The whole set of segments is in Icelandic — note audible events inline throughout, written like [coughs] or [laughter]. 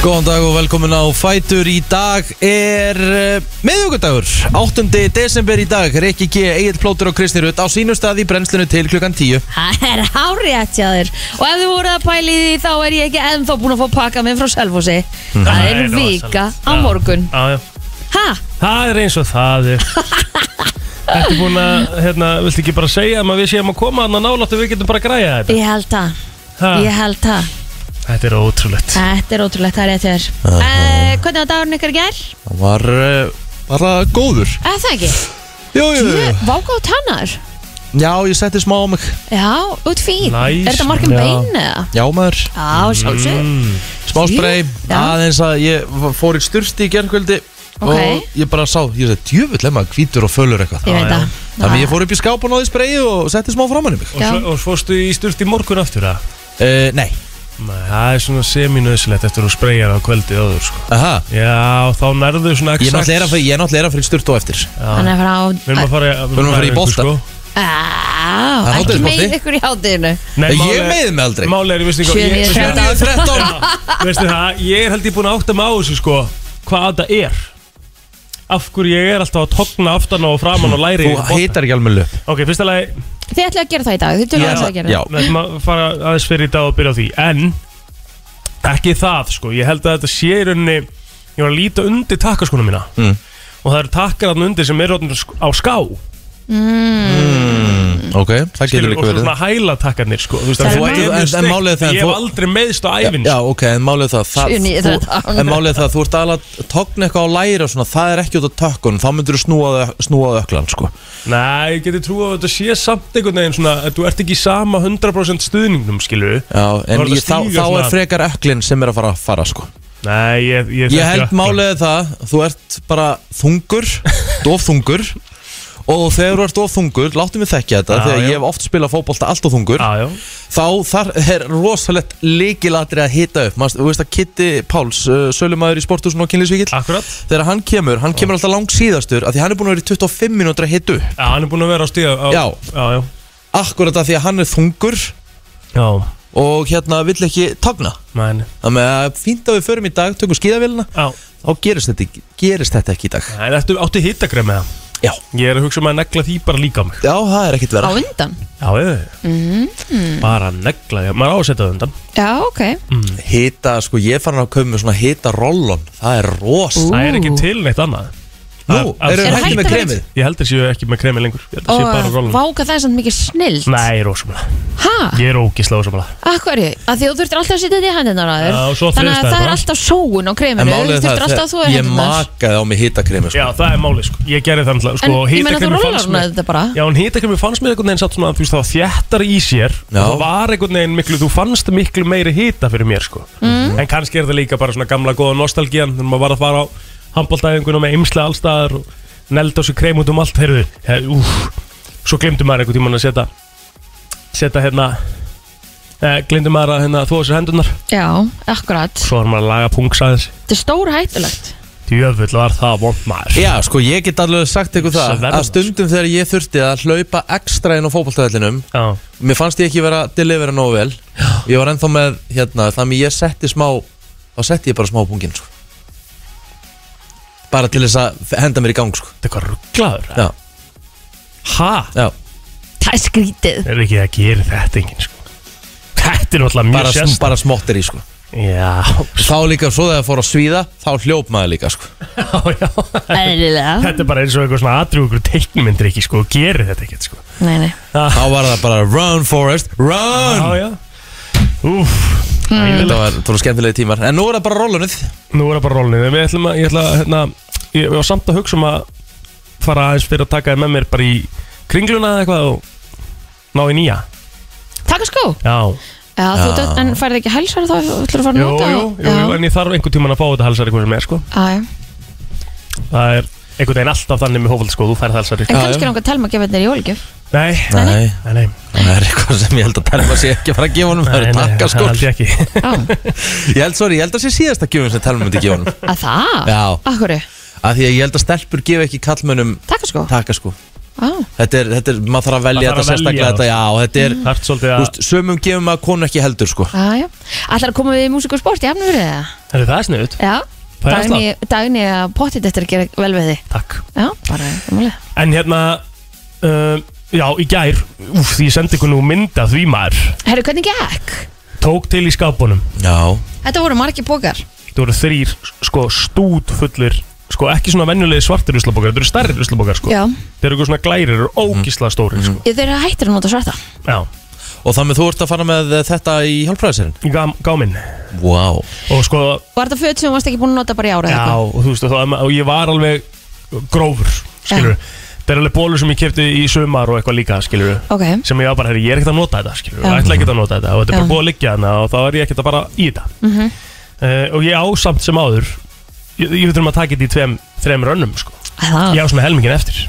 Góðan dag og velkomin á Fætur Í dag er uh, miðugudagur, 8. desember í dag Rikki G, Egil Plótur og Kristi Rutt á sínum stað í brennslinu til klukkan 10 Það er hárétt hjá þér Og ef þið voruð að pæli því þá er ég ekki ennþá búin að fá pakka minn frá Selfossi Mhm. Það er Nei, vika á rosalegt. Já, morgun já, já. Ha? Það er eins og [laughs] það er Þetta er búin að, hérna, viltu ekki bara segja um að við séum að koma hann að nálátt og við getum bara að græja þetta Ég held það ha, Ég held það Þetta er ótrúlegt Þetta er ótrúlegt, það er rétt hjá þér uh, Hvernig var dagurinn ykkar í gær? Það var uh, bara góður Eh, Það ekki Jú, jú, jú Váka á tannar Já, ég setti smá á mig Já, út fín Næs. Er þetta margum Já. bein eða? Já maður, Mm. Já, sjálfsög smá spray Já. Aðeins að ég fór í styrsti í gernkvöldi Ok. Og ég bara sá, ég sagði, djöfull er maður hvítur og fölur eitthvað Ég Já, veit já. það Þannig ég fór upp í skáp og náði sprayið og setti smá framan í mig Og, Já. svo, og fórstu í sturt í morgun aftur að uh, Nei, Nei, það er svona seminauðsilegt eftir að spreyja á kvöldi áður sko. aha Já, þá nærðu svona Ég er náttúrulega að fara- ég er náttúrulega að fyrir styrtu á eftir Þannig að Við fara erum á að fara, Við erum að fara í bolta. Á, Það er Ah, ekki hádegisbolti. með ykkur í hátíðinu Nei, Eh, Ég málið- meiði mig aldrei. Málið er, ég veist ekki Sjö ég- niður. Sjö- 13 Veistu það, ég er held ég búin að átta mig á þessu sko Hvað þetta er Af hverju ég er alltaf að togna aftan á og framan og læri Þú heitar ekki alveg löp Ok, fyrsta lagi, Þið ætlaðu að gera það í dag, þið Já, tölum að gera Já, það við ætlum að fara aðeins fyrir í dag og byrja á því En, ekki það sko Ég held að þetta sé í rauninni Ég var að líta undir takkaskona mína Mm. Og það eru takkar þarna undir sem eru orðnir sk- á ská Mm. Mm. ok, það getur Skilur, Og líka verið svona hæla takkarnir sko Þú veist, Það það er er málið- en- en mjög steikt. málið er það- Ég hef þú- aldrei meðst á sko. æfin Já, ok, en málið það, það Sjö, níu, þú- þrettán. En málið það, þú ert alveg að togna eitthvað á læri og svona, það er ekki út á tökkun þá myndir þú snúa þau- snúa á öklan, sko Nei, ég geti trú að þetta sé samt einhvern veginn svona að þú ert ekki í sama 100% stuðningnum, skilur Já, en Þú ert að ég, þá, stíga þá er svona- frekar öklin sem er að fara að fara, sko Nei, ég, ég, Ég held málið er það, þú ert bara [laughs] þungur, dofþungur og þegar þú ert dofþungur, láttu mig þekkja þetta Já, þegar já. ég hef oft spilað fótbolta allt og þungur Já, já, þá þar er rosalegt líkilatri að hita upp Manst, þú veist að Kitty Páls, uh, sölumæður í sporthúsinu á kynlífsvíkil akkurat þegar hann kemur, hann kemur alltaf langt síðastur af því hann er búin að vera í 25 mínútur að hita upp Já, hann er búin að vera á stíða á, Já. já, já, akkurat af því að hann er þungur já og hérna vill ekki tagna Mæni, þannig að fínt að við förum í dag, tökum skíðavélina já þá gerist þetta, ekki- gerist þetta ekki í dag En eftir átti hittagrið með það já, Ég er að hugsa um að negla því bara líka á mig já það er Á ekkit vera undan? Já, ég Bara negla því, maður á að setja það undan Mm-hmm. Mm. Já, ok hita, sko ég er farin að koma með svona hita rollon það er rosalegt Það er ekki til neitt annað nú, Að- að- eru Er hætti hægt með að- kremið Ég heldur séu ekki með kremi lengur Ég heldur séu bara Og rólan váka það er samt mikið snilt Nei, rósamlega Hæ? Ég er ógislega rósamlega Akkurju? Að því þú þurftir alltaf að setja þetta í hendunar á þér Já, og svo Þannig þriðstæði að það er bara. alltaf sóun á En kreminu Þú málið er þurftir það, alltaf að þú þegar- er ég hendunar makaði á mig hitakremi sko. Já, það er málið, sko Ég gerði það náttúrulega, En sko ég meina þú hitakremið rólar fannst hún mér- þetta bara Já, en hitakremi fannst mér einhvern veginn satt svona, þú veist, það var þjættar í sér og Já. það var einhvern veginn miklu, þú fannst miklu meiri hita fyrir mér, sko Mm. en kannski er það líka bara svona gamla góða nostalgían þegar maður var að fara á handbóltæðingunum með ymsla allstaðar og nelda á sig krem út um allt, heyrðu, her, úf svo glemdu maður einhvern tímann að setja setja hérna eh, glemdu maður að hérna, þóa sér hendunar Já, akkurat svo var maður að laga pungsaðis Þetta er stór [laughs] hættulegt djöfull var það vond maður Já, sko, ég get alveg sagt ykkur það Sverða, að stundum þegar ég þurfti að hlaupa ekstra inn á fótballtæðlinum Já. mér fannst ég ekki vera að delivera nógu vel ég var ennþá með, hérna, þannig ég setti smá þá setti ég bara smá pungin, sko bara til þess að henda mér í gang, sko þetta er hvað rugglaður Já, hæ? já, Það er skrítið er ekki að gera þetta enginn sko. Þetta er náttúrulega mjög bara, sm, sérst bara smottir í, sko Já, Þá líka, svo þegar það fór að svíða, þá hljóp maður líka, sko já, já Æðilega Þetta er bara eins og eitthvað svona aðrúkur teiknumyndir ekki sko, gerir þetta ekkert sko Nei, nei Þá var það bara run, Forrest, run Já, já Úf, Mm. Þetta æðilegt var, þetta var skemmtilegi tímar En nú er það bara rollunnið Nú er það bara rólnið, við ætlum að, ég ætla að, hérna Ég ég var samt að hugsa um að fara aðeins fyrir að taka þið með mér bara í kringluna eða eitthvað og ná í nýja Takk skó Já, Já, þú Já. dött, en færði ekki hælsar þá Þú ætlar að fara að jú, nota þá? jú, jú, Já. en ég þarf einhvern tíman að fá þetta halsar eitthvað sem er sko Æ. Það er einhvern veginn alltaf þannig með hófald sko, þú færð halsar En Já, kannski já. langar telma að gefa þetta í jólgjöf Nei, Nei, nei, nei, það er eitthvað sem ég held að Telma sé ekki að fara að gefa honum Það nei, eru nei, takka það held skól ég ekki Já, Ég held, sorry, ég held að sé síðasta gjöfum sem Telma myndi gefa honum að það? Já, Akkurju? af því að ég held að stelpur gefa ekki kallmönnum Takk skó? takka sko Á. Þetta er, þetta er, maður þarf að velja Maður þarf þetta að velja sérstaklega þetta, já, og þetta er, Þart svolítið þú að, veist, sömum gefum maður konu ekki heldur, sko. Æja, allar Ah, að koma við í músík og sport í afnöfrið eða? er það er sniðut? Já, Það er dagni, dagni að pottit eftir að gera vel við þig Takk Já, bara, umlega En hérna, um, já, í gær, úf, því ég sendi ykkur nú mynda því maður Herru, hvernig gekk? Tók til í skápunum Já. Þetta voru margir bókar Þetta voru þrýr, sko, stúd fullir Sko, ekki svona venjulegi svartir ruslabókar Þetta eru stærri ruslabókar, sko Já, Þeir eru eitthvað svona glærir, eru ógislega stórir, sko Ég- þeir eru hættir að nota svarta Já, Mhm. Og þannig þú ert að fara með þetta í hjálpræðisinn? í gám, gáminn Vá. Wow. Og sko, Var þetta föt sem þú varst ekki búin að nota bara í ára já, og þú veist, og, þá- og ég var alveg grófur, skilur Þetta er alveg bólur sem ég kefti í sumar og eitthvað líka, skilur Ok, sem ég var bara, herri, ég er ekkert að nota þetta skilur, Mm. Já. ég ætla ekkert að nota þetta og þetta er Já. bara búið að liggja hana og þá er ég ekkert að fara í þetta Mhm. uh, og ég á samt sem áður ég, ég við þurfum að taka þetta í tveim, þreim rönnum sko. það ég á svona helmingin eftir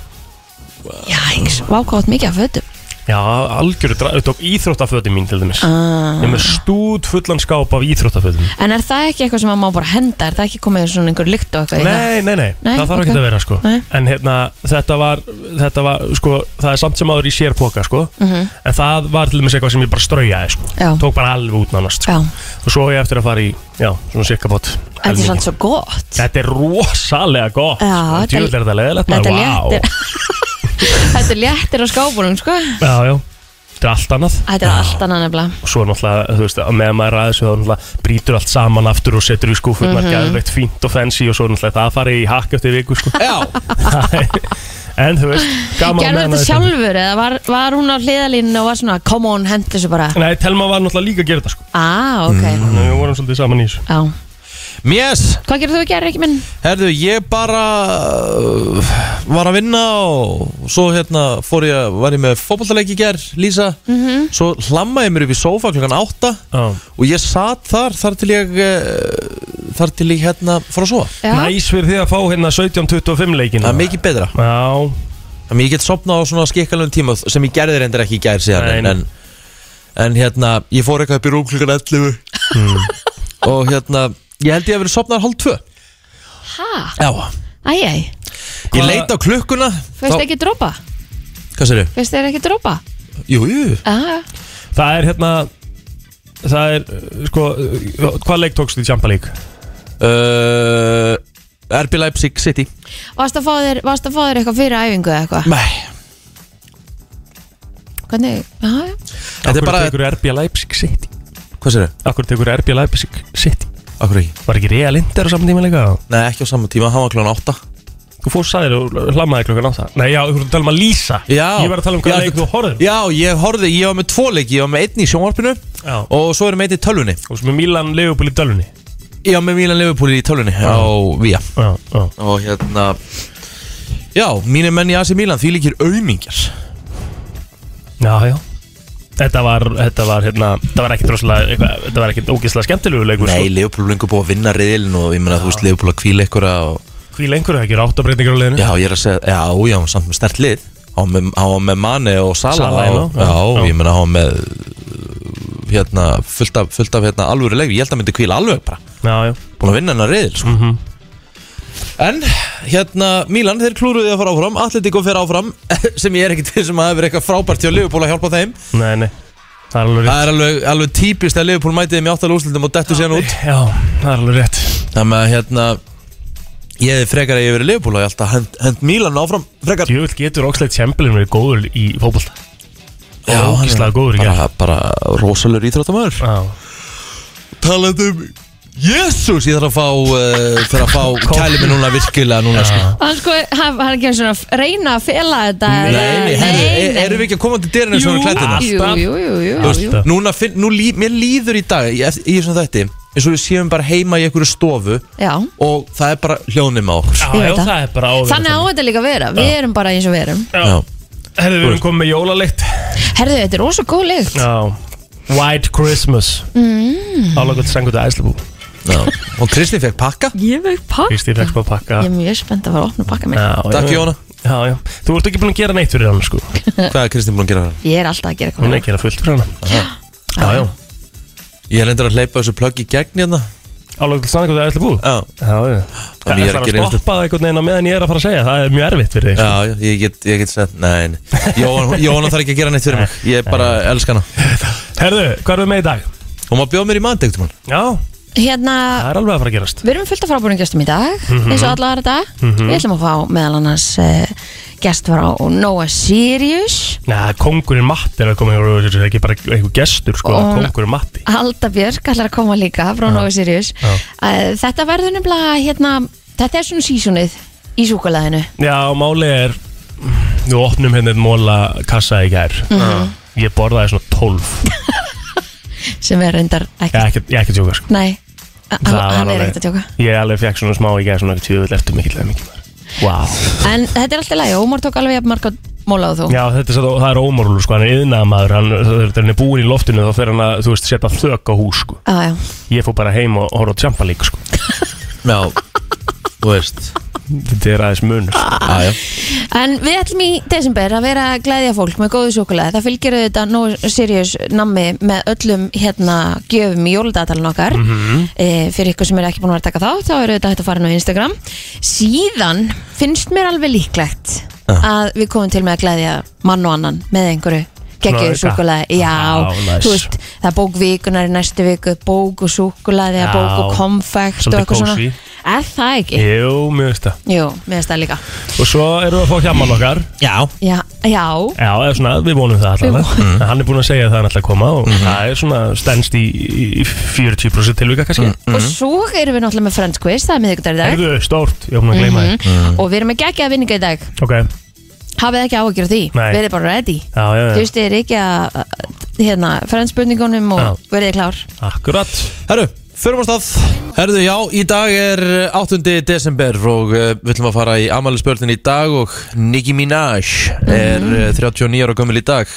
Jæks, vákátt mikið af fötum já, algjöru, dra- ég tók íþróttafötum mín til dæmis Ah. ég er með stúd fullan skáp af íþróttafötum En er það ekki eitthvað sem maður má bara henda? Er það ekki komið svona einhver lykt og eitthvað? í það? nei, nei, nei, Nei, það þarf ok. ekki að vera sko. Nei. en hérna, þetta var þetta var, sko, það er samt sem áður í sérpoka sko. Mhm. en það var til dæmis eitthvað sem ég bara straujaði sko. Já, tók bara alveg út nánast sko. já og svo á ég eftir að fara í, já, svona cirka bót Þetta er svona svo gott Þetta er rosalega gott Já, sko. þetta- Djöfull er þetta leðilegt Þetta léttir [laughs] Þetta léttir á skápunum, sko Já, já, þetta er allt annað Þetta er allt annað nefnilega Og svo náttúrulega, þú veist, að meðan maður ræðis þá náttúrulega brýtur allt saman aftur og setur í skúfurnar Mhm. mm -hmm. Gæðveikt fínt og fancy og svo náttúrulega það farið í hakk eftir viku sko. Já. [laughs] En þú veist, gaman Gerðu maður þetta er- sjálfur eða var, var hún á hliðalínu og var svona Come on, hendur þessu bara Nei, Telma var náttúrulega líka að gera þetta sko. Ah, ok Mm. Þannig að Við vorum svolítið saman í þessu Já Yes, Hvað gerir þú að gera, Rikki minn? herðu, ég bara uh, var að vinna og svo hérna fór ég, að- var ég með fótballtaleik í gerð, Lísa. -hmm. Svo hlamma ég mér upp í sófa klokkan átta Já. og ég satt þar þar til ég, uh, þar til ég hérna fór að sofa. Já Næs fyrir því að fá hérna 17-25 leikina Það er mikið betra. Já, Þannig ég get sopnað Hérna á svona skikkalum tíma sem ég gerði reyndar ekki í gær síðan Nei, en, nei. en, en hérna, ég fór eitthvað upp í rúm klukkan 11 Mm. [laughs] og hérna, ég held ég að vera sopnað hálf tvö Ha? Já, Æjæj ég Hvað- leit á klukkuna Fyrst ekki drópa? Hvað sér ég? Fyrst þeir ekki drópa? Jú, jú, Ah, Það er hérna Það er, uh, sko, uh, hvað leik tókst í Champa League? uh, RB Leipzig City varst að fá þér, varst að fá þér eitthvað fyrir æfingu eða eitthvað? Nei, Hvernig? Já, já. þetta er bara, Akkur tekur RB Leipzig City hvað sér ég? Akkur tekur RB Leipzig City Akkur ekki? Var ekki Rea Linder á saman tíma leika? Nei, ekki á saman tíma, hann var klukkan 8 Þú fórst sæðir og hlammaði klokkan á það Nei, já, þú voru að tala um að lýsa Já. Ég var að tala um hvaða Já, leik þú horfðir Já, ég horfði, ég var með tvo leiki, ég var með einn í sjónvarpinu Já Og og svo erum einn í tölvunni sem er Milan Leopold í dölunni Ég var með Milan Liverpool í tölvunni á Vía Já, já og hérna Já, mínir menn í AC Milan því líkir aumingjar Já, já Þetta var, þetta var, hérna, þetta var ekki droslega, eitthvað, þetta var ekki ógeðslega skemmtilegu leikur sko. Nei, Leopold lengur búið að vinna riðilin og ég meina þú veist Leopold að kvíla ykkur og... sko. Hví lengur það ekki ráttabreitingar á leiðinu Já, ég er að segja, já, já, samt með stert lið Há með, á með Mane og Sala Sala, á, já, já, já. ég meina há með hérna, fullt af, fullt af hérna, alvöru leik, ég held að myndi kvíla alveg bara já, já. búin að vinna hennar riðil sko. Mhm. En, hérna, Milan, þeir klúruði að fara áfram Atletico fer áfram [laughs] sem ég er ekkit til sem að það hefur eitthvað frábært hjá Leopold að hjálpa þeim Nei, nei, það er alveg rétt Það er alveg, alveg típist að Liverpool mætið þeim í áttala úrslitum og dettu síðan út Já, það er alveg rétt Þannig að hérna Ég hefði frekar að ég verið Liverpool og ég alltaf hend, hend Milan áfram frekar Djúvill getur Oxlade Chamberlain verið góður í fótbolta Já, hann er ógeðslega góður í bara, bara rosalur íþróttamöður Já, Talandi um Jésús, ég þarf að fá uh, Þarf að fá kæli mig núna virkilega núna sko. Hann sko, hann, hann kemur svona að reyna að fela þetta. Nei, nei, herru, er, nei. erum við ekki að koma til dyrinu Jú, svona allt. klættina? Jú, alltaf? jú, jú, jú, Þú jú. veist, Núna, finn, nú lí, mér líður í dag í, í svona þetta eins og við séum bara heima í einhverju stofu Já. og það er bara hljónum á okkur já, Ég veit já það. það er bara áður Þannig á þetta líka að vera, við erum bara eins og við erum Já, herðu við erum komið með jólalegt Herðu, þetta er ósvo góð lykt Já, White Christmas mm. Álagöld sangut að æslubú Já. Og Kristi fekk pakka Ég veik pakka Kristín fekk bara að pakka Ég er mjög spennt að fara að opna pakka minn Já, Takk, já. Jóna. Já, já, þú ert ekki búin að gera neitt fyrir hann sko Hún Hvað er Kristi búin að gera það? Ég er alltaf að gera er eitthvað ekki að gera fullt fyrir hann Já, já, Ég er endur að hleypa þessu plögg í gegn hérna á Alveg til sannleikur það er allir búið Já, Já, já En Það ég er er að að gera stoppa það einhvern veginn á meðan ég er að fara að segja Það er mjög erfitt fyrir þig sko. já, já, ég get, ég get sett Nei, nei. Jóhanna Jóhann þarf ekki að gera neitt fyrir mig Ég bara elska hana Herðu, hvað erum við með í dag? Hún má bjóða mér í mandegt mann Já, Hérna, það er alveg að fara að gerast við erum fullt af frábúrum gestum í dag Mhm. eins og alla aðra dag Við ætlum að fá meðal annars uh, gest frá Noah Sirius Já, kongurinn Matti er að koma Það er ekki bara einhver gestur, sko Og- Kongurinn Matti Alda Björk ætlar að koma líka frá Noah Sirius Já. uh, Þetta verður nefnilega hérna, þetta er svona sísunnið í súkulæðinu Já, máli er Við opnum hérna einn móla kassa í gær Mhm. Ég borðaði svona [laughs] 12 sem er reyndar ekki Ég er ekki- ég er ekki að tjóka, sko Nei, hann, Það var hann er alveg- ekkert að tjóka Ég alveg fekk svona smá í gær svona Tjóðvill, ertu mikill eða mikill Vá En þetta er alltaf lægi, Ómar tók alveg jafn marga móla á þú Já, þetta er, svo- það er ómorlu, sko, hann er yðnaðamaður hann, þegar hann er búin í loftinu þá fer hann að, þú veist, setja þök á hús, sko Já, Ah, já. Ég fór bara heim og horfa á tjampa lík, [laughs] sko Já, þú veist Þetta er aðeins munur Ah. Já, já En við ætlum í desember að vera að glæðja fólk með góðu súkulega Það fylgir þetta no serious nammi með öllum hérna gjöfum í jóladagatalinn okkar Mhm. e, Fyrir ykkur sem eru ekki búin að vera að taka þá Þá eru þetta hægt að fara inn á Instagram Síðan finnst mér alveg líklegt Ah. að við komum til með að glæðja mann og annan með einhverju geggjur Svona auka. Ah, súkulega, já, Já, næs. þú veist það er bók vikunar í næstu viku bók og súkulega, Já. bók og konfekt og Svolítið eitthvað svona, kósí. er það ekki? Jú, mjög veist það Jú, mér finnst það líka Og svo erum við að fá hjaman okkar Já, Já, já, Já, eða svona, við vonum það alltaf mm. Hann er búin að segja að það er alltaf að koma og Mhm. það er svona stendst í, í í 40% tilvika, kannski Mhm. Og svo erum við náttúrulega með Friends Quiz, það er miðvikudagur í dag Mhm. Erðu, stórt, ég er búin að gleyma mm Mhm. Og við erum að gegja að vinninga í dag Ok, Hafið ekki áhyggjur af því, Nei. Eh. verið bara ready já, Þú já, já, veist, þið er ekki að að- hérna, Friends spurningunum og Já. verið klár akkurat herru, förum á stað Herru, já, í dag er eh, 8. desember og uh, við ætlum að fara í amalispörðin í dag og Nicki Minaj er uh, 39 ára gömul í dag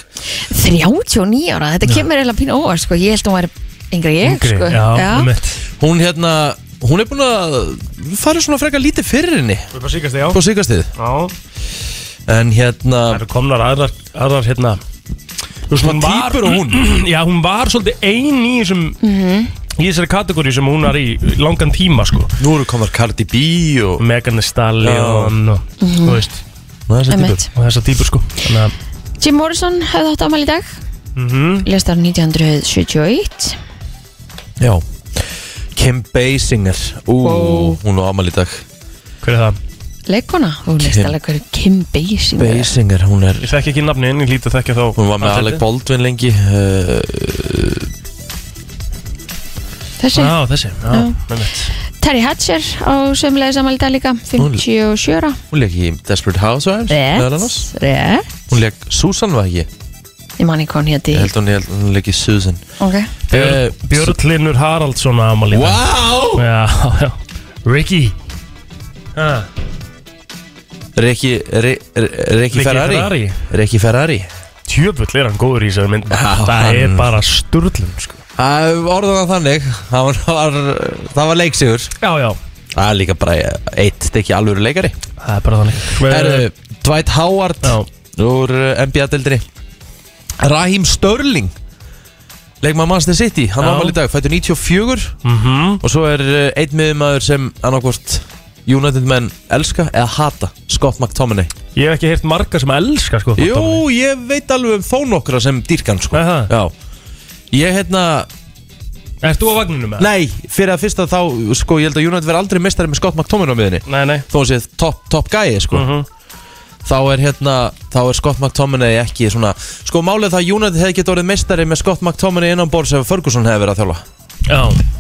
39 ára, þetta kemur eiginlega pínu óvart sko. Ég held að hún væri yngri en ég Yngri, sko. já, um mitt Hún hérna, hún er búin að fara svona frekar lítið fyrir henni Við bara síkast þig á på síkastið Já, En hérna, Það eru komnar aðrar, aðrar hérna Þú veist, Svona týpur og [clears throat] Já, hún var svolítið ein í þessum Mhm. Í þessari kategóri sem hún var í langan tíma, sko nú eru komar Cardi B og Megan Thee Stallion Já. og, Mhm. Þú veist, þessar Einmitt. típur og þessar týpur, sko Þannig að Jim Morrison hefði átt ámæli í dag mm -hmm. Lest ára 1971 Já Kim Basinger, ú, Wow. hún á amal í dag Hver er það? Leikona, hún leist Kim- alveg hverju Kim Basinger er. Basinger, hún er Ég þekki ekki nafni en ég lítið að þekka þá Hún var með andlitið. Alec Baldwin lengi uh, Þessi, Já, þessi, já, Já. með mitt Terry Hatcher á sömulegis ámæli í dag líka 57 ára Hún leik í Desperate Housewives meðal annars. Rétt, rétt Hún leik Susan var ekki Ég Ég man ekki hvað hún héti held hún, ég held hún leik í Susan Ok Eh, Björn Linur Haraldsson á Amalíu Wow Já, já Ricky ah, Rikki Ri- Ri- Rikki Ferrari Rikki Ferrari Tjöfull er hann góður í þessari mynd Já, Það er hann- bara sturlun, sko Það orðan það þannig Það var, það var, það var leiksigur Já, já, Það er líka bara eitt stykki alvöru leikari það er bara þannig Herru, Dwight Howard Já, Úr eh, NBA-deldri Raheem Störling Leikmann Manchester City, hann Já. var í dag, fættu 94 mhm Og svo er eh, einn miðumæður sem annarkvort United menn elska eða hata Scott McTominay Ég hef ekki heyrt marga sem elska sko Jú, ég veit alveg um þó nokkra sem dýrkan sko Er það? Já Ég hérna, Erst þú á vagninu með það? nei, fyrir að fyrsta þá sko, ég held að United verði aldrei mestari með Scott McTominay á miðinni Nei, nei Þó að sé top, top gæi sko Mhm. Þá er hérna, þá er Scott McTominay ekki svona Sko málið það að United hefði getið orðið mestari með Scott McTominay innan borðs ef Ferguson hefði verið að þjálfa Já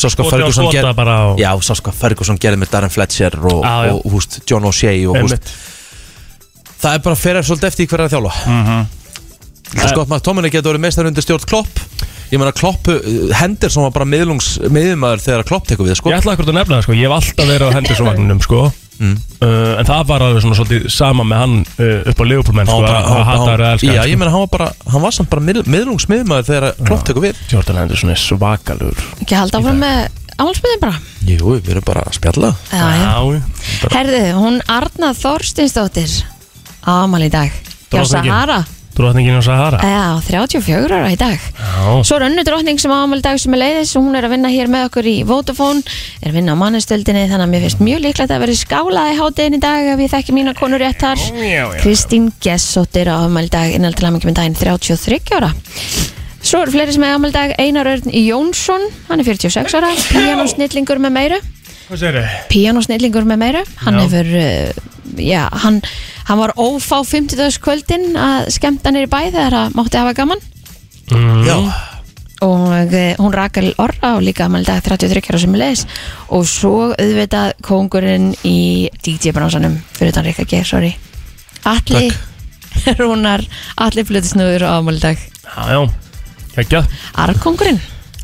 Sá sko Skoti á Ferguson skota gerði bara á Já, sá sko Ferguson gerði með Darren Fletcher og, Já, já. og húst, John O'Shea og húst, Einmitt það er bara að fyrir svolítið eftir í hverja þjálfa mm Mhm. -hmm. Scott McTominay getur verið meistar undir stjórn Klopp ég meina Klopp, uh, Henderson var bara miðlungs, miðumæður þegar Klopp tekur við sko. Ég ætla akkur að nefna það sko Ég hef alltaf verið á hendur svo vagninum sko mm. uh, En það var alveg svona svolítið sama með hann uh, upp á Leopoldmenn sko Að hata það að elska já, hann, sko. ég meina hann var bara hann var samt bara mið, miðlungs miðumæður þegar Klopp tekur við sko Jordan Henderson er svakalur Ekki halda áfram með áhaldsbyrðin bara Jú, við erum bara að spjalla Já, já já Herðu, hún Arna Þorstinsdóttir Ámæli í dag Já, Drottningin. Sahara Eh. Drotningin á Sahara Já, 34 ára í dag Já. Svo er önnu drottning sem ámæli dag sem er leiðis og hún er að vinna hér með okkur í Vodafone er að vinna á mannastöldinni þannig að mér finnst mjög líklegt að vera skálað í hátinn í dag ef ég þekki mína konur rétt þar já, já. Kristín Gessóttir á ámæli dag innal til aðmengjum daginn 33 ára Svo eru fleiri sem er ámæli dag Einar Örn Jónsson, hann er 46 ára píanósnillingur með meiru Hvað segir þau? píanósnillingur með meiru hann Já. hefur uh, já, hann, hann var ófá 50. kvöldin að skemmta nýri bæ þegar hann mátti hafa gaman Mm. Já, og uh, hún Rakel Orra og líka amal dag 33 ára sem er leðis og svo auðvitað kóngurinn í DJ-bransanum fyrir þann Rikka G, sorry Alli [laughs] Rúnar, Alli Blutisnúður og amal dag Já, já Kekja Arkongurinn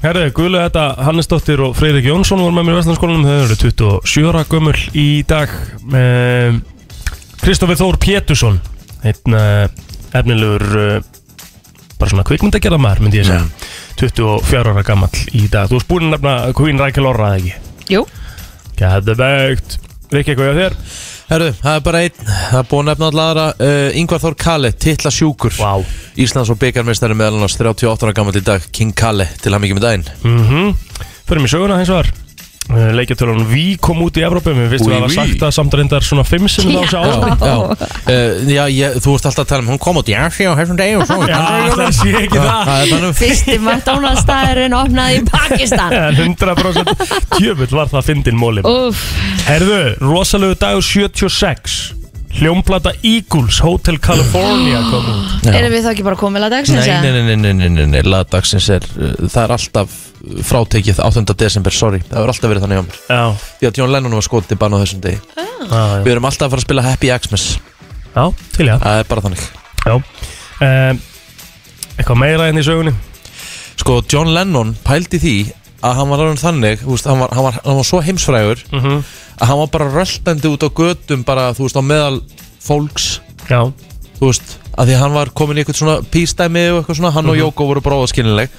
Herðu, Guðlu þetta Hannesdóttir og Freyrik Jónsson voru með mér í Vestlandskólanum Þau eru 27 ára gömul í dag Ehm, Kristoffer Þór Pétursson Einn eh, efnilegur eh, bara svona kvikmyndagerða maður myndi ég segja 24 ára gamall í dag Þú varst búin að nefna Queen Rækjel Orra eða ekki Jú, Gæðvegt Rikki, hvað er þér? herru, það er bara einn Það er búin að nefna allara uh, Ingvar Þór Kalle, titla sjúkur Vá Íslands og byggarmeistari meðal annars 38 ára gammal í dag King Kalle, til hann mikið með daginn mm Förum í söguna hins vegar Leikjartölun Ví kom út í Evrópu Mér finnst Oui, við að hafa oui. sagt það samt reyndar svona 5 sinni á þessu ári já, uh, já ég, þú ert alltaf að tala um Hún kom út í Asi á þessum degi og svo Já, það sé ekki það Það er um þannig fyrsti McDonalds staðurinn opnaði í [laughs] Pakistan En 100% tjöfull var það fyndin móli Úff, Herðu, rosalegu dagur 76 Hljómplata Eagles Hotel California kom út Já. erum við þá ekki bara komið að dagsins? Nei, eða? nei, nei, nei, nei, nei, nei, nei. lagdagsins er uh, Það er alltaf frátekið 8. desember, sorry Það hefur alltaf verið þannig á mér Já, Ah, Því að John Lennon var skotið bann á þessum degi Ah. já, já. Við erum alltaf að fara að spila Happy Xmas já til já, Það er bara þannig já. Um, Eitthvað meira enn í sögunni Sko, John Lennon pældi því að hann var alveg þannig, þú veist, hann var, hann var, hann var svo heimsfrægur Mhm. að hann var bara röltandi út á götum bara, þú veist, á meðal fólks, Já, þú veist, að því að hann var komin í eitthvað svona pístæmi og eitthvað svona, hann Mhm. og Jóko voru bara óðaskilnileg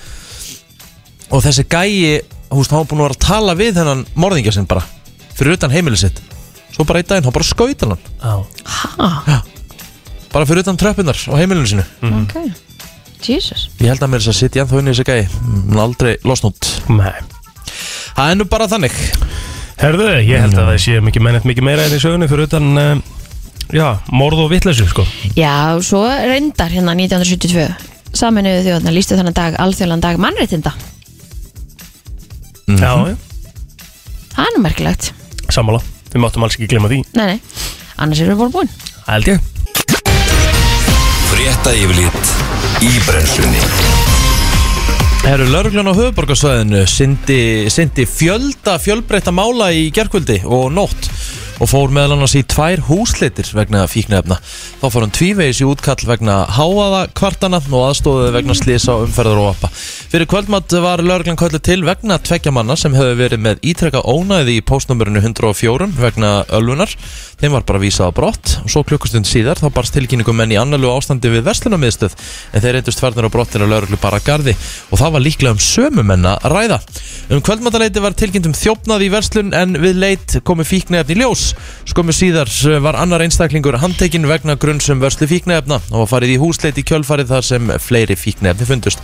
og þessi gæi, þú veist, hann var búin að vera að tala við hennan morðingja sinn bara, fyrir utan heimili sitt svo bara einn daginn, hann bara skaut hann já Ha, bara fyrir utan tröppunar á heimilinu sinu Mhm. ok Jesus ég held að mér þess að sitja ennþá inn í þessi gæi hann er aldrei losnútt Nei. það er nú bara þannig Herðu, ég held að það sé mikið mennett mikið meira enn í sögunni fyrir utan um, Já, morð og vitleysu sko Já, svo reyndar hérna 1972 Saminuðu þjóðna lístu þannig dag alþjóðlan dag mannréttinda Mhm. Já, já, Það er nú merkilegt sammála Við máttum alls ekki glemma því Nei, nei, annars erum við bara búin Held ég Mhm. Frétta yfirlit í brennslunni Herru, lauruglan á höfuborgarsvæðinu sindi, sindi fjölda fjölbreytta mála í gerkvöldi og nótt og fór meðal annars í tvær húsleitir vegna fíknefna. Þá fór hann tvívegis í útkall vegna háaða kvartana og aðstóðið vegna slisa og umferðar og appa. Fyrir kvöldmatt var lauruglan köllu til vegna tvekja manna sem hefur verið með ítrekka ónæði í postnumurinu 104 vegna öllunar. Þeim var bara vísað á brott og svo klukkustund síðar þá barst tilkynningum menn í annarlu ástandi við verslunamiðstöð en þeir reyndust farnir á brottir að lauruglu bara að gardi og það var líklega um sömu menna að ræða. Um kvöldmataleiti var tilkynnt um þjófnað í verslun en við leit komu fíknefni í ljós. Skömmu síðar eh, var annar einstaklingur handtekinn vegna grunnsum vörslu fíknefna og var farið í húsleit í kjölfarið þar sem fleiri fíknefni fundust.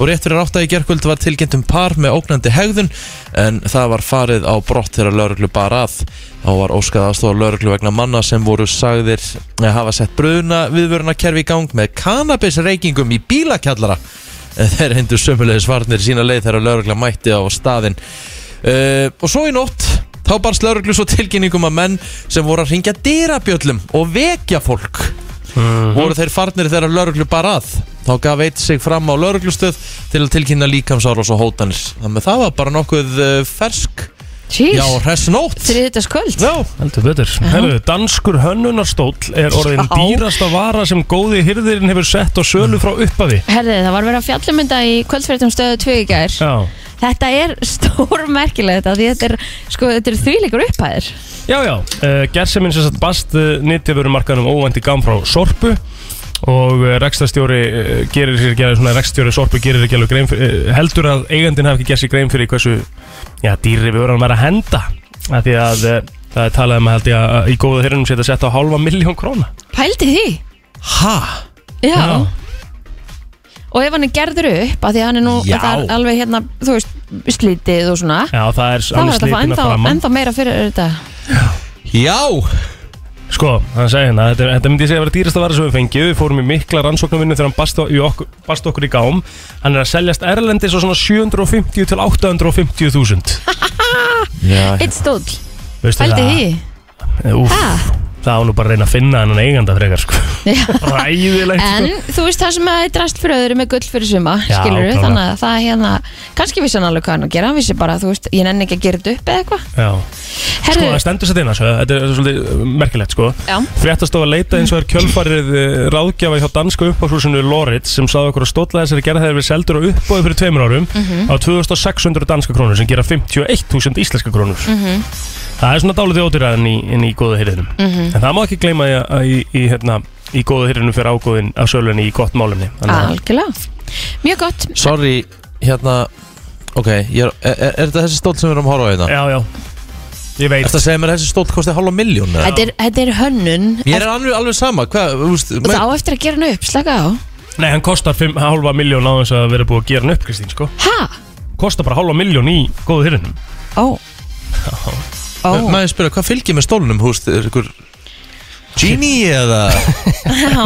Og rétt fyrir átta í gerkvöld var tilkynnt um par með ógnandi hegðun en það var farið á brott þegar lauruglu bara að. Þá var óskað aðstofa lauruglu vegna manna sem voru sagðir eh, hafa sett bruna viðvörunarkerfi í gang með kannabisreikingum í bílakjallara. En Þeir hendur sömulegis varnir sína leið þegar laurugla mætti á staðinn uh, Og svo í nótt þá barst lauruglu svo tilkynningum að menn sem voru að ringja dyrabjöllum og vekja fólk Mhm. voru þeir farnir þegar lauruglu bara að þá gaf eitt sig fram á lauruglustöð til að tilkynna líkamsárás og hótanir þannig að það var bara nokkuð uh, fersk já, Jeez, hress nótt þriðutags kvöld Já, Heldur betur. Herru, danskur hönnunarstól er orðin Já. dýrasta vara sem góði hyrðirinn hefur sett á sölu frá uppafi. Herðið, það var verið að fjallumynda í kvöldfréttum stöðu 2 í gær Já, Þetta er [laughs] stór merkilegt af því þetta er, sko, þetta er þvíleikur upphæðir já, já. Uh, Gerseminn sem satt bast uh, nýttjöfurmarkanum óvænt í gam frá Sorpu og uh, rekstastjóri uh, gerir sér gerir svona rekstastjóri Sorpu gerir ekki alveg grein fyrir, uh, heldur að eigandinn hafi ekki gerð sér grein fyrir hversu, já, dýri við vorum að vera að henda. Af því að uh, það er talað um að held ég að í góða hyrðinum setja sett á hálfa miljón króna. Pældi því? ha? Já, Já. og ef hann er gerður upp að því að hann er nú Já. það er alveg hérna, þú veist, slítið og svona Já, það er þá er þetta að alveg fá slitin að ennþá, framann ennþá meira fyrir þetta Já, Sko, hann segi hérna, þetta, þetta myndi ég segja að vera dýrasta vara sem við fengið Við fórum í mikla rannsóknarvinnu þegar hann bast, í okkur, bast okkur í gám Hann er að seljast erlendis á svona 750 til 850 [laughs] þúsund já eitt stóll, hérna. Veistu hældi það? því Úf, Ha? Eh, það var nú bara að reyna að finna hennan eiganda frekar sko Já. [laughs] Ræðilegt en sko þú veist það sem að er drast fyrir öðru með gull fyrir suma Já, skilur klálega. þannig að það er hérna kannski vissi hann alveg hvað hann á að gera, hann vissi bara þú veist, ég nenni ekki að gera þetta upp eða eitthvað Já, sko það Herðu, stendur sér þinn Þetta er svolítið merkilegt sko já, Fréttastofa leita eins og er kjölfarið eh, ráðgjafa hjá danska uppáðshúsinu Loritz sem saði okkur að stóla þessari gerð hefur verið seldur á uppbóði fyrir tveimur árum Mhm. á 2600 danska krónur sem gera 51.000 íslenska krónur. Mm. Mhm. Það er svona dálítið ódýraðin í, inn í góða hyrðinum. Mm. Mhm. En það má ekki gleyma í, að í, í, hérna, í góða hyrðinum fyrir ágóðin af sölunni í gott málumni. algjörlega mjög gott, Sorry, hérna Ok, ég er, er, er þetta þessi stóll sem við erum að horfa á hérna? Já, já. Ég veit. Ertu að segja mér að þessi stóll kosti halva miljón? eða? þetta er, þetta er hönnun Mér er alveg, alveg sama Hvað, þú veist og menn- það á eftir að gera hann upp, slaka á Nei, hann kostar 5,5 miljón á þess að vera búið að gera hann upp, Kristín, sko. ha, Kostar bara halva miljón í góða hyrðinum. ó ó, Maður spyrja, hvað fylgir með stólnum, húst, er ykkur Genie eða já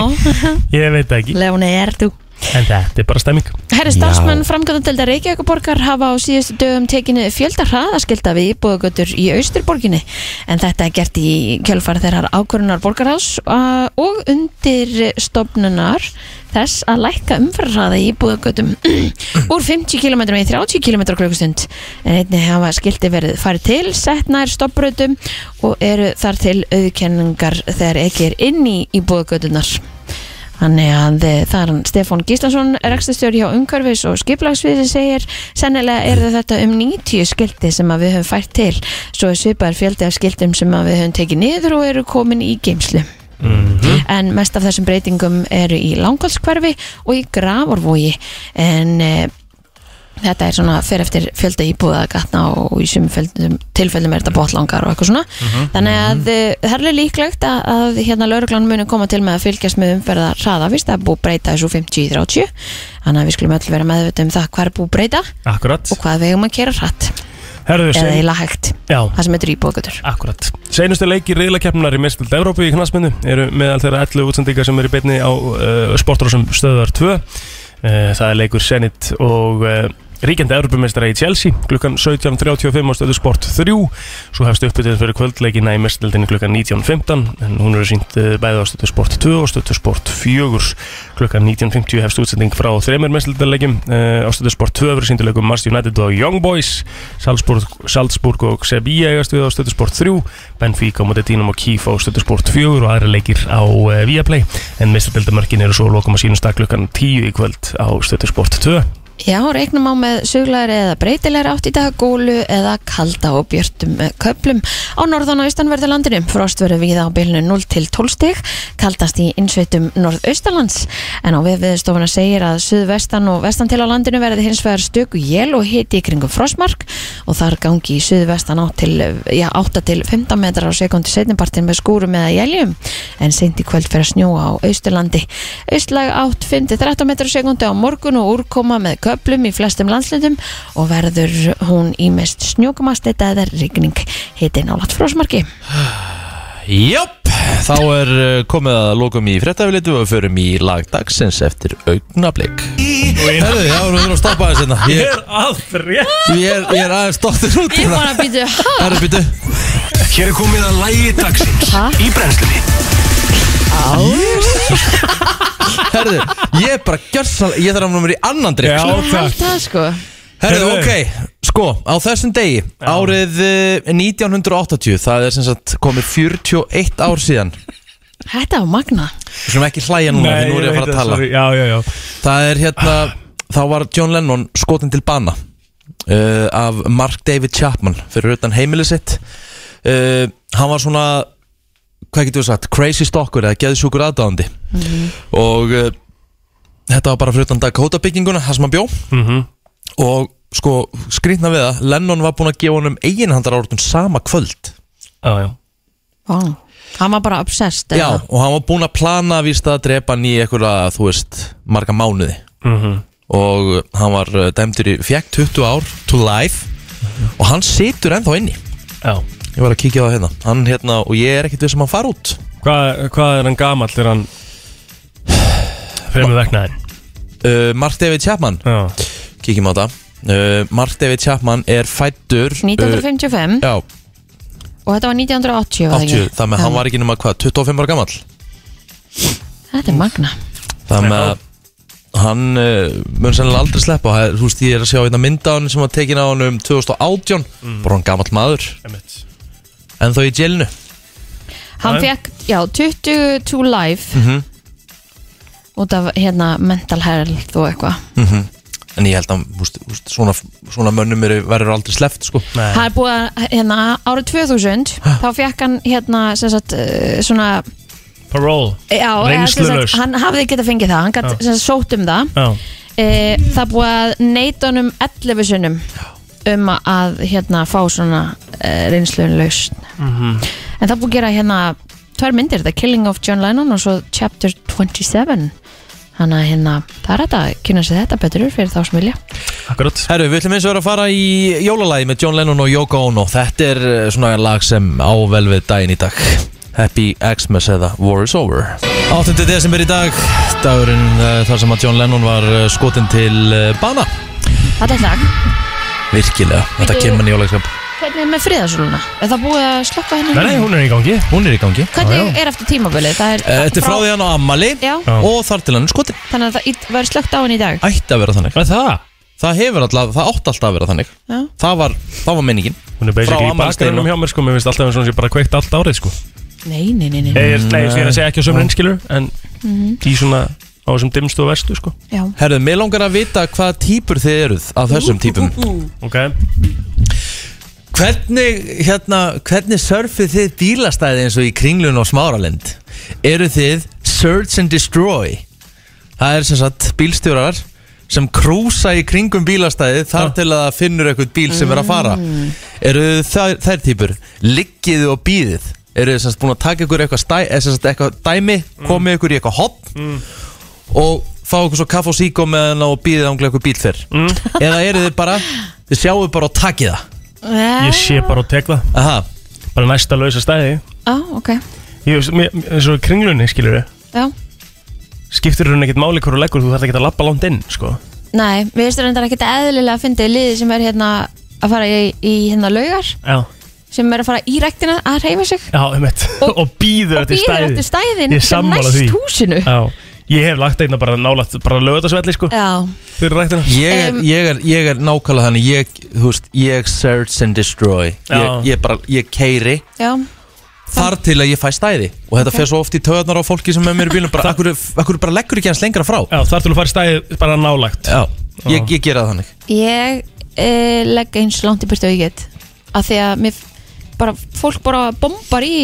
Ég veit það ekki. Leoni, er þú En þetta er bara stemming. Herri starfsmenn framkvæmdandeldar Reykjavíkuborgar hafa á síðustu dögum tekinu fjölda hraðaskilda við íbúðugötur í austurborginni en þetta er gert í kjölfar þeirrar ákvörunar borgarhás uh, og undir stofnunar þess að lækka umfærarraða í íbúðugötum [clears throat] úr 50 km í 30 km klukkustund en einnig hafa skildi verið farið til sett nær stopprötum og eru þar til auðkenningar þegar ekki er inn í íbúðugötunar Þannig að það er hann Stefán Gíslason, rekstastjóri hjá Umhverfis og Skiplagsviði segir sennilega er þetta um 90 skildi sem að við höfum fært til svo er svipaður fjöldi af skildum sem að við höfum tekið niður og eru komin í geimslu. Mhm. En mest af þessum breytingum eru í langhalskverfi og í gravarvogi en e, þetta er svona fyrir eftir fjölda íbúða gatna og í sum fjöldum- tilfellum er þetta botlangar og eitthvað svona þannig Mhm. að eh, það er alveg líklegt að, að hérna lauruglan muni koma til með að fylgjast með umferða hraða, víst, það er búið að breyta þessu úr 50 í 30, þannig að við skulum öll vera meðvita um það hvað er búið að breyta Akkurat. og hvað við eigum að kera hratt Herðu, eða segj- eiginlega hægt, Já, það sem heitir íbúðagötur akkurat Seinustu leikir riðlakeppnunar í mestild Evrópu í knastmyndu eru meðal þeirra 11 útsendingar sem eru í beinni á uh, sportrásum stöðar 2 uh, Það er leikur Senit og uh, ríkjandi Evrópumeistara í Chelsea klukkan 17.35 á stöðu sport 3 Svo hefst uppbytið fyrir kvöldleikina í mestildinu klukkan 19.15 en hún eru sínt uh, bæði á stöðu sport 2 og stöðu sport 4 klukkan 19.50 hefst útsending frá þremur mestildarleikjum uh, á stöðu sport 2 verður sínduleikum Mars United og Young Boys Salzburg, Salzburg og Sevilla eigast við á stöðusport 3 Benfica á móti Dínum og Kíf á stöðusport 4 og aðra leikir á uh, Viaplay en mistardildamörkin eru svo að lokum að sínast að klukkan 10 í kvöld á stöðusport 2 Já, reiknum á með suglæri eða breytilegri átt í dag, gólu eða kalda og björtum eh, köflum. Á norðan og austanverðu landinu, frost verður víða á bylnu 0 til 12 stig, kaldast í innsveitum norðaustalands. En á viðviðstofuna segir að suðvestan og vestan til á landinu verði hins vegar stöku jél og hiti í kringum frostmark og þar gangi í suðvestan átt til, eh, já, 8 til 15 metrar á sekundi setnipartin með skúrum eða jæljum. En seint í kvöld fyrir að snjóa á austurlandi. Austlæg átt 5-13 metrar á sekundi á morgun og úrkoma með köplum í flestum landslundum og verður hún í mest snjókumast þetta eða rigning hiti nálat frósmarki. Jöp, þá er uh, komið að lokum í fréttafilitu og við förum í lagdagsins eftir augnablik Herðu, já, við erum að stoppa þess hérna Ég, er aðfrið ég, er, ég er aðeins dóttir út Ég bara býtu, [laughs] hæ? Herðu, býtu Hér er komið að lægi dagsins Ha? Í brennslunni [laughs] Herðu, ég er bara gjörsal Ég þarf að vera í annan drikk Já, sko. takk. Allt það sko. Herðu, Heyrðu. ok, sko, á þessum degi Árið uh, 1980 Það er sem sagt komið 41 ár síðan Við Þetta var magna. skulum ekki hlæja núna Því nú er ég að fara að tala Já, já, já Það er hérna Þá var John Lennon skotin til bana uh, Af Mark David Chapman Fyrir utan heimilið sitt uh, Hann var svona Hvað getur við sagt? Crazy stalker eða geðsjúkur aðdáðandi Og uh, Þetta var bara fyrir utan Dakota bygginguna Það sem hann bjó Mhm. Og sko skrýtna við það Lennon var búinn að gefa honum eiginhandar ártun sama kvöld Já, já Vá. Hann var bara obsessed. Já, og hann var búinn að plana víst að drepa hann í einhverja, þú veist, marga mánuði Mhm. og hann var eh, dæmdur í fjekk 20 ár to life og hann situr ennþá inni Já ég var að kíkja á það hérna, hann, hérna og ég er ekkert við sem hann fara út Hvað, hvað er hann gamall? Er hann Fremur vegnaðin uh, Mark David Chapman, Já kíkjum á það uh, Mark David Chapman er fættur 1955 Já, og þetta var 1980 var það ekki? 80, Eh, það með hann var ekki nema hvað, 25 ára gamall Þetta er magna Það með að hann uh, mun sennilega aldrei sleppa Það er, Þú veist, ég er að sjá einna mynda hann sem var tekin á hann um 2018 Bara hann gamall maður, Mhm. Einmitt. en þó í jælinu Hann Já. fekk, já, 20 to life Mhm. Mhm. út af hérna mental health og eitthvað Mhm. En ég held að þú veist, þú veist, svona, svona mönnum eru, verður aldrei sleppt sko. Nei. Það er búið að, hérna, árið 2000 þá fekk hann, hérna, sem sagt eh, svona, Parole já, eða sem Reynslulaus. sagt, hann hafði getað fengið það, hann gætt, sem sagt, sótt um það Já e, það er búið að neyta honum 11 sunnum um að, hérna, fá svona e, reynslun lausn en það er búið að gera, hérna tvær myndir, The Killing of John Lennon og svo Chapter 27 þannig að, hérna, það er hægt að kynna sér þetta betur fyrir þá sem vilja Akkurat Herru, við ætlum eins og vera að fara í jólalagi með John Lennon og Yoko Ono Þetta er eh, svona lag sem ável við daginn í dag Happy Xmas eða War is Over 8. desember í dag, dagurinn uh, þar sem að John Lennon var uh, skotin til uh, bana Þetta er dag, Virkilega, þetta Bíddu. kemur hann í jólagskap hvernig er með friðasöluna? Er það búið að slökka henni? Nei, nei, hún er í gangi Hún er í gangi Hvernig er eftir tímabilið? Það er Eh, Þetta er frá því hann á ammali Já, Já. og þar til hann er skotin þannig að það í- var slögt á henni í dag Ætti að vera þannig Hvað er það? Það hefur alltaf, það átti alltaf að vera þannig Já. Það var, það var menningin Hún er basically Frá í bakgrunum afmælisdeginum. hjá mér sko Mér finnst alltaf eins og hún sé bara kveikt allt árið sko Nei, nei, nei, nei. Ég er slegið sér að segja ekki á sömur einskilur En Mhm. í svona á þessum dimmstu og vestu sko Já. Herðu, mig langar að vita hvaða típur þið eruð af þessum típum Ok Hvernig, hérna, hvernig surfið þið bílastæði eins og í kringlun og smáralind? Eru þið search and destroy? Það er sem sagt bílstjórar sem krúsa í kringum bílastæði þar til að það finnur eitthvað bíl sem er að fara. Eru þið þær, þær típur? Liggið þið og býðið? Eru þið sem sagt búin að taka ykkur eitthvað, stæ, eða sem sagt eitthvað dæmi, komið ykkur í eitthvað hopp og fá ykkur svo kaff og síkó með hana og býðið ánglið eitthvað bíl fyrr? Mm. Eða eru þið bara, þið sjáu bara og takið það? Eh, Ég sé Ah. bara og tek það Aha. Bara næsta lausa stæði Á, ok. Ég veist, mér- eins og í kringlunni skilur Já. Skiptir hún ekkert máli hverju leggur Þú þarf ekki að lappa langt inn sko Nei, við veistum reyndar ekkert eðlilega að fyndi liði sem er hérna að fara í, í hérna laugar, Já sem er að fara í rektina að reyfa sig Já, um eitt Og- [laughs] Og, býður og eftir býður stæði eftir stæðin Ég er sem sammála næst því. húsinu. Já Ég hef lagt einna bara nálægt Bara lögðarsvelli sko Já. Fyrir rættina Ég er, Em. ég, er, ég er nákvæmlega þannig ég, þú veist, ég search and destroy ég, Já. ég bara, ég keiri Já. þar til að ég fæ stæði og þetta okay. fer svo oft í töðnar á fólki sem er mér í bílum bara, akkur, akkur bara leggur ekki hans lengra frá Já, þar til að fara í stæði bara nálægt Já, ég, ég gera það þannig Ég e, legg eins langt í burtu og ég get. Af því að mér, bara, fólk bara bombar í,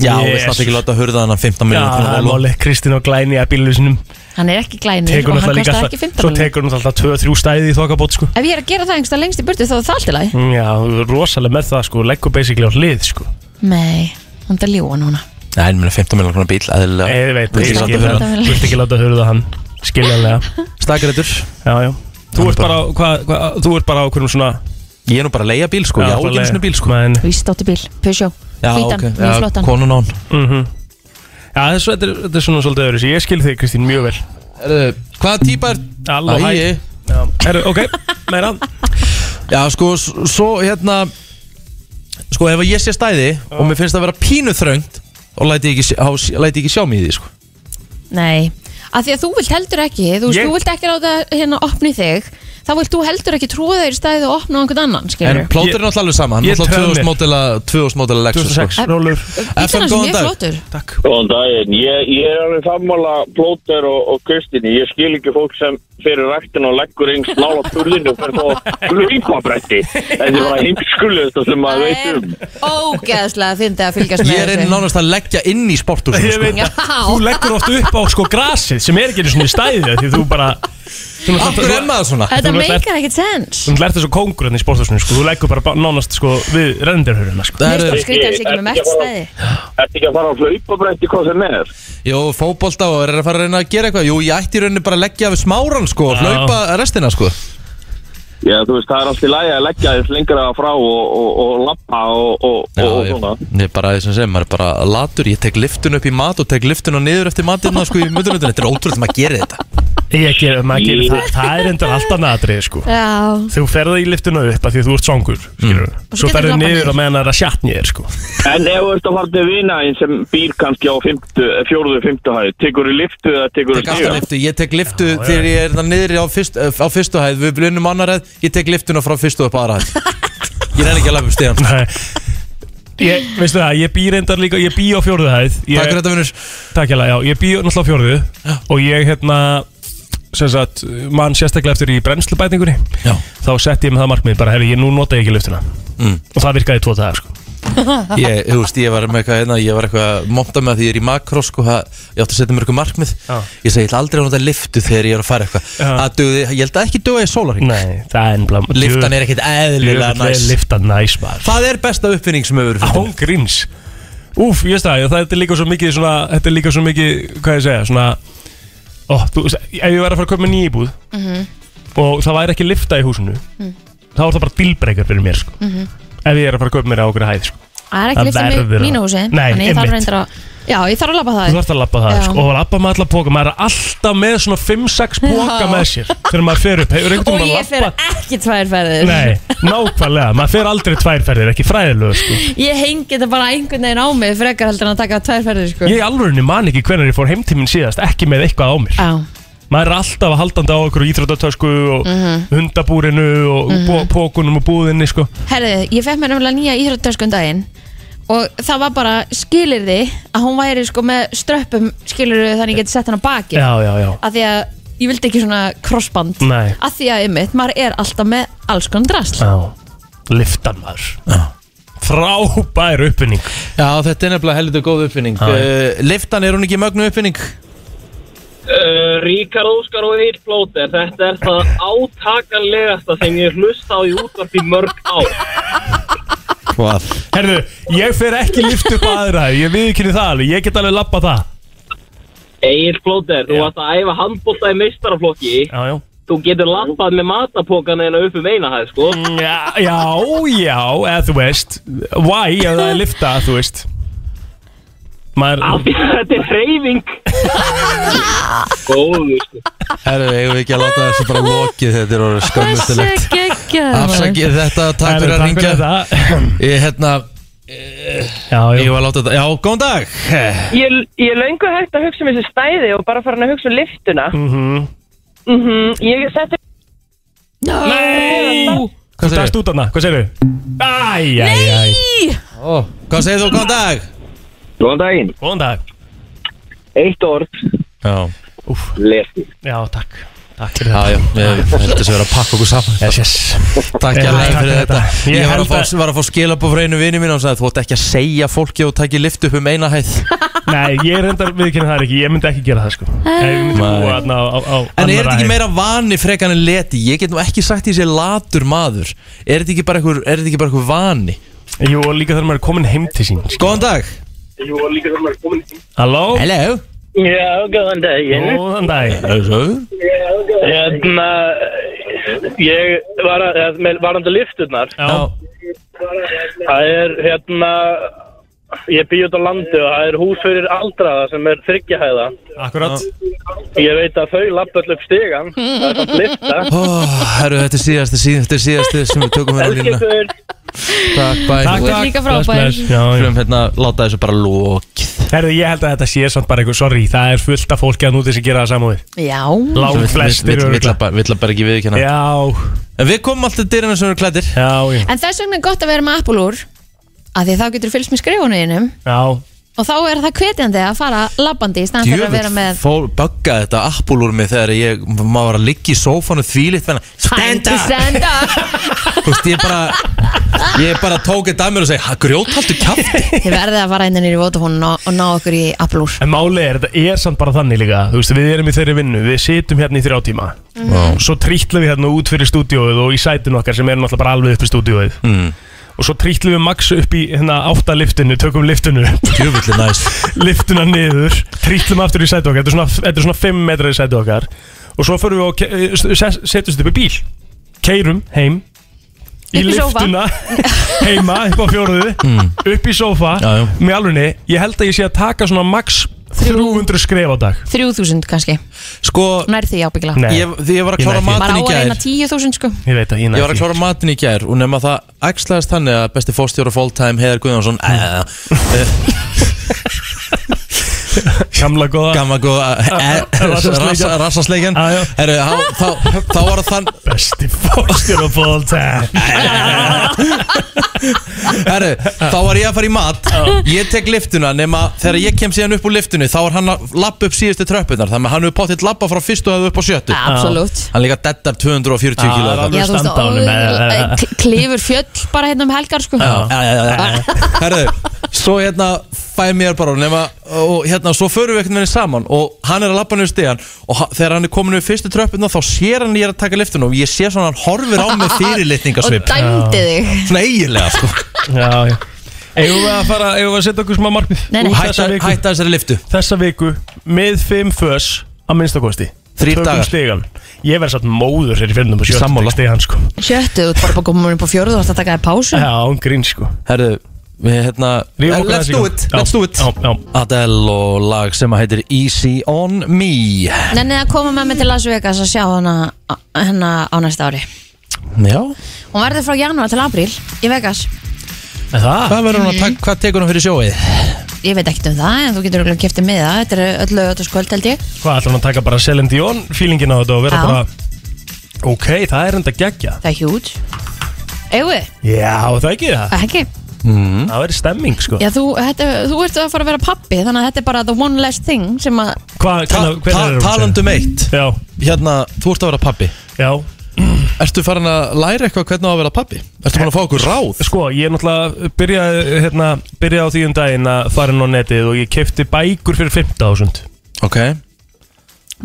Já, yes. Yes. við snart ekki láta að hurða Eh. þannig 15 Já, það er miljón máli Kristín og Glæni að bílunum sinum hann er ekki glænir Tekur og náttúrulega hann líka kostar alltaf ekki 15 Svo tekur hún alltaf 2-3 stæði í þokkabót sko Ef ég er að gera það einhversta lengst í burtu þá er það allt í lagi. Mm, Já, þú er rosalega með það sko Leggur basically á hlið sko Nei, hann er að ljúa núna. Nei, en minna 15 miljón bíl, eðlilega Ég veit, Þú ég vilt skil ekki láta það hurða hann. Þú ert ekki láta að hurða hann Skiljanlega Stakrættur, Já, já Þú Hann ert bara, á- hvað, hvað, þú ert bara á hverjum svona ég er nú bara að leia bíl sko, ég á ekki einu sinni bíl sko Men, Víst átti bíl, Peugeot, Já, hvítan, ok, mjög Já, flottan. konun á hann Mhm. sko. Já, þessu, þetta, er, þetta er svona svolítið öðru Ég skil þig, Kristín, mjög vel Herðu, Hvaða típa er Halló, hæ Æi. Já. Herru, ok, meira Já, sko, s- svo hérna Sko, ef ég sé stæði og mér finnst það að vera pínu þröngt og læti ég ekki, sjá- há- læti ég ekki sjá mig í því, sko Nei, af því að þú vilt heldur ekki þú, veist, Ég- þú vilt ekki ráta hérna opni þig þá vilt þú heldur ekki trúa þeir stæði og opna á einhvern annan, En skilur plótur er náttúrulega alveg sama, hann Ég er náttúrulega tröð 2000 mér. mótela 2000 mótela Lexus, sko 2006, rólur FM, Bílan er góðan mjög dag. flottur Takk Góðan daginn, ég, ég er alveg sammála plóter og, og Kristínu, ég skil ekki fólk sem fyrir rættin og leggur eins nála turðinu og fyrir þá hlaupabretti þetta er bara heimskulegust sem maður veit er um ógeðslega fyndið að fylgjast Ég með er einn nánast að leggja inn í sporthúsinu, Ég sko veit, Já. þú leggur oft upp á sko grasið sem er ekki einu svona stæðið því þú bara, Akkur er maður svona Þetta Þú náttúrulega- meikar ekkert sens Þú lærst þessu kóngur hérna í sportastunni sko. Þú leggur bara ba- nánast sko, við rendirhöruna sko. Það Mér eru- stóð skrítið að þessi ekki með mert stæði Ertu ekki að fara á hlaupabrætti hvað sem er? Jó, fótbolta og er að fara að reyna að gera eitthvað Jú, ég ætti í rauninni bara að leggja við smáran sko og Já. hlaupa restina sko Já, þú veist, það er allt í lagi að leggja þess lengra frá og, og, og lappa og, og, Já, og, og ég, svona. ég er bara, sem segir, maður er bara latur Ég tek liftun upp í mat og tek liftun og niður eftir [laughs] matinna sko í mötunutinu Þetta er ótrúlega maður gerir þetta Ég ger, maður gerir það Það er endur alltaf natrið sko. Já, Þú ferði í liftuna upp af því að þú ert svangur Og mm. svo Svo getur ferði labbað niður niður. og meðan það er að sjatni þér sko. En ef þú ert að fara til vina einn sem býr kannski á fimmtu, fjóruðu, fimmtu hæð, tekur þú liftu eða tekur Tek þú alltaf lífið? liftu, ég tek liftu þegar ég er það niður á, fyrst, eh, á fyrstu hæð Við blunum annar hæð, ég tek liftuna frá fyrstu upp aðra hæð [laughs] Ég reyna ekki að lafa upp stíðan Nei. ég, Veistu það, ég býr endar líka Ég býr á fjórðu hæð ég, Takk fyrir þetta vinnur Takk hérlega, já, ég bý náttúrulega á fjórðu og ég hérna sem sagt, mann sérstaklega eftir í brennslubætingunni Já. þá setti ég með það markmið bara, herri, ég nú nota ég ekki lyftuna mm. og það virkaði í tvo dagar sko. Ég, þú veist, ég var með eitthvað hérna, ég var eitthvað að monta með því ég er í makrós sko, það, ég átti að setja mér eitthvað markmið Já. Ég segi, ég ætla aldrei að nota liftu þegar ég er að fara eitthvað Já. Það dugði, ég held að ekki dugði í sólarhing Nei, það er ennblá Liftan er ekkit eðlilega næs Liftan næs maður Það er besta uppfinning sem hefur verið fundin. Án gríns Úf, ég veist það, það þetta er líka svo mikið svona, þetta er líka svo mikið, hvað ég segja, svona ó, þú veist, ef ég væri að fara að köpa með nýjibúð mm Mhm. og það væri ekki lifta í húsinu Mm. þá er það bara dilbreykar fyrir mér sko. ef ég er að fara að köpa mér á okkur hæð sko. Mhm. það er ekki Það lyft sem verður í að- mínu húsi Nei, Þannig ég þarf einmitt. reyndar að Já, ég þarf að labba Þú það þarfst að labba það Já. sko, og að labba með alla póka maður er alltaf með svona 5-6 póka Já. með sér þegar maður fer upp hefur einhvern Og veginn ég að fer labba ekki tvær ferðir Nei, nákvæmlega, maður fer aldrei tværferðir ekki fræðilegu sko Ég hengi þetta bara einhvern veginn á mig frekar heldur en að taka tvær ferðir sko Ég alveg man ekki hvernig ég fór heimtíminn síðast ekki með eitthvað á mér Já, maður er alltaf að haldandi á okkur íþróttatösku og Mhm. hundabúrinu og mm pókunum og búðinni sko herðu, ég fekk mér nefnilega nýja íþróttöskun daginn Og það var bara skilirði að hún væri sko með ströppum skilirði þannig ég geti sett hann á baki Já, Mm. já, já að því að ég vildi ekki svona crossband Nei. að því að ymmit, maður er alltaf með alls konar drast Já, liftan maður Frábær uppfinning Já, þetta er nefnilega heldur góð uppfinning Já, já. uh, Liftan, er hún ekki mögnu uppfinning? Uh, Ríkar Óskar og Eir Plóter, þetta er það átakanlegasta sem ég hlusta á í útvarp í mörg á. Hvað? Herðu, ég fer ekki lift upp á aðra hæð, ég viðkynni það alveg, ég get alveg labba það Eir Plóter, þú Já. varst að æfa handbólta í meistaraflokki, Já, já þú getur lappað með matapókana hérna upp um eina hæð, sko. Mm, Já, já, já, eða þú veist Why, ef það er lifta, þú veist Af Maður, því að þetta er hreyfing. Góður, sko. Herru, eigum við ekki að láta þessu bara lokið þetta er orðið skömmustulegt geggjað Afsakið þetta, takk Herðu, fyrir að ringja þetta Ég, hérna, Já, ég já, var að láta þetta Já, góðan dag Ég, ég er löngu hægt að hugsa um þessi stæði og bara farin að hugsa um liftuna. Mm Mhm. -hmm. Ég setti Nei Hvað Hvað segirðu? segir þú? Hvað segir þú? Æj, æj, æj Ó, Hvað segir þú, góðan dag? Góðan daginn. Góðan dag Eitt orð. Já, Lesti. Já, takk Takk fyrir já, það já, ég held þess að vera að pakka okkur saman Yes, yes Takk Já, ég takk fyrir fyrir þetta þetta. Ég Ég var held að fá, var að fá skilabóð frá einu vini mín og hann sagði, þú ætti ekki að segja fólki og takki lift upp um eina hæð Nei, ég reyndar viðkynna það ekki Ég myndi ekki gera það sko Nei, Ég myndi Nei. búa þarna á, á, á En er annarra þetta ekki hæð. meira vani frekan en leti? Ég get nú ekki sagt því sé latur maður Er þetta ekki bara einhver, er þetta ekki bara einhver vani? Jú, og líka þegar maður er komin heim til sín sko. Góðan dag Halló Hello Já, góðan daginn. Góðan dag Hello Hérna, ég var að, með varandi lifturnar, Já það er hérna, ég býð út á landi og það er hús fyrir aldraða sem er þryggjahæða. Akkurat Ég veit að þau lappa öll upp stegan, það er samt lifta. Herru, þetta er síðasti, síðasti, þetta er síðasti sem við tökum hérna á línuna Elskipur, Takk, bæ Takk, ert takk líka Bless, frábær. bless. Já, já Skulum hérna láta þessu bara lokið Herðu, ég held að þetta sé samt bara eitthvað, sorry, það er fullt af fólki að núti sem gera það saman við. Já, Lang flestir Vill örugglega. bara vill að bara ekki viðkjanna Já, En við komum alltaf dyrinu sem við erum klættir já, já, en þess vegna er gott að vera með appulúr að því þá getur fylgst með skrifuninum já, og þá er það hvetjandi að fara labbandi í staðan fyrir að vera með fór bagga þetta appul úr mig þegar ég, maður var að liggja í sófanu þvílitt þannig, Time stand to up stand up Þú veist, ég bara Ég bara tók eitt að mér og segi "Ha, Grjóthaltu kjafti Þið verðið að fara inn í Vodafone og, og ná okkur í Applúr En máli er, þetta er samt bara þannig líka Þú veist, við erum í þeirri vinnu, við situm hérna í þrjá tíma Mm. Svo trýtlum við hérna út fyrir stúdíóið og í sætin okkar sem er náttúrulega bara alveg upp í stúdíóið Mm. Og svo trýtlum við max upp í hérna áttaliftinu, tökum liftinu, Djöfulli næs [laughs] liftuna niður Trýtlum aftur í sæti okkar, þetta er svona, þetta er svona 5 metrar í sæti okkar Og svo förum við og ke- eh, s- s- setjumst upp í bíl Keirum heim Í Upp í sófa. liftuna, heima, upp á fjóruðu, upp í sófa Mm. Já, já. Með alvegni, ég held að ég sé að taka svona max 300 skref á dag 3000 kannski, Sko, nær því ábyggla Nei, ég, því ég var að Ég klára næ því. Maður á matin í að gær reyna 10.000 sko ég veit að ég Ég var að klára matin í gær og nema það æxlaðist þannig að besti fórstjóra fulltime Heiðar Guðjónsson eh, Gamla góða Gamma góð [laughs] Rassasleikjan. eh, Rassasleikjan Já, já. Herru, þá- þá- Þá var það þann Besti fórstjóra fólta Herru, þá var ég að fara í mat Ég tek liftuna nema þegar ég kem síðan upp úr liftunni þá var hann að lappa upp síðustu tröppunar þannig að hann hefur pottitt lappa frá fyrstu og upp á sjöttu Absolutt Hann líka dettar 240 Ah, kíló það er eitthvað. Já, þú veist, standa á honum, eh, eh, eh. og- klifur fjöll bara hérna um helgar sko Já, já, já, já. Ah. Herðu, svo hérna fæ mér bara nema, og hérna svo förum við einhvern veginn saman og hann er að lappa niður stegan og ha- þegar hann er komin við fyrstu tröppuna þá sér hann að ég er að taka liftuna og ég sé svona að hann horfir á mig Og fyrirlitningasvip dæmdi þig Svona eiginlega sko Já, já Eigum við að fara, eigum við að setja okkur smá markmið Nei, nei. Úr Hætta, Þessa viku, hætta þessari liftu þessa viku með fimm fös að minnstakosti Þrír dagar. stegan Ég um verð satt móður hér í fjörnum og Sammála. sjötta stegan sko Sjöttu, þú ert bara komin upp á fjóruð og ætti að taka þér pásu Já, án grín sko Herðu, við hérna Rífum okkur Let's aðeins í do gang. it, Já, let's do it Já, já Adele og lag sem að heitir Easy On Me Nennið að koma með mig til Las Vegas að sjá hana, hana á næsta ári Já Hún verður frá janúar til apríl í Vegas En það? Hvað verður hún að taka, hvað tekur hún fyrir sjóið? Ég veit ekkert um það, en þú getur örugglega keypt þér miða. Þetta er öll laugardagskvöld, held ég. Hvað ætlar hann að taka bara Celine Dion feelingin á þetta og vera Já. bara Ok, það er enda geggja Það er huge. Eigum við? Já, það ekki það Ekki? Mhm. Það verður stemming sko Já, þú, þetta, þú ert að fara að vera pappi, þannig að þetta er bara the one less thing sem að... Hvað, Ta ta hvenær- hvenær er hún, segir? talandum eitt Já, Hérna, þú ert að vera pappi já Ertu farin að læra eitthvað hvernig á að vera pappi? Ertu búin að fá okkur ráð? Sko, ég náttúrulega byrjaði hérna, byrja á því um daginn að fara inn á netið og ég kefti bækur fyrir 15.000 Ok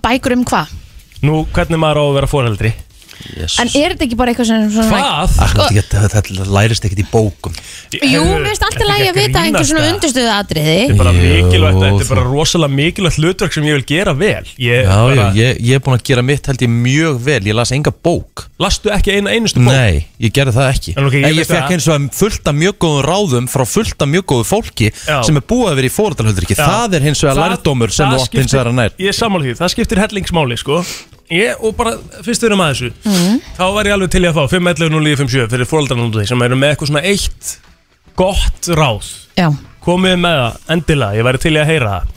Bækur um hvað? Nú, hvernig maður á að vera foreldri? yes. En er þetta ekki bara eitthvað sem... Svona, Sko, Hvað? Akkur, Ah, þetta, þetta lærist ekkert í bókum Jú, mér finnst alltaf lægi að vita einhver svona undurstöðu atriði. Þetta er bara Jú, mikilvægt, þetta er þú- bara rosalega mikilvægt hlutverk sem ég vil gera vel Ég Já, bara, já, ég, ég er búin að gera mitt held ég mjög vel Ég las enga bók lastu ekki eina einustu bók Nei, ég gerði það ekki En ok, ég En ég veit það. fekk eins og fullt af mjög góðum ráðum frá fullt af mjög góðu fólki Já. sem er búið að vera í fórhaldalhöldriki Já. Það er hins vegar Það- lærdómur sem það þú átt hins skiptir- vegar að nær Ég er sammála því, það skiptir hellingsmáli sko Ég, og bara, fyrst við erum að þessu Mhm, Þá var ég alveg til í að fá 5.11.09.57 fyrir fóreldarnaldi sem eru með eitthvað svona eitt gott ráð Já. komið með það, endilega, ég væri til í að heyra það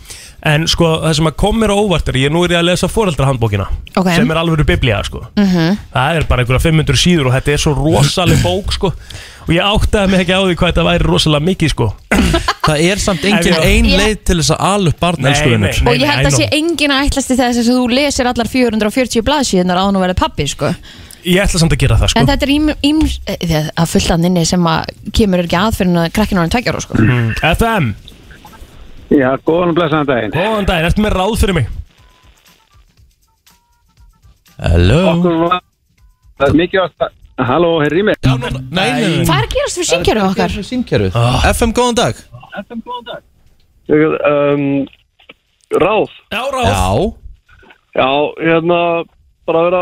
en sko, það sem að kom mér á óvart er ég nú er ég að lesa foreldrahandbókina Ok. sem er alveg biblía, sko mhm. -hmm. það er bara einhverja 500 síður og þetta er svo rosaleg bók, sko og ég áttaði mig ekki á því hvað þetta væri rosalega mikið, sko Það er samt engin já. ein Ég- leið til þess að ala upp barn Nei, elsku nei, vinur. nei. Og ég held I að sé know. engin að ætlasti þess að þú lesir allar 440 blaðsíðunar á hann að vera pappi, sko. ég ætla samt að gera það, sko En þetta er ím, ím, eh, að fullt að nynni sem að kemur ekki að fyrir að krakkinu hann tveggjar, sko. Mm. FM, Já, góðan og blessaðan daginn. góðan daginn, ertu með ráð fyrir mig? Hello Okkur var það er mikið átt að... Halló, heyrðu í mig? Já, nú- Nei, nei, nei. Hvað er að gerast fyrir syngjöru okkar? Símkerfið. Ah. FM, góðan dag Um, ráð. Já, ráð, Já, Já, hérna, bara vera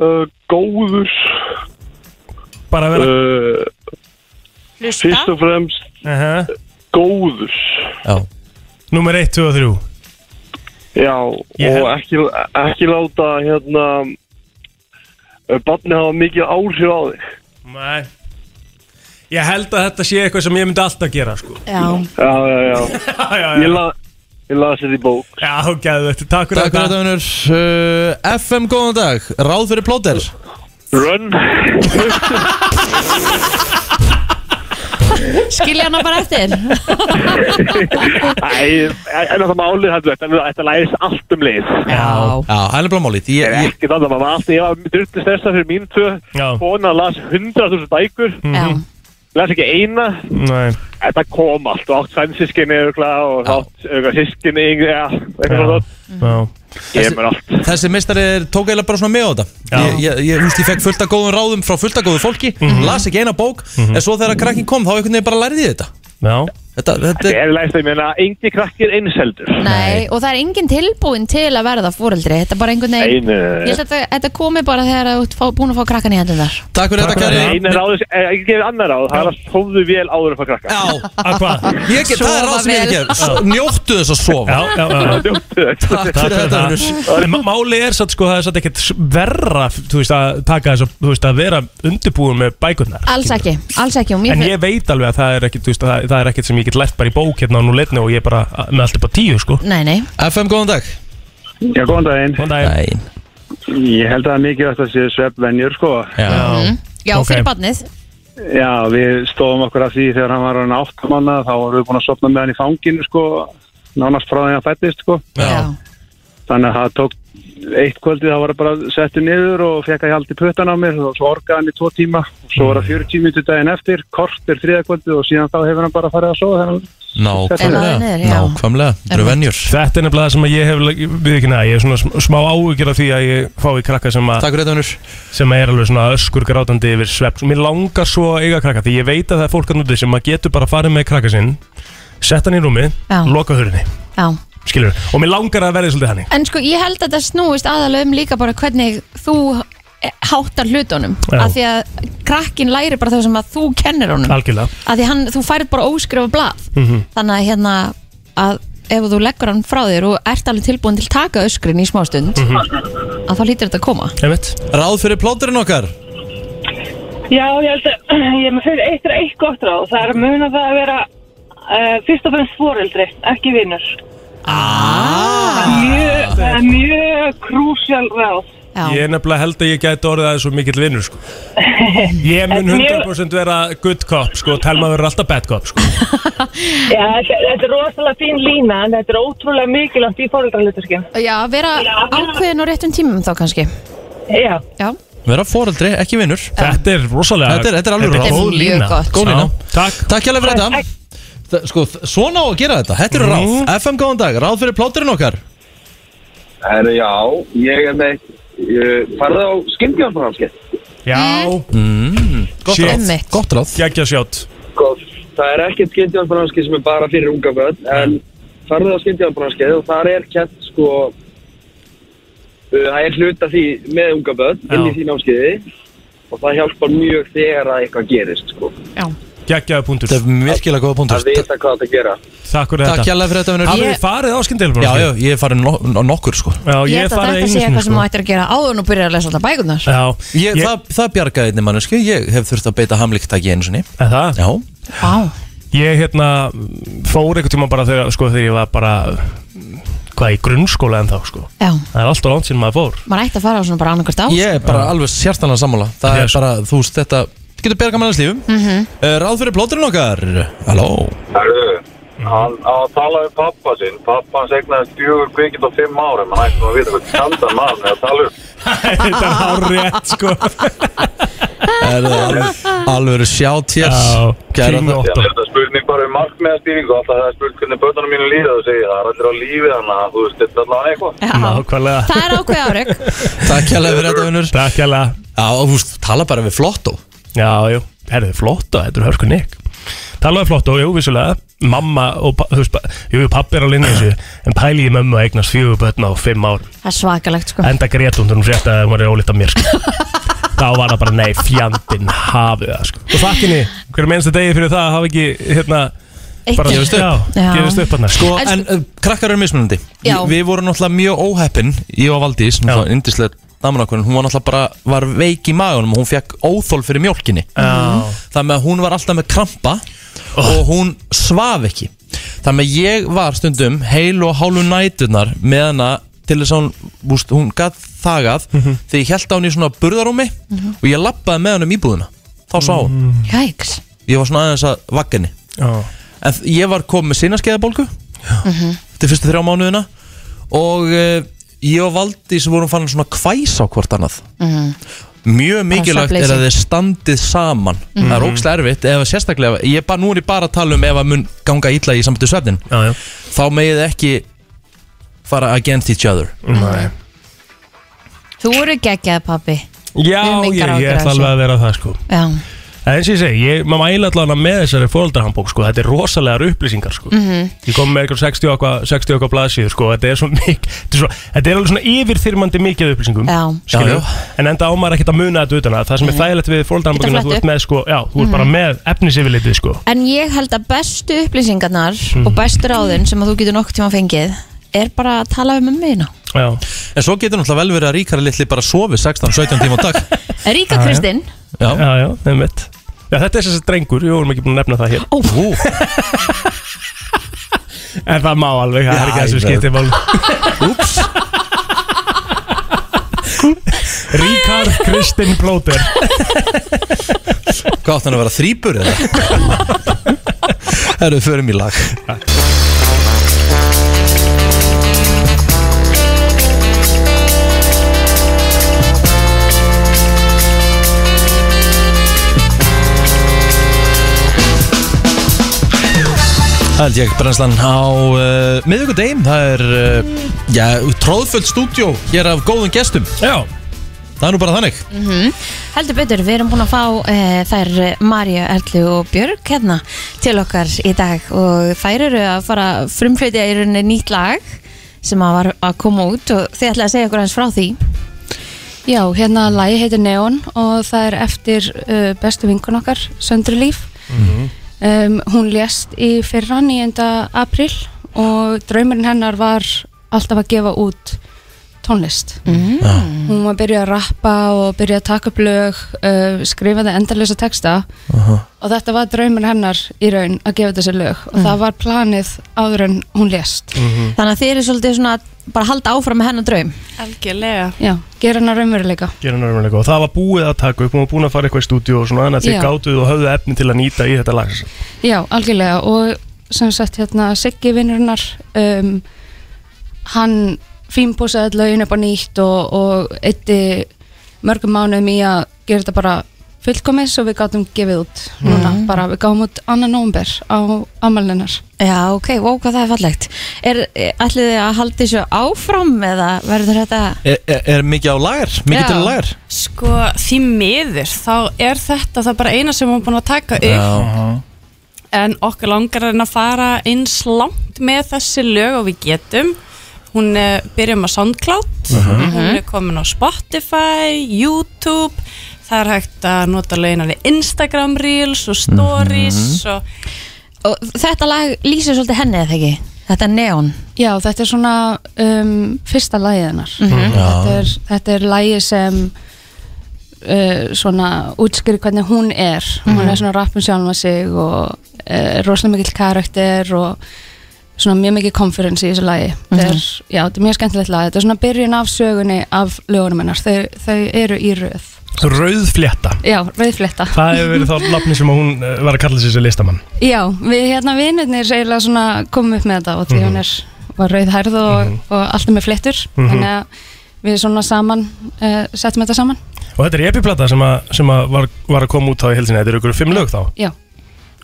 uh, góður. bara vera Uh, fyrst og fremst uh -huh. góður. já Númer 1, 2 og 3 Já, Ég og hef- ekki, ekki láta, hérna, uh, barni hafa mikið áhrif á þig. Nei Ég held að þetta sé eitthvað sem ég myndi alltaf gera, sko Já. Já, já, já. Já, já, Ég já, la... Ég las þetta í bók. já, gæðu þetta, takk fyrir Takk fyrir þetta, vinnur uh, FM, góðan dag Ráð fyrir plóter Run. Skilja hana bara [laughs] eftir Æ, en það málið þetta, þetta, þetta læðist allt um leið. Já Já, það er bara málið Ég, Ég er ég, ekki þannig að maður alltaf, ég var drullið stressað fyrir mín tvö Já. Kona las 100.000 bækur Já les ekki eina Nei, Þetta kom allt og átt svensískinni og átt eh, sískinni ja, eitthvað svona. já Ég mér allt Þessi meistari er- tók eiginlega bara svona með á þetta Ég, ég, ég, húst, ég fekk fullt af góðum ráðum frá fullt af góðu fólki Mhm. Las ekki eina bók En svo þegar krakkin kom þá einhvern veginn bara læriði ég þetta Já, Þetta, þetta Ég er læst að ég meina engi krakkir einseldur Nei, og það er engin tilbúin til að verða fóreldri Þetta er bara einhvern Nei, veginn nei, Ég held að þetta- þetta komi bara þegar þú ert fá- búin að fá krakkan í hendur þar Takk fyrir þetta Kari Einu ráðis, eh, ekki gefið annar ráð, það er að sofðu vel áður en fá krakka. Já, að hvað? ég get, það er ráð sem ég Sofa get Njóttu þess að sofa Já, já, já Njóttu þess. Takk fyrir þetta Unnur. En má- Máli er satt sko, það er satt ekkert verra þú veist að taka þess að, þú veist að vera undirbúin með bækurnar Alls ekki, alls ekki og mér En fer- ég veit alveg að það er ekkert, þú veist, að það, það er ekkert sem ég get lært bara í bók hérna á núleitni og ég er bara að- með allt upp á tíu sko Nei, nei, FM, góðan dag Já, góðan daginn. Góðan daginn Nein. Ég held að það er mikilvægt að séu sveppvenjur, sko. Já. mm. já, Ok. fyrir barnið Já, við stóðum okkur að því þegar hann var hann áttamanna, þá vorum við búin að sopna með hann í fanginu, sko, nánast frá því að hann fættist, sko. Já, Þannig að það tók eitt kvöldið, þá var það bara settur niður og fekk að ég haldi pötan á mér og svo orgaði hann í tvo tíma. Svo Mm. var það 40 mínutur daginn eftir, kortir þriða kvöldið og síðan þá hefur hann bara farið að sofa þegar hann... Nákvæmlega Eða niður, já. Nákvæmlega, þetta eru venjur Þetta er nefnilega það sem að ég hef, við ekki neða, ég er svona sm- smá áhugjur af því að ég fái krakka sem, a, Takk fyrir þetta Unnur sem að er alveg svona öskur grátandi yfir svepp. Mér langar svo að eiga krakka því ég veit að það er fólk að núti sem að getur bara farið með krakka sinn, sett hann í rúmi, Já. loka hurðinni, já skilur Og mér langar að verði svolítið hannig. En sko, ég held að þetta snúist aðalega um líka bara hvernig þú eh, háttar hlutunum Já. af því að krakkin læri bara það sem að þú kennir honum Algjörlega. Mhm. af því hann, þú færð bara óskrifa blað þannig að hérna að ef þú leggur hann frá þér og ert alveg tilbúin til að taka öskrin í smástund að þá hlýtur þetta að koma Mhm. Einmitt. Ráð fyrir plóturinn okkar Já, ég held að ég er með fyrir eitt er eitt gott ráð. Það er að muna það að vera uh, fyrst og fremst fóreldri, ekki vinnur. Ah. Það er mjög krúsjál ráð. Já, Ég er nefnilega held að ég gæti orðið aðeins svo mikill vinnur, sko. Ég mun 100% vera good cop, sko, og telma verður alltaf bad cop, sko. [laughs] Já, þetta, þetta er rosalega fín lína en þetta er ótrúlega mikilvægt í fóreldraluturkinn. Já vera ákveðin og réttum tímum þá kannski Já. Já, Vera fóreldri, ekki vinnur Þetta er rosalega... Þetta er- þetta er alveg ráð. Þetta er góð mjög lína. gott. Góð lína. Já, Takk. Takk hjá fyrir þetta Þa- Sko, þ- svona á að gera þetta, þetta eru ráð Mm. FM, góðan dag, ráð fyrir plóturinn okkar Herru, já, ég er með uh, farðu á skyndjálfarhanskett Já. Gott Shit. ráð, Einmitt. Mm. gott ráð Gækja sjátt það er ekkert skyndjálfarhanskett sem er bara fyrir unga börn en farðu á skyndjálfarhanskett og þar er kent sko uh, það er hluta því með unga börn inn í Já. því námskeiði og það hjálpar mjög þegar að eitthvað gerist sko Gækjaðu punktur Þetta er virkilega góða punktur að vita hvað það gera Takk fyrir Takk hjá þetta fyrir þetta, vinnur Hafið þið farið á skyndilegum Já, já, ég er farin no- no- nokkur, sko já ég, Ég held hef að farið þetta einu sé sinni eitthvað sem sko. þú ættir að gera áður og byrja að lesa alltaf bækurnar Já Ég, Ég- það, það bjargaði einni manneski, ég hef þurft að beita hamlíktaki einu sinni Er Það, Já, Vá, ég hérna fór einhvern tíma bara þegar, sko, þegar ég var bara hvað í grunnskóla en þá sko já, Það er alltaf langt síðan maður fór maður ætti að fara á svona bara annarkvært á ég er bara alveg sérstanlega sammála Það Yes. er bara, þú veist, þetta getur bjargað mannslífum mm Mhm. -hmm. Ráð fyrir plóturinn okkar Halló Herru, hann á að tala um pappa sinn. Pappa hans egnaði fjögur kvikind á fimm árum. Hann ætti nú að vita hvað kaldan mann er að tala um. Þetta er hár rétt sko Er það Alveg eru sjátt hér Já, [laughs] Kæra king það- Þegar Otto þetta er spurning bara um markmiðastýringu, alltaf það er spurning hvernig börnunum mínu líða og segja það er allir á lífi þannig að þú veist þetta er allavega eitthvað. Já. Nákvæmlega Það er ákveð áreg Takk hjá fyrir þetta, vinnur Takk hjá Já, þú veist, tala bara við flott og Já, jú Herðu, flott og þetta er hörsku nek Talaðu flott og jú, vissulega Mamma og, pa- þú veist, pa- jú, jú, pappi er á linni í þessu En pæli ég mömmu að eignast fjögur börn á fimm árum Það er svakalegt sko Enda grét hún þegar hún frétta að hún var ólíkt af [laughs] mér sko. Þá var það bara nei, fjandinn hafið það sko. Og þakkinni, hver mennstu degi fyrir það hafa ekki hérna Eitt bara í- Gefist upp. Já, Já. gefist upp hann Sko, En en uh, krakkar eru mismunandi Já. Við vorum náttúrulega mjög óheppin Ég og Valdís, náttúrulega indislega daman okkur en Hún var náttúrulega bara, var veik í magunum og Hún fekk óþól fyrir mjólkinni Já. Þannig að hún var alltaf með krampa Og hún svaf ekki Þannig að ég var stundum heil og hálfu nætunar Með hana til þess að hún, búst, hún gat þagað Þegar ég held á hún í svona burðarúmi Mhm. Og ég lappaði með hann um íbúðina Þá sá Mm. hún, Mm. Jæks ég var svona aðeins að vagginni Já. En þ- ég var komið með sinnaskeiðabólgu Mhm. Þetta er fyrstu þrjá mánuðina eh, Mm. Og uh, ég og Valdís vorum fannin svona kvæs á hvort annað mjög mikilvægt er svefnleysi. að þið standið saman Mhm. það er ógst erfitt ef að sérstaklega ég bara, nú er ég bara að tala um ef að mun ganga illa í samtöðu svefnin já, já. þá megið þið ekki fara against each other Nei. Þú eru geggjað pappi Já, Við höfum ég, engar ég áhyggjur af ætla þessu. alveg að vera það sko Já, En eins og ég segi, ég, maður mæla allavega með þessari fóröldarhambók sko, þetta er rosalegar upplýsingar sko Mhm. Ég kom með eitthvað 60 og eitthvað- 60 okkar blaðsíður sko, þetta er svo mikið, þetta er, svo, þetta er alveg svona yfirþyrmandi mikið af upplýsingum já, Mhm. skilju, Já, en enda ámar ekkert að muna þetta utan að það sem er þægilegt við Geta fóröldarhambókina, Mhm. þú flett ert með sko, já, þú ert bara með efnisifilitið sko En ég held að bestu upplýsingarnar Mhm. og bestu ráðin sem að þú getur nokkuð tíma fengið er bara að tala við mömmuðina Já, en svo getur náttúrulega vel verið að ríkara litli bara sofi 16-17 tíma á dag [laughs] Ríka Kristinn já, já, já, það er mitt Já, þetta er þessi drengur, við vorum ekki búin að nefna það hér [laughs] Ó, Ú, En það má alveg, það er ekki Já, þessu ég skipti mál úps [laughs] Ríkard Kristinn Blóter hvað átt hann að vera þrýbur eða [laughs] erum við förum í lag Það held ég brennslan á uh, miðvíkudeim, það er uh, já, tróðfullt stúdjó hér af góðum gestum, Já, það er nú bara þannig Mhm. Heldur betur, við erum búin að fá e, þær Marja, Erlu og Björg hérna til okkar í dag og þær eru að fara að frumflutja í rauninni nýtt lag sem að var að koma út og þið ætlaði að segja okkur hans frá því Já, hérna lagi heitir Neon og það er eftir uh, bestu vinkun okkar, Söndru Líf. um, hún lést í fyrra 9. april og draumurinn hennar var alltaf að gefa út tónlist. Já. Hún var að byrja að rappa og byrja að taka upp lög, uh, skrifa það endalösa texta og þetta var draumur hennar í raun að gefa þessi lög og það var planið áður en hún lést. Þannig að þið eru svolítið svona að bara að halda áfram með hennar draum Algjörlega. Já, gera hennar raunveruleika. gera nörmulega og það var búið að taka upp og búin að fara eitthvað í stúdíu og svona þannig að þið Já. gátuð og höfðu efni til að nýta í þetta lag Já, algjörlega og sem sagt hérna Siggi vinnurinnar um, hann fínpúsaði öll lögin upp á nýtt og, og eitti mörgum mánuðum í að gera þetta bara fullkomið svo við gátum gefið út núna, Mm. bara við gáum út annan nómber á amalninnar. Já, ok, wow, hvað það er fallegt Er, ætlið þið að halda þessu áfram eða verður þetta Er, er, er mikið á lagar? Mikið Já. til að lagar? Sko, því miður, þá er þetta það bara eina sem hún er búin að taka upp Já, en okkur langar en að fara eins langt með þessi lög og við getum hún eh, byrjum á SoundCloud Mhm. hún er komin á Spotify YouTube það er hægt að nota lögina við Instagram Reels og Stories og og Þetta lag lýsir svolítið henni eða ekki? Þetta er neon Já, þetta er svona um, fyrsta lagið hennar. Mhm. Mhm. þetta, er, þetta er lagið sem uh, svona útskýri hvernig hún er. Mhm. Hún er svona rappum sjálfa sig og uh, rosalega mikill karakter og svona mjög mikið confidence í þessu lagi. Þetta er, Mhm. já, þetta er mjög skemmtilegt lag. Þetta er svona byrjun af sögunni af lögunum hennar. Þau, þau eru í röð. Rauðflétta Já, rauðflétta. Það hefur verið þá nafni sem að hún eh, var að kalla sig þessi listamann Já, við hérna vinnirnir eiginlega svona komum upp með þetta og því hún er, var rauðhærð og, og alltaf með flettur þannig að við svona saman uh, settum þetta saman og þetta er epiplata sem, að, sem að var, var að koma út þá í helsina þetta eru ykkur fimm lög þá Já,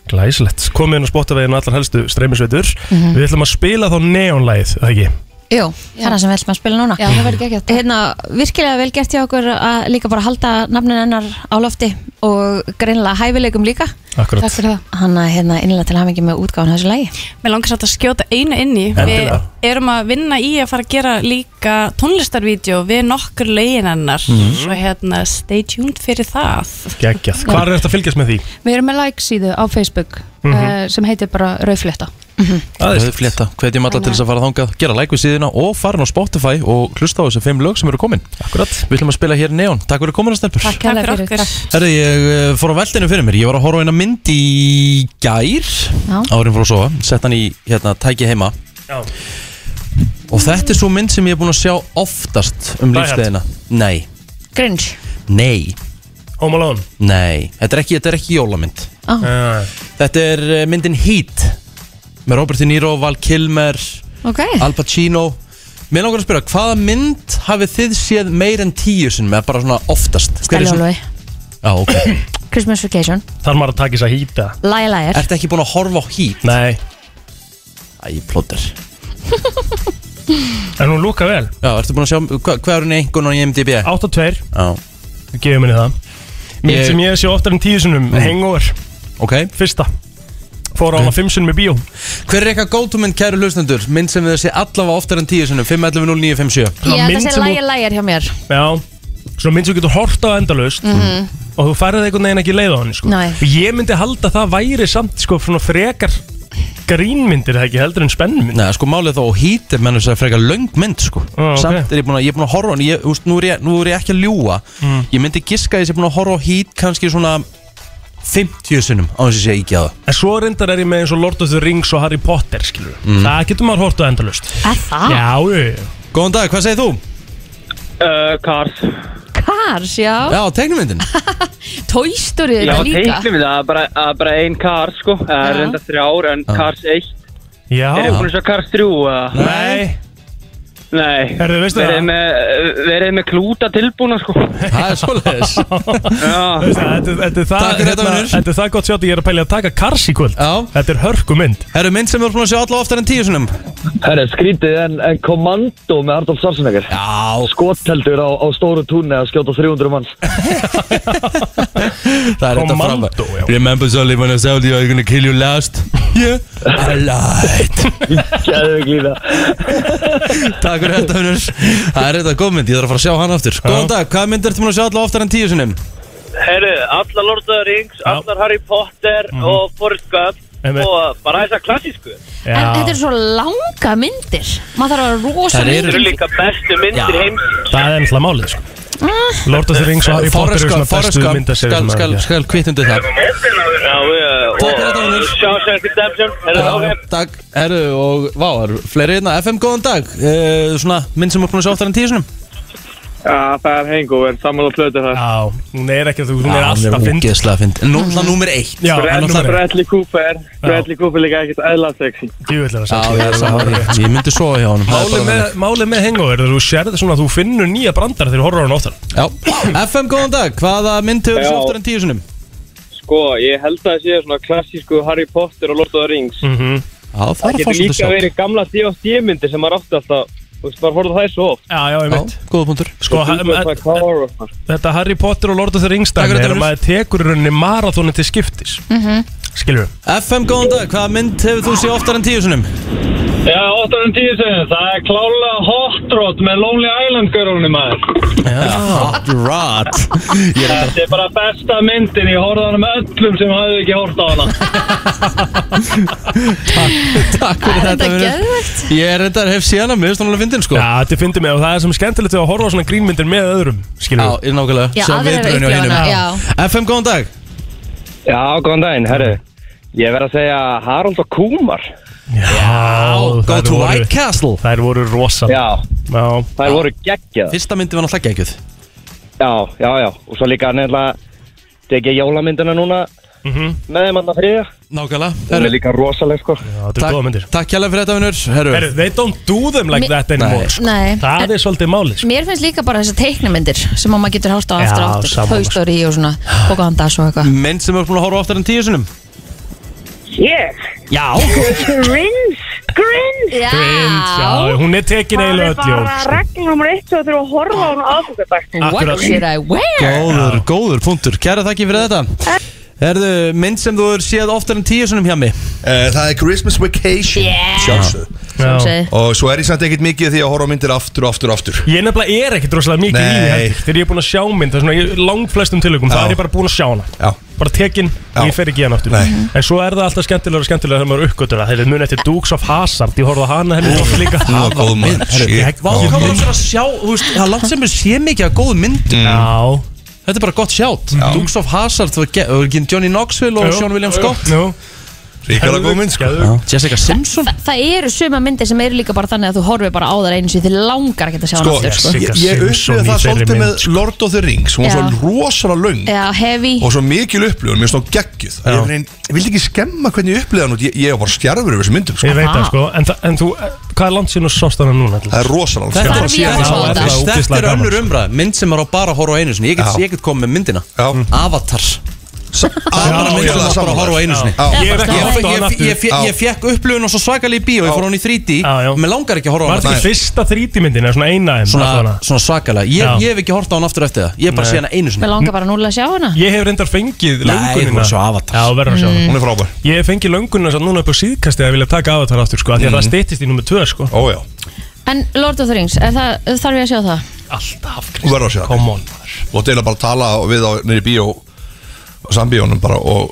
Glæslegt komið inn á Spotify-inu allar helstu streymisveitur Mhm. Við ætlum að spila þá neonlæð það ekki Jú, það er það sem við ætlum að spila núna já það verður ekki ekki Hérna, virkilega vel gert hjá okkur að líka bara halda nafnin hennar á lofti og greinilega hæfileikum líka Akkurat Takk fyrir það Hann að hérna innlega til hamingi með útgáfan þessu lagi Mér langar satt að skjóta einu inn í Við Endilega. erum að vinna í að fara að gera líka tónlistarvídeó við nokkur lögin hennar Svo hérna, stay tuned fyrir það [laughs] Geggjað Hvar er þetta að fylgjast með því? Við erum með like síðu á Facebook mm sem heitir bara rauðflétta Það er það er flétta Hvetjum alla til þess að fara þangað, gera like við síðina og farin á Spotify og hlusta á þessi fimm lög sem eru komin Akkurat Við ætlum að spila hér Neon, takk fyrir komuna stelpur Takk Takk hérlega fyrir okkur Herði, ég eh, fór á veldinu fyrir mér Ég var að horfa á eina mynd í gær Já. Árin fór að sofa, sett hann í hérna, tæki heima Já. Og þetta er svo mynd sem ég er búin að sjá oftast um Die Hard. lífstegina Nei, Grinch nei, Home Alone nei Þetta er ekki, þetta er ekki jólamynd uh, Þetta er eh, myndin Heat Með Robert De Niro, Val Kilmer Ok, Al Pacino Mér langar að spyrja, hvaða mynd hafið þið séð meir en tíu sinni með bara svona oftast? Hver er Stæli svona- Ólfi, Já, ok [coughs] Christmas Vacation Þar maður að taka þess að hýta Læja læjar Ertu ekki búin að horfa á hít? Nei Æ, plóter En hún lúka vel Já, ertu búin að sjá, hva, hvað er hún einhvern á IMDb? 8 og 2 Já Við gefum henni það Mér Ég- Mhm. sem ég sé oftar en tíu sinnum Hangover Ok Fyrsta Fór á hana fimm sinnum í bíó Hver er eitthvað góðtumynd, kæru hlustendur? Mynd sem við þessi allavega oftar en tíu sinnum 511-0957 Ég ætla að segja læja læjar hjá mér Já Svona mynd sem þú getur hort á endalaust Mhm. Og þú færið einhvern veginn ekki leið á henni sko. Nei. Og ég myndi halda að það væri samt sko, svona frekar grínmyndir Það ekki heldur en spennumynd Nei, sko málið þá hít er mennur að segja frekar löng mynd sko Ah, ok. Samt er ég búin að, ég er búin að horfa á hann ég, úst, nú, er ég, nú er ég ekki að ljúa Mm. Ég myndi giska að ég sé búin að horfa á hít kannski svona 50 sinnum á þess að ég sé ekki að það En svo reyndar er ég með eins og Lord of the Rings og Harry Potter skilur Mm. Það getur maður hort á endalaust Er það? Já, jú Góðan dag, hvað segir þú? Uh, Cars Cars, já, Já, teiknumyndin Toy Story Já, þetta líka teiknum við það, bara, að bara ein Cars sko, það er reynda þrjár en Cars 1 Já Er þið búin að sjá Cars 3? eða? Nei Nei Herðu, veistu verið það? Með, verið með klúta tilbúna sko [laughs] Það er svoleiðis Já Veistu það, Þetta þetta er það Takk fyrir þetta, hérna, vinur. Þetta er það gott sjátt Ég er að pæli að taka Cars í kvöld Já. Þetta er hörku mynd Herru, mynd sem við erum búin að sjá allavega oftar en tíu sinnum Herre, skrítið en, en kommando með Arnold Schwarzenegger Já Skoteldur á, á stóru túnni að skjóta 300 manns Það er þetta Commando, já. frábæð Remember Sully when I told you I was gonna kill you last Yeah, I [laughs] lied Gæðu ekki í það Takk fyrir þetta, vinnur [laughs] Það er þetta góð mynd, ég þarf að fara að sjá hann aftur Góðan dag, hvað mynd ertu búin að sjá allavega oftar en tíu sinnum? Herru, allar Lord of the Rings, allar Harry Potter Mhm. og Forrest Gump Einmitt. og bara þessar klassísku En þetta er svo langa myndir Maður þarf að vera rosa Þær eru- Þetta mikið eru líka bestu myndir Já. heims Það er ennþá málið sko. Mm. Lord of the Rings og Harry Potter Forrest eru Gump, svona Forrest bestu Gump myndaseri skal, skal, skal kvittundi það Já, við Takk fyrir þetta, og Úlfur. Shawshank Redemption Herru, ok Takk, herru og vá, það eru fleiri hérna FM, góðan dag uh, Svona mynd sem er búin að sjá oftar en tíu sinnum Já, það er hangover, sammála flötu það Já, hún er ekki að þú, hún er alltaf fynd ógeðslega fynd En nú er það númer eitt Já, hann er Númer eitt. númer eitt. Bradley Cooper Bradley Cooper líka ekkert eðla sexy Djúvillega Já, ég er sammála [laughs] því. Ég myndi sofa hjá honum það er Málið bara með, þannig. máli með hangover, þú sérð svona að þú finnur nýja brandar þegar þú horfður á hann oftar Já, FM, góðan dag, hvaða mynd hefur sjá Já. oftar en tíu sinnum? Sko, ég held að það sé svona klassísku Harry Potter og Lord of the Rings mm -hmm. Já, það Það er að fá getur svolítið líka sjá verið gamla D.O.D. myndir sem maður átti alltaf Þú veist, maður horfði á þær svo oft Já, já, ég veit Já, góða punktur Sko, ha- Þú veist, em- maður horfði á þær. þetta Harry Potter og Lord of the Rings Takk dæmi fyrir er þetta, að maður tekur í rauninni marathónu til skiptis Mhm. Skilur við? FM, góðan dag, hvaða mynd hefur þú séð oftar en tíu sinnum? Já, 8 en 10 sinni, það er klála Hot Rod með Lonely Island görunni maður Hot Rod Ég er Þetta er bara besta myndin, ég horfði á hana með öllum sem hafði ekki hort á hana Takk fyrir þetta Þetta er vinur. geðvægt Ég er þetta hef síðan að mjög stónulega fyndin sko Já, þetta finnir mig og það er sem skemmtilegt við að horfa á svona grínmyndir með öðrum Skilur Já, við? ég nákvæmlega Já, Sjá aðrir eru viðbrögðin upplifana, hjá hinum. já. FM, góðan dag Já, góðan daginn, herru Ég verð að segja Harold og Kumar Já, Go þær to voru- White Castle Þær voru rosa Já, Já, þær voru geggjað Fyrsta myndi var náttúrulega geggjöð Já, já, já Og svo líka nefnilega Tekið jólamyndina núna Mhm. Með þeim annar friða Nákvæmlega Hún er Herru, líka rosaleg sko já þetta er Takk- góða myndir Takk hjálpa fyrir þetta vinnur Herru Herru, they don't do them like Mi- that anymore sko. Nei. Það er svolítið málið sko. Mér finnst líka bara þessar teiknumyndir sem að maður getur hást á aftur Já, og aftur sammála. Toy Story og svona Pocahontas og eitthvað Mynd sem er búin að horfa oftar en tíu sinnum Yes, Já grins, grins Já, Grind, já, hún er tekin eiginlega öll jól sko. reglum nummer 1 og þurfa að horfa á hún aðfokadag Akkurat. What should I wear? Góður, góður punktur Kæra þakki fyrir þetta Herru, mynd sem þú er séð oftar en tíu sinnum hjá mig Eh, Það er Christmas Vacation Yeah. Sjálfsögð. Já. Segi. Og svo er ég samt ekkert mikið því að horfa á myndir aftur og aftur og aftur Ég nefnilega er ekkert rosalega mikið í því Nei. heldur. Þegar ég er búin að sjá mynd, það er svona í langflestum tilökum Já. Það er ég bara búin að sjá hana Já, Bara tekin, Já. ég fer ekki í hana aftur Mhm. Nei. En svo er það alltaf skemmtilega og skemmtilega þegar maður uppgötur það Þeir muni eftir Dukes of Hazard, ég horfði á hana henni oft líka það var góð mann ég- Vá, hvað var það að sjá þú veist, Það er langt sem er sé mikið að góðu myndu Já, Þetta er bara gott sjátt Dukes of Hazard, þú veist, Johnny Knoxville og Jú. Sean William Scott Jú. Ríkala góð mynd, sko Jessica Simpson Þa, það eru suma myndir sem eru líka bara þannig að þú horfir bara á þær einu sinni, þið langar ekki að sjá Sko, hana aftur sko. ég, ég upplýði það svolítið með sko. Lord of the Rings Hún var Já. svo rosalega löng Já, heavy og svo mikil upplifun, mér finnst það geggjuð ég, einhvern veginn- ég vildi ekki skemma hvernig ég upplifði hann út ég, ég var bara stjarfur yfir þessum myndum sko. Ég veit það sko, en, þa en þú, hvað er langt síðan og sást hana núna? Það er rosalega Þetta er síðan að Þetta sá er- þetta er önnur sko. umræð Mynd sem er á bara að horfa á einu sinni Ég get, Já. ég get komið með myndina Já. Avatar Bara mynd algjörlega sem á bara að horfa á einu sammála. sinni Já. Ég Ég- hef ekki ég- horft á hana ég- aftur. ég- ég- Ég fekk upplöfun og svo svakalega í bíó Ég fór á hann í 3D Mér langar ekki að horfa á Var hana þetta ekki fyrsta 3D-myndin, eða svona eina þeim, Svona, allavega? svona svakalega ég, Já. ég hef ekki horta á hann aftur eftir það Ég hef bara Nei. séð hana einu sinni Hm? Mér langar bara núlega að sjá hana Ég hef reyndar fengið Nei, löngunina þú verður að sjá Avatar. Já, þú verður að sjá Mm. hana Hún er frábær. Ég hef fengið löngunina samt núna upp á síðkasti að vilja taka Avatar aftur sko af Því að Mm. það styttist í nummer 2 sko Ójá En Lord of the Rings, er það, þarf ég að sjá það? Alltaf Þú verður að segja Come on Þú átti eiginlega bara að tala við á nýri bíó Sambíónum bara og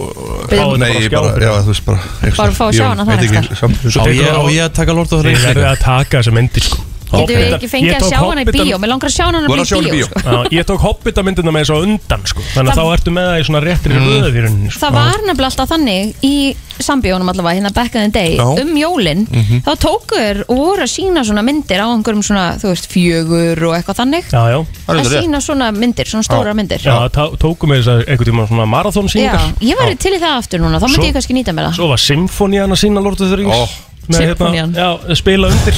Biðja. Nei, ég bara, já, þú veist bara einhvers Bara fá að sjá staðar. hana Ég þar veit einhvers ekki, sambíónum Á ég- á ég að taka Lord of the Rings Ég verður líka? að taka þessa myndi sko Getum við ekki fengið að sjá hana í bíó? Mér langar að sjá hana í bíó, sko. Já, Ég tók Hobbita-myndina með þess á undan sko Þannig að Það- þá ertu með það í svona Mm. réttinni röðu því rauninni sko. Það var nefnilega alltaf þannig í sambíónum allavega hérna back in the day Já. um jólin Mhm. þá tókuður og voru að sína svona myndir á einhverjum svona þú veist fjögur og eitthvað þannig Já, já að sína svona myndir, svona stóra myndir Já, það tókum við þess að einhvern tíma svona marathón Já, síningar ég væri til í það aftur núna, þá myndi Svo- ég kannski nýta mér það Svo var symfónían að sína Lord of the Rings hérna, oh. Sinfónían. já, spila undir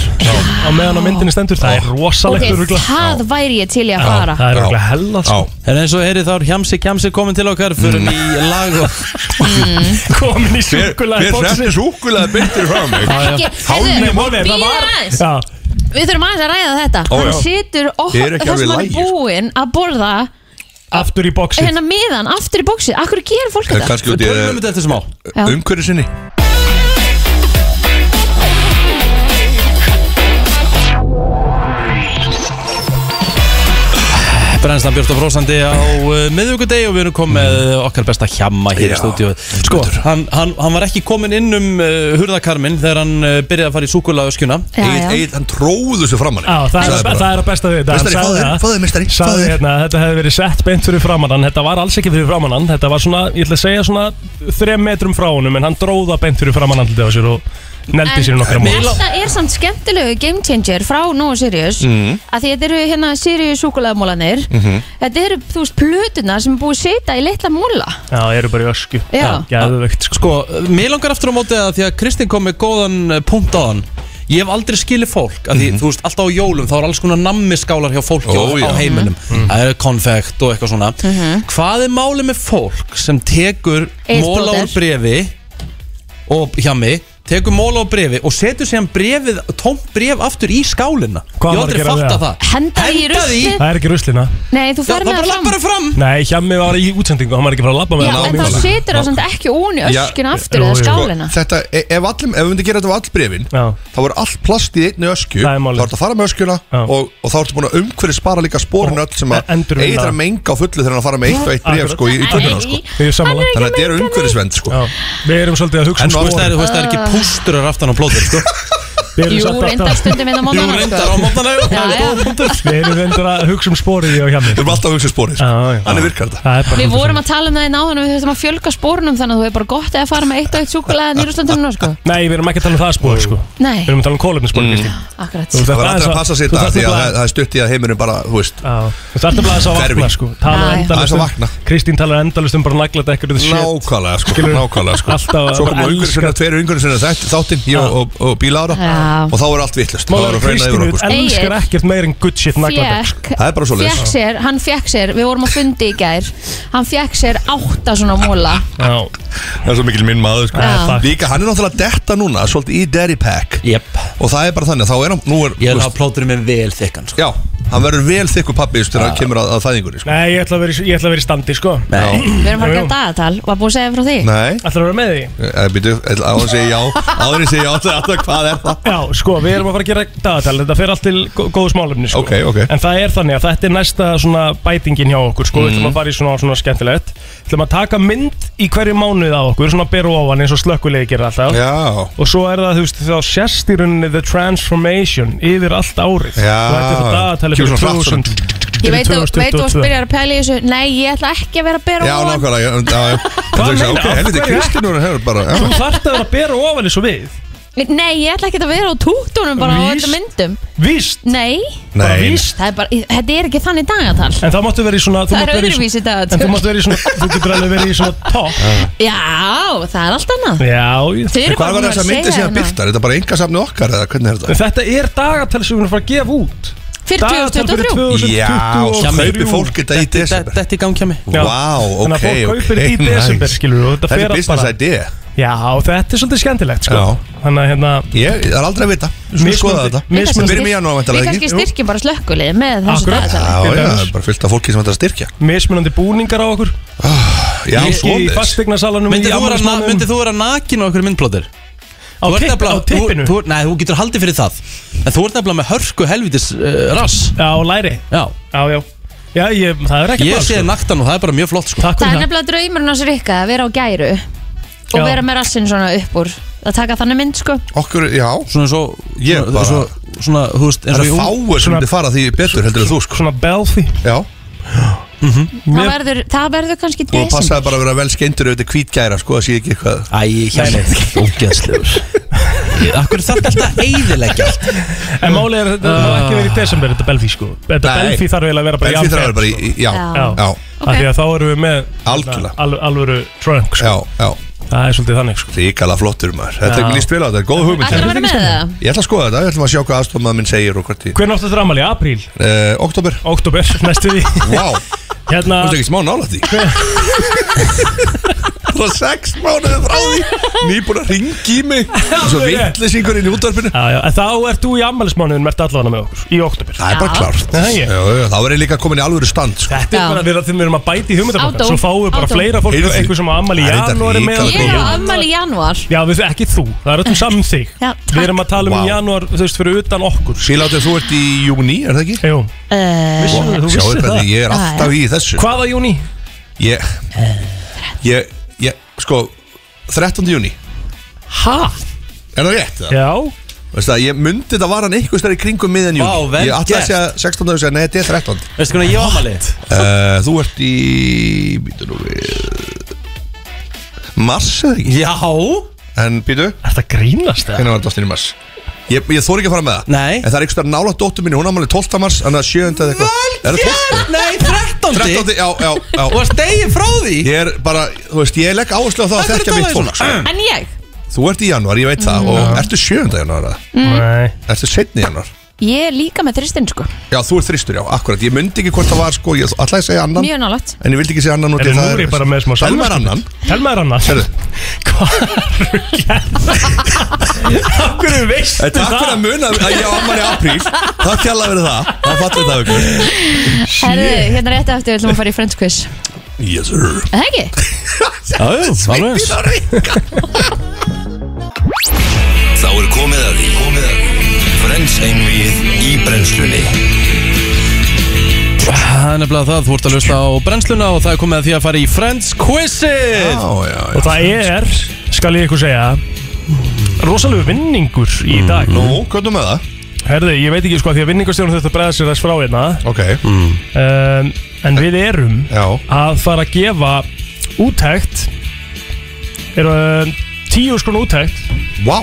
á meðan á myndinni stendur Það er rosalegt Ok, örugglega. það væri ég til í að fara Það er örugglega hella sko. En eins og heyri þá er Hjamsi Kjamsi komin til okkar Fyrir í lag og Mm. [laughs] Komin [laughs] í súkkulaði Mm. Hver hreppir súkulega beintir frá mig Ekki, Hálfni heyrðu, mánuði, það bíðið var aðeins. Já, Við þurfum aðeins að ræða þetta Ó, Hann já. situr Ég er okkur ekki þar alveg sem hann lagi, er sko. búinn að borða aftur í bóksi hérna miðan aftur í bóksið Akkur gerir fólk Eh, þetta? Kannski út í Tölum við þetta smá Já. Umhverju sinni Brennslan Björn og Frósandi á uh, miðvíkudegi og við erum komið með okkar besta hjamma hér í Já, stúdíu Sko, hann, hann, hann var ekki komin inn um uh, hurðakarmin þegar hann uh, byrjaði að fara í súkulaðuskjuna Já, já. Egill- hann tróðu sér framann Já, það er, það er að besta við þetta Hann Meistari, sagði fáðu þér, það. fáðu þér, meistari, Sagði fáðu þér. hérna, Þetta hefði verið sett beint fyrir framann hann Þetta var alls ekki fyrir framann hann Þetta var svona, ég ætla að segja svona Þrem metrum frá honum En hann dróða beint fyrir framann hann Þetta var sér og neldi sér í nokkra mál Þetta er samt skemmtilegu game changer frá Nóa Sirius Mhm. að því þetta eru hérna Sirius súkulegumólanir Mhm. þetta eru þú veist plötuna sem er búið að setja í litla múla Já, ég eru bara í ösku Já. Geðvegt sko Sko, mér langar aftur á móti að því að Kristinn kom með góðan uh, punkt á hann Ég hef aldrei skilið fólk, að því, þú veist, alltaf á jólum þá er alls konar nammiskálar hjá fólki Ó, á, já. á heiminum Mm. Það er konfekt og eitthvað svona Mhm. Hvað er málið með fólk sem tekur Egils móla úr blóter. brefi og hjá mig tekur móla úr brefi og setur sér brefið, tómt bref aftur í skálina Ég hef Hvað var að aldrei gera við fatta það? það Henda því í ruslið Það er ekki ruslina Nei, þú fer með það fram, fram. Nei, hjemmi var í útsendingu Hann var ekki frá að labba með Já, hann á en þá mínútu. setur það samt ekki ón í öskina aftur eða skálina Sko, Þetta, e- ef allir, ef við myndum gera þetta á all brefin Þá voru allt plast í einni öskju Það er málið. Þá ertu að fara með öskjuna og, og þá ertu búin að umhverju spara líka spórin öll sem að e- endurvinna. Eitir að menga á fullu þegar hann að fara með eitt og eitt bref sko í, í tönnuna sko Við erum sammála. Þannig að þetta er umhverjusvend sko Við erum svolítið að hugsa En um þú veist, spórin. það er- þú veist, það er Ah. ekki Ekki pústurar aftan á blóðir, sko Við erum Jú, samt reyndar alltaf- stundum hérna á mótnana Við erum reyndar að hugsa um spórið Við erum alltaf að hugsa um spórið Þannig virkar þetta Við vorum að tala um það í náðan og við þurfum að fjölga spórunum þannig að þú er bara gott eða að fara með eitt og eitt súkulega nýrúslandunum sko. Nei, við erum ekki að tala um það spór sko. Nei. Við erum að tala um kólefnisspór mm. Akkurat Það var alltaf að passa sér í dag því að það- það er stutt í að heimurinn bara, þú veist Þú þarf að þess að Hverfi. vakna sko. Tala Já, já. Aðeins endalist að vakna. um Kristín talar endalist um bara naglat ekkur Nákvæmlega sko, nákvæmlega sko Alltaf að Svo komu bara umhverju sinna, elska- tveir umhverju sinna þáttinn, ég og, og, og bílára Já. Og þá er allt vittlust, þá Málega er að hreina Kristín yfir okkur sko. elskar Egill. ekkert meir en good shit sko. naglat Fékk, Það er bara svoleiðis. fékk sér, hann fekk sér, við vorum á fundi í gær Hann fekk sér átta svona móla Það er svo mikil minn maður sko. Já. Líka hann er náttúrulega að detta núna Svolítið í Derry Pack yep. Og það er bara þannig að Þá er hann nú er, Ég vil hafa plóturinn með vel þykkan sko. Já, hann verður vel þykku pappi Þegar hann kemur að, að fæðingunni sko. Nei, ég ætla að vera í- ég ætla að vera í standi sko. Við erum Jú, farið jú. að dagatal, var búið að segja frá því Nei Ætlar að vera með því? Býtu, Eh, áður segi já Áður segi já, það er alltaf hvað er það Já, sko, við erum að fara að gera dagatal Þetta fer allt til gó- góðs málefni sko. Ok, ok. En það er þannig að þetta er næsta svona bætingin hjá okkur sko. Mhm. Við ætlum að fara í svona, svona skemmtilegt Við ætlum að taka mynd í hverju mánuð af okkur Svona beru ofan eins og slökkulegi gerir alltaf Já. Og svo er það, þú veist, þá sérst í rauninni The Transformation yfir allt árið Já. Og þetta er það dagatalið Kemur fyrir svona hratt 2000 svona. Ég veit að, veit að spyrjar að pæla í þessu Nei, ég ætla ekki að vera að bera Já, ofan. nákvæmlega já, já, [laughs] já. Þetta er Hvað ekki meina, Ok, af helviti, hverju? Kristinn hún hefur bara já. Þú þarft að vera að bera ofan eins og við Nei, ég ætla ekki að vera á tútunum bara á Víst. öllum myndum Víst Nei, Bara víst það er bara, þetta er ekki þannig dagatal En það máttu vera í svona þú Það er mátt vera í svona- öðruvísi dagatal. En þú máttu vera í svona Þú getur alveg verið í svona topp Já, það er allt annað Já Þið eru En Hvað bara var búin þess að að myndi segja síðan hérna. byrtar? Er þetta bara engasafni okkar eða hvernig er þetta? Þetta er dagatal sem við erum að fara að gefa út Fyrir Dagatal fyrir 2023. 2023. Já, Hjá mér. kaupi fólk þetta í desember Þetta er í gangi að mig Já. Vá, ok, Þannig að fólk ok, kaupir þetta í nice. desember, skilurðu, og þetta fer er allt business bara- idea Já, þetta er svolítið skemmtilegt sko. Þannig að hérna Ég það er aldrei að vita Svo Mismunandi- skoða þetta Við kannski Byrjum í janúar Við vantarlega kannski ekki styrkjum bara slökkulið með þessu Akkurat. dagatal Já, já, Til dæmis. það er bara fyllt af fólki sem ætlar að styrkja Mismunandi búningar á okkur Ah, Já, Í- Í svoleiðis. fastegnasalanum Myndið þú vera na- myndið þú vera nakin á okkur myndplótir? Á tipp- á tippinu? Nei, þú getur haldið fyrir það En þú ert nefnilega með hörku helvitis uh, rass Já, læri Já, já, já. já ég, það er ekki Ég mál, sé sko. naktan og það er bara mjög flott sko. Það er nefnilega draumurinn á sér ykkar að vera á gæru og Já. vera með rassinn svona upp úr að taka þannig mynd sko Okkur, já Svona svo Ég bara svo- Svona, þú veist eins Það og í er ung- fáir sem Svona- myndi fara því betur heldur en þú sko Svona belfi Já það verður, það verður kannski Og desember passaði bara að vera vel skeindur auðvitað kvítgæra sko að sé ekki eitthvað Æ, ég hjá mig [laughs] Ógæðslegur Akkur þarf alltaf að eyðileggja allt En málið er að þetta má ekki verið í desember Þetta belfi sko Þetta Nei. belfi þarf eiginlega að vera bara í Belfi þarf að janúar, vera bara í- sko. í- já, já. já. Af því að þá erum við með Algjörlega. al, Alvöru trunk sko. Já, já Það er svolítið þannig sko Ríkala flottur maður Þetta er Já. ekki líst vel á þetta, góð hugmynd Ætlarðu að vera með það? Ég ætla að skoða þetta, ég ætla að sjá hvað aðstofmaður minn segir og hvort ég Hvernig áttu þetta ammali? Apríl? Eh, Oktober Oktober, [laughs] næstu því Vá [laughs] Hérna Þú ert ekki smá nála því Það er sex mánuði frá því Nýbúin að ringi í mig Svo vittlisingur inn í útvarpinu Já, já, en þá ert þú í ammælismánuðin mert allavega með okkur Í oktober Það er bara klárt Nei, Já, ég- já, Þá er ég líka komin í alvöru stand sko. Þetta er bara við að þeim við erum að bæti í hugmyndabokkan Ádó, Svo fáum við bara ádó. fleira fólk Heyrðu, Einhver sem á ammæli í það er þetta janúari með ríkalega Ég er á afmæli í janúar Já, við, ekki þú, það er öllum saman þig Já, Við erum að tala um Vá. wow. janúar, þú veist, fyrir utan okkur Sílátið þú ert í júni, er það ekki? Jú Eh, uh, Vissirðu, þú Sjáu vissir hvernig það. ég er alltaf í þessu Hvaða júni? Ég Ég, ég, sko 13. júni, Ha? er það rétt? eða? Já Veist það, ég myndi þetta var hann eitthvað stær í kringum miðan júni Vá, vel Ég alltaf að gert. segja 16. og segja, nei, þetta er 13. Veistu hvernig ég á ammali? Uh, þú ert í býtu nú við Mars eða ekki? Já En býtu, Er það grínast það? hvernig var dóttin í Mars? Ég, ég þóri ekki að fara með það Nei En það er einhverstað nála dóttin minni, hún ámali 12. mars En það er 7. eða eitthvað Er það 12? Nei, 13. 13. Já, já, já Og að stegi frá því Ég er bara, þú veist, ég legg áherslu á það að Af hverju þekkja mitt talaðu fólk sko. En ég, Þú ert í januar, ég veit það Og ertu 7. januar eða? Nei Ertu setni januar? ég er líka með þristinn sko Já, þú ert þristur, já, akkurat Ég myndi ekki hvort það var, sko, ég ætlaði að segja annan Mjög nálægt En ég vildi ekki segja annan út í Er það nú er ég bara með smá Telma er annan Telma er annan Herðu. Hvað [laughs] Af hverju veistu Takk það? fyrir að muna að ég á ammar í apríl Takk hjálpa fyrir það Það fallið það ykkur Herðu, hérna rétt eftir við ætlum að fara í French quiz Yes sir Er Það ekki? Já, alveg eins. Þá er komið að því Komið að því Frens einvið í brennslunni Það er nefnilega það, þú ert að lusta á brennsluna og það er komið að því að fara í Friends Quizið Já, já, já Og það er, skal ég ykkur segja Rosalegu vinningur í dag Mm, Nú, hvernig með það? Herði, ég veit ekki sko því að vinningastjórnum þetta bregða sér þess frá hérna Ok um, En við erum Já að fara að gefa úttækt er, um, Tíu skrona úttækt Vá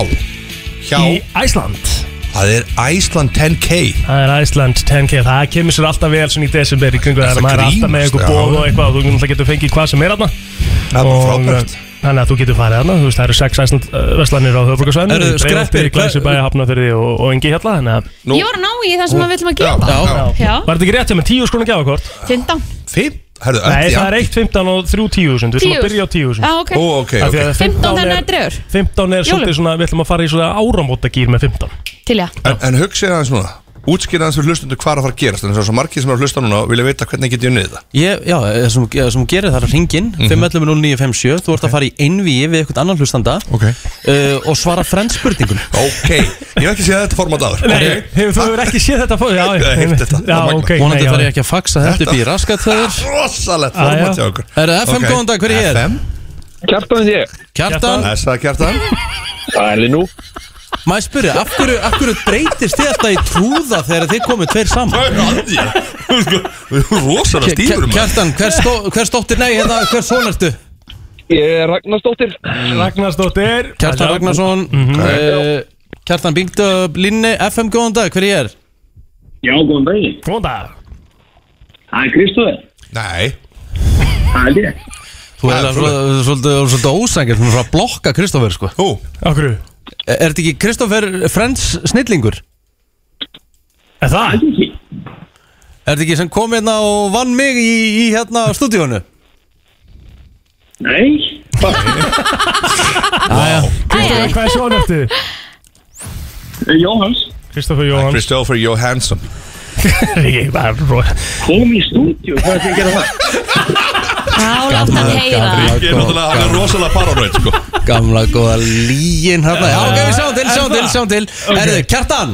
Hjá í Æsland Það er Iceland 10K Það er Æsland 10K Það kemur sér alltaf vel svona í desember í kringu Það Það maður er alltaf með grínast, eitthvað já. bóð og eitthvað og Þú náttúrulega getur fengið hvað sem er aðna Það er bara frábært Þannig að þú getur farið aðna Þú veist, það eru sex Æsland veslanir á höfbrukarsvæðinu Eru skreppir, Glæsibæja, Hafnafyrði og, og engi hérna Þannig að Nú Ég var að ná í það sem við ætlum að Já, gefa já Já, Var þetta ekki rétt hjá með 10 skrona gjafakort? 15 Fimm Herðu, Nei, öll, já það er 1, 15 og 3, 10 þúsund Við ætlum 10.000. að byrja á 10 þúsund Já, ok Ó, ok, Af því ok að 15 er- þennan drögur 15 er Jólum. svolítið svona, við ætlum að fara í svona áramótagýr með 15 Til ég En, en hugsið aðeins núna Útskýrið aðeins fyrir hlustundu hvað er að fara að gerast Þannig að svo margir sem er að hlusta núna Vilja vita hvernig get ég unnið það Ég, já, það sem, það sem gerir það er að ringin Mhm. mm 511-0957, þú ert að fara í einvíi við eitthvað annan hlustanda Ok. uh, og svara Friends spurningun Ok Ég hef ekki séð þetta format aður Nei, hefur þú hefur ekki séð þetta fóð? Já, Ég hef heyrt þetta, það Já, er magnað. ok, vonandi þarf ég nei, já ekki að faxa þetta upp í [laughs] raskat þegar Rosalegt Ah, já. format hjá okkur Er það FM Ok. góðan dag, hver er ég er? FM Kjartan ég Kjartan, Þessa kjartan Það er nú maður spyrja, af hverju, af hverju breytist þið alltaf í trúða þegar þið komið tveir saman? Hvað er að því? Rosalega stífur maður. Kjartan, hver, stó, hver stóttir, nei, hérna, hver són ertu? Ég er Ragnarsdóttir Ragnarsdóttir Kjartan Ragnarsson mm Mhm. Kjartan, bingdu upp Linni FM, góðan dag, hver ég er? Já, góðan daginn Góðan dag Það er Kristóður Nei Það er ég Þú er alveg svolítið, svolítið ósængir, þú er frá að blokka Kristoffer, sko Ó, okkur Er þetta ekki Kristoffer Friends snillingur? Er það? Er þetta ekki sem kom hérna og vann mig í, í hérna stúdíónu? Nei Æja, Kristoffer, hvað er svona [laughs] eftir? Eh, Jóhans Kristoffer Jóhans Kristoffer Jóhansson [laughs] Ég var bara Kom í stúdíu, hvað er það að gera það? Þá látt hann heyra Rikki er náttúrulega hann er rosalega paranoid sko Gamla góða líin hérna Já, ok, við sjáum til, sjáum til, sjáum til Ok. Herðu, Kjartan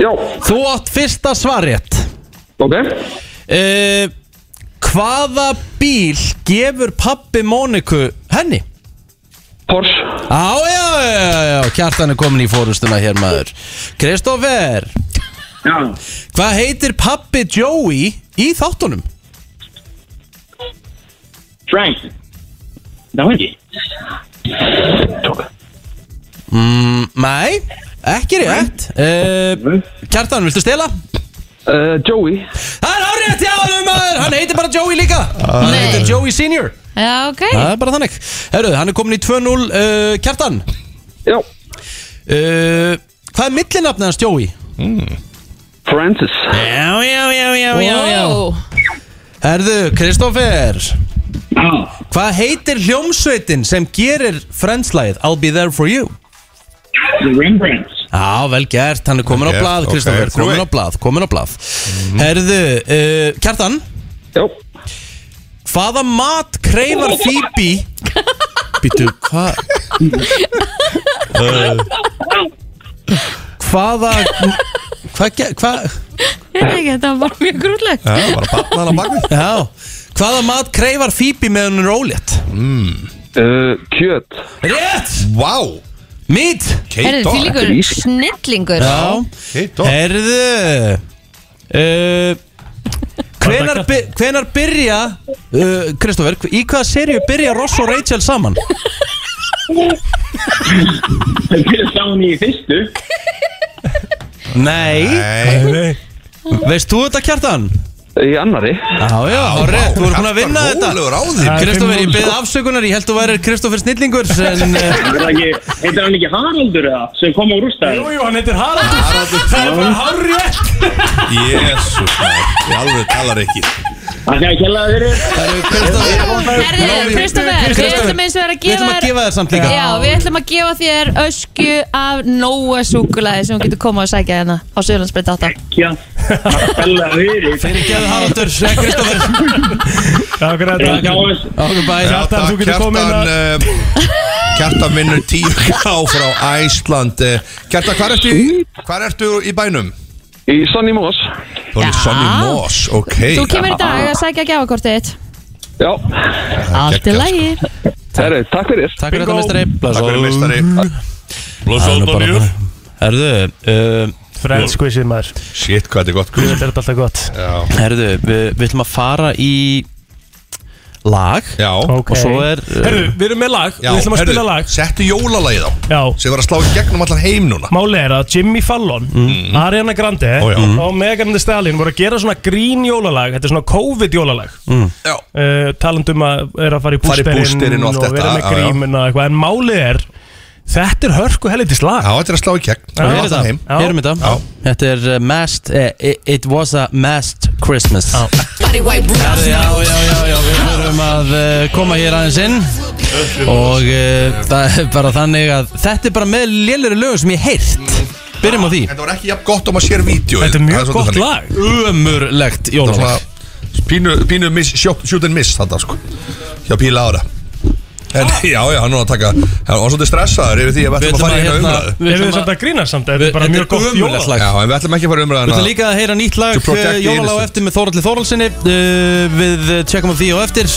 Já Þú átt fyrsta svarétt Ok Hvaða bíl gefur pappi Móniku henni? Porsche Á, já, já, já, já, Kjartan er komin í fórumstuna hér maður Kristoffer Já Hvað heitir pappi Joey í þáttunum? Frank Það var ekki Mm, nei, ekki rétt uh, Kjartan, viltu stela? Eh, Uh, Joey Það er árétt, já, alveg maður Hann heitir bara Joey líka Hann heitir Joey Senior Já, ok Það er bara þannig Herru, hann er komin í 2-0 uh, Kjartan Já uh, Hvað er millinafnið hans Joey? Mm. Francis Já, já, já, já, já, já Herðu, Kristoffer Já Hvað heitir hljómsveitin sem gerir Friends-lægið I'll be there for you? The Rembrandts Já, vel gert, hann er komin á Vel gert, blað, ok, Kristoffer, þrjú komin á eitt. blað, komin á blað Herðu, uh, Kjartan Jó Hvaða mat kreifar Phoebe Býtu, hvað? Hvaða Hvað ge- Hvað Ég veit ekki, þetta var bara mjög grútlegt batnaðan á bakvið Já, hvaða mat kreifar Phoebe með hún er ólétt mm. uh, Kjöt Rétt Vá Mít Herðu, því líkur snillingur Já, herðu uh, hvenar, by- hvenar byrja uh, Kristoffer, hv- í hvaða seríu byrja Ross og Rachel saman? Við sáum í fyrstu Nei, Nei. Veist þú þetta kjartan? Í annari Já, já, á rétt, þú eru búin að vinna Kjartan, rólegur á þig. þetta Kristoffer, ég sko. beði afsökunar, ég held þú væri Kristoffer Snillingur en, eh, Er það ekki, heitir hann ekki Haraldur eða, sem kom á rústaði? Jú, jú, hann heitir Haraldur Það er bara hárið Jésus Ég alveg talar ekki Það er ekki hella fyrir Herðu, Kristoffer, við ætlum eins og vera að gefa Við ætlum að gefa þér samt líka. Já, við ætlum að gefa þér ösku af Nóa súkulaði sem þú getur koma og sækja hérna á Suðurlandsbreyta 8 Já, hella fyrir Fyrir gefðu Haraldur, segja [laughs] Kristoffer Takk Eh, fyrir þetta. Takk. Okkur bæ Kjartan, þú getur komið hérna. inn að- eh, Kjartan vinnur 10k frá Æsland Eh, Kjartan, hvað ertu, í- hvar ertu í bænum? Í Sonny Moss Þú erum í Sonny Moss, ok Þú kemur í dag að sækja gjafakortið þitt Já Allt í lagi Herru, takk fyrir Takk fyrir þetta mistari Takk fyrir mistari Það er nú bara þannig. Herðu uh, Friends quizið maður Shit, hvað þetta er gott Þetta er alltaf gott Herðu, við, við ætlum að fara í lag Já Og svo er uh, Herru, við erum með lag uh, Já, Við ætlum að heyrðu, spila lag Settu jólalagið á Já Sem var að slá í gegnum allan heim núna Mm. Máli er að Jimmy Fallon, Ariana Grande Ó, já. og Megan Thee Stallion voru að gera svona grín jólalag Þetta er svona COVID jólalag Mm. uh, talandum að er að fara í Fara í bústerinn bústerinn og allt þetta, vera með já, já. grímuna og eitthvað en málið er þetta er hörku helitist lag Já, þetta er að slá í gegn Við erum þetta, við erum þetta Þetta er uh, Masked eh, It it was a masked Christmas Herðu, já, já, já, já, við vorum að uh, koma hér aðeins inn og uh, það er bara þannig að þetta er bara með lélæri lögum sem ég heilt byrjum á því Þetta var ekki jafn gott um að sér vídeo Þetta er mjög gott lag Ömurlegt jólalag Pínu, pínu miss, shoot, shoot and miss þetta sko Hjá Píla Ára En já, já, hann var að taka Hann var svolítið stressaður yfir því að Ah. við ætlum að fara í hérna umræðu Erum við samt að grína samt, þetta er bara mjög gott jóla Já, en við ætlum ekki að fara í Við umræðuna ætlum líka að heyra nýtt To lag protect the Jólalag á innocent. eftir með Þóraldi Þóraldsinni uh, Við eh, tjekkum á því á eftir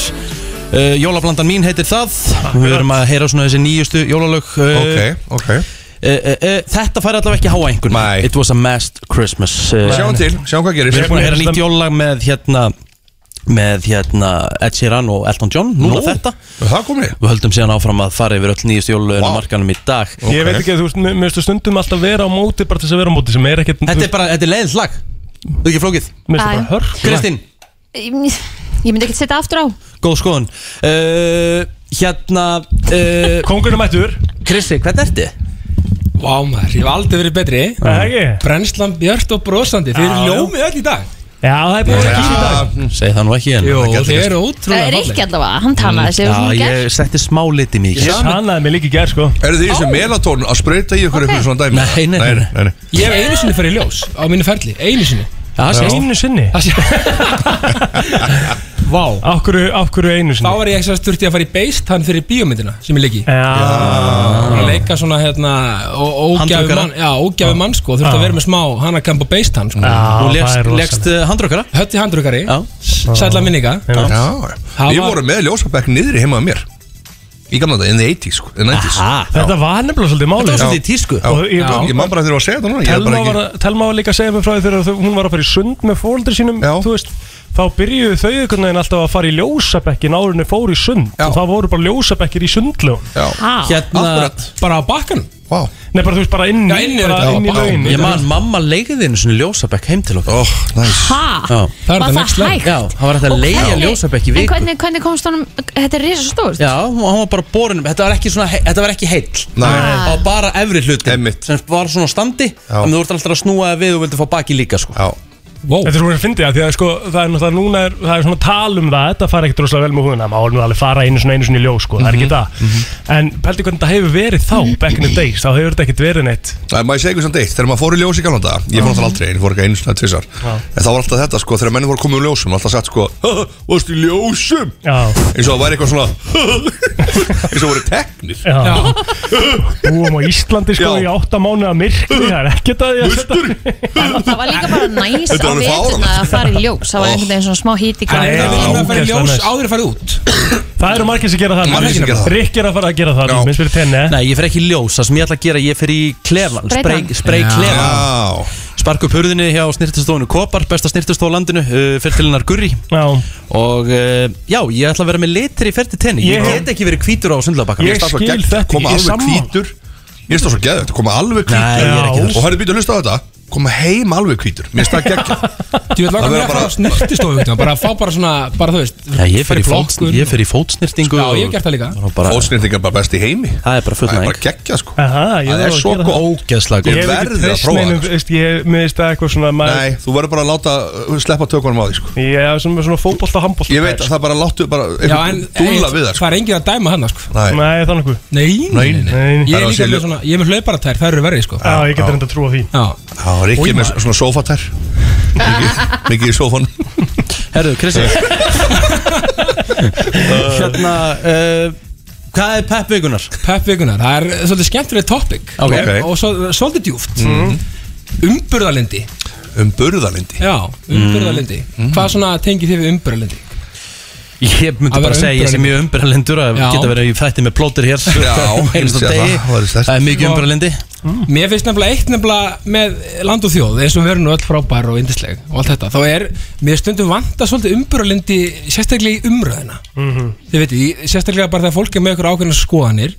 Eh, uh, Jólablandan mín heitir það Við verum að heyra svona þessi nýjustu jólalög uh, Ok, ok e, e, Þetta fær allavega ekki háa einhvern Nei. It was a messed Christmas eh, Sjáum um til, sjáum hvað gerist. Við erum búin að heyra nýtt jólag með hérna með hérna Ed Sheeran og Elton John núna Nú, þetta það komið við höldum síðan áfram að fara yfir öll nýjustu jólulögin wow. markanum í dag Ég veit ekki, þú veist, mér mér finnst þú stundum alltaf vera á móti bara til þess að vera á móti sem er ekkert Þetta er bara, þetta er leiðins lag Þú ekki flókið Mér finnst það bara hörk Kristín, Ég ég myndi ekki setja aftur á góð skoðun uh, Hérna uh, Kongurinn mættur Kristi, hvernig ertu? Vá maður, ég hef aldrei verið betri Það ekki? Brennslan björt og brosandi, þið Já, eru já. ljómið öll í dag Já, það er búin að kísa í dag Segð það nú ekki en Jó, það gæti þið gerst. eru Það ótrúlega er falleg. ekki allavega, hann talaði sig Mm. um Já, ég setti smá liti mikið Ég sannaði mig líka í gerð sko Er þið í þessu melatón að sprauta í okkur eitthvað svona dæmi? Nei, nei, nei, nei, nei. Ég hef einu sinni farið í ljós á mínu ferli, einu sinni það Já. sést. Einu sinni [laughs] Vá Akkur, akkur einu sinni Þá var ég ekki sérst þurfti að fara í beist hann fyrir bíómyndina sem ég leik í Já Að leika svona hérna ó- ógæfu Handrukkara. mann, já, ógæfu mann sko þurfti að Já. vera með smá hanakamp og beist hann sko. Þú legst, legst uh, handrökkara Hötti handrukkari Sætla minninga Já, Það Við var- vorum með ljósabæk niðri heimaða mér Í gamla þetta, in the 80s sko, in the 90s Þetta var nefnilega svolítið málið Þetta var svolítið í tísku. Og Ég, Já. Ég man bara þegar þú var að segja þetta núna, ég er Telma bara ekki- var, Telma var líka að segja mig frá því þegar þau- hún var að fara í sund með fóreldri sínum þú veist, Þá byrjuðu þau einhvern veginn alltaf að fara í ljósabekkin árunni fóru í sund og það voru bara ljósabekkir í sundlögun Já. Hérna- Akkurat. Bara á bakkanum wow. Nei, bara þú veist, bara inn í, bara inn í lögin Ég man mamma leiði einu svona ljósabekk heim til okkur oh, nice. Ha? Var það hægt? Já, það var hægt að Og leiða hvernig- ljósabekk í En viku hvernig, hvernig komst honum, þetta er risa stórt Já, hún hún var bara borinum, þetta var ekki svona he- Þetta var ekki heill Nei. Það var bara efri hluti Einmitt. sem var svona á standi þannig að þú ert alltaf að snúa þér við og vildi fá baki líka sko. wow. Þetta er svona að fyndi það, því að sko, það er náttúrulega núna er, það er svona tal um það, þetta fara ekkert rosalega vel með húðina, maður nú alveg fara einu svona einu svona í ljós, sko, það er ekki það. Mhm. En pældi hvernig það hefur verið þá, back in the days, þá hefur þetta ekkert verið [laughs] neitt. Það er maður segja eitthvað samt eitt, þegar maður fór í ljós í galanda Ég fór alltaf aldrei, ég fór ekki einu svona tvisar Já. En það var alltaf þetta sko, þegar menni voru komið úr ljósum Alltaf sett sko, "Ha, varstu í ljósum Já. [laughs] Eins og það væri eitthvað svona Eins og voru teknir Já. [laughs] Búum á Íslandi, sko, í átta mánuða myrkri, það er ekkert að því að setja. Og [laughs] það var líka bara næs Þetta á var alveg veturna fáránlegt. að fara í ljós Það var einhvern veginn svona smá hít í Æ, gangi Ég já. að fara í Ógeðslega ljós næs. áður að fara út Það eru margir sem gera það. Margir sem gera það. Rikk er að fara að gera það, minnst fyrir tenni. Nei, ég fer ekki í ljós, það sem ég ætla að gera Ég fer í klefan, Spreytan. sprey, sprey Já. klefan Spark upp hurðinni hjá snirtustóðinu Kopar, besta snirtustóð á landinu uh, Fertilinnar Gurri Já. Og uh, já, ég ætla að vera með litir í ferti tenni Ég Ég- get ekki verið hvítur á sundlabakka Ég skil þetta, koma ég er alveg sammála. hvítur Ég finnst það svo geðið, þetta koma alveg hvítur Nei, ég er ekki þess. Og hættu býtu að hlusta á þetta Koma heim alveg hvítur, mér finnst það geggja Þú veit langar mér Það verður að fara bara- á snirtistofu hérna, Bara að fá bara svona, bara þú veist Já, ég fer í, fyrir sko. fót, flokkun ég fer í fótsnirtingu Já, ég hef gert það líka. Fótsnirting er bara best í heimi Það er bara fullnæg Það er bara geggja sko Aha, Ah, ég Það er þarf að svo gera það. gott Ógeðslega Ég verði að prófa það það. Ég miðist það eitthvað svona, maður, Nei, þú verður bara að láta uh, sleppa tökunum á því sko. ég er svona, svona fótbolta, handbolta. Ég veit að það bara láttu bara Já, en dúlla við það sko. það er engin að dæma hann sko. Nei. Nei, þannig hvað. Nei, Nei, nei. Ég er Það er að líka sé með ljó- svona, ég er með hlauparatær, það eru verið sko Já, ég get reynda að trúa því. Já, Það var ekki með svona sofatær Mikið- Mikið í sofan Herðu, Kristi Hérna uh, Hvað er pepp vikunar? Pepp vikunar, það er svolítið skemmtileg topic Ok. Og svo, uh, svolítið djúft Mhm. Umburðalindi Mhm. Um burðalindi Já, umburðalindi Mhm. Hvað svona tengir þið við umburðalindi? Ég myndi Að vera bara segja ég sé mjög umberalendur að Já. geta verið í fætti með plótir [laughs] hér Já, einst ég sé og degi það, það væri sterkt. Það er mikið Já. umberalendi Mér finnst nefnilega eitt nefnilega með land og þjóð eins og við erum nú öll frábær og yndisleg og allt þetta þá er, mér stundum vanta svolítið umburðalindi sérstaklega í umröðina Mhm. Þið veitir, í- sérstaklega bara þegar fólk er með okkur ákveðna skoðanir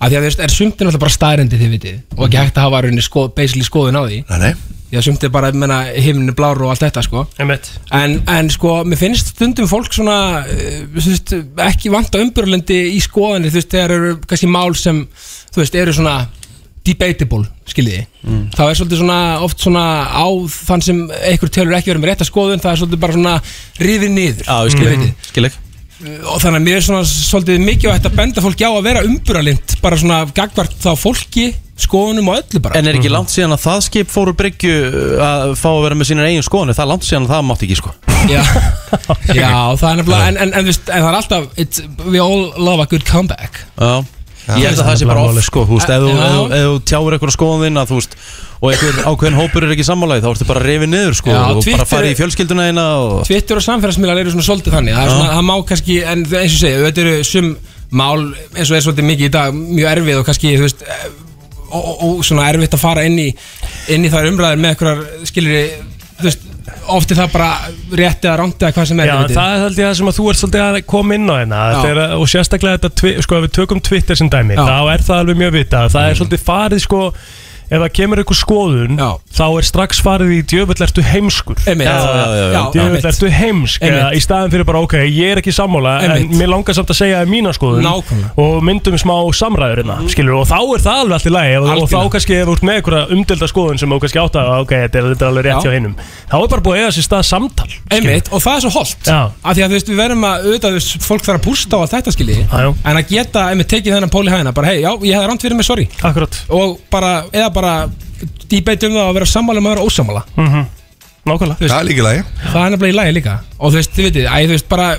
að því að þú veist, er sumt er náttúrulega bara staðrendi þið vitið og ekki hægt að hafa rauninni sko, basically skoðun á því Nei, nei Já, sumt er bara, ég meina, himnin er blár og allt þetta, sko Einmitt. en, en sko, mér finnst stundum fólk svona, eh, þú veist, ekki vanta umburlendi í skoðanir, þú veist, þegar eru kannski mál sem, þú veist, eru svona debatable, skiljiði mm. þá er svolítið svona, oft svona á þann sem einhver telur ekki verið með rétta skoðun það er svolítið bara svona rifið niður Já, ég Mm. skil Mhm. Þið vitið. ekki Skil ekki og þannig að mér er svona svolítið mikilvægt að benda fólki á að vera umburalind bara svona gagvart þá fólki skoðunum og öllu bara En er ekki langt síðan að það skip fóru bryggju uh, að fá að vera með sínar eigin skoðanir Það er langt síðan að það mátti ekki sko Já, já það er nefnilega en, en, en, veist, en það er alltaf it's, We all love a good comeback Já Ég held að það sé bara off sko, þú veist, ef þú- ef þú- ef þú tjáir eitthvað skoðan þinn að þú veist og einhver ákveðin hópur er ekki sammálaði þá ertu bara reyfið niður sko Já, og Twitter- bara farið í fjölskylduna eina og Twitter og samfélagsmiðlar eru svona svolítið þannig Það, er svona, Já. það má kannski, en það- eins og ég segi Þetta eru sum mál, eins og er svolítið mikið í dag Mjög erfið og kannski, þú veist eh, og, og, og svona erfitt að fara inn í, inn í þær umræður með einhverjar skilur þú veist, oft er það bara rétt eða rámt eða hvað sem er Já, einhvern veginn. það er held ég það sem að þú ert svolítið að koma inn á hérna Já. Þetta er, að- og sérstaklega þetta, tvi- sko, ef við tökum Twitter sem dæmi, Já. Mm. þá er það alveg mjög vitað það er svolítið farið, sko ef það kemur einhver skoðun, já. þá er strax farið í djöfull ertu heimskur Einmitt. Já, já, já, já. djöfull Einmitt. ertu heimsk eða, Einmitt. í staðin fyrir bara, ok, ég er ekki sammála Einmitt. en mér langar samt að segja mína skoðun Nákvæmlega. Mm. og myndum smá samræður hérna, skilur, og þá er það alveg allt í lagi og, og þá Algjörlega. kannski ef þú ert með einhverja umdelda skoðun sem þú kannski átt að, ok, þetta er, þetta er alveg Já. rétt hjá hinum þá er bara búið að eiga sér stað samtal Einmitt, og það er svo holdt af því að þú veist, við verðum að auðvitað, þú veist, fólk þarf að bústa á allt þetta skilji en að geta, einmitt, tekið þennan pól í hæðina bara, hei, já, ég hefði rámt verið með sorry Akkurat. og bara, eða bara debate um það að vera sammála um að vera ósammála mm -hmm. Nákvæmlega Það er líka í lagi. Það er nefnilega í lagi líka og þú veist, þið veitir, æ, þú veist, bara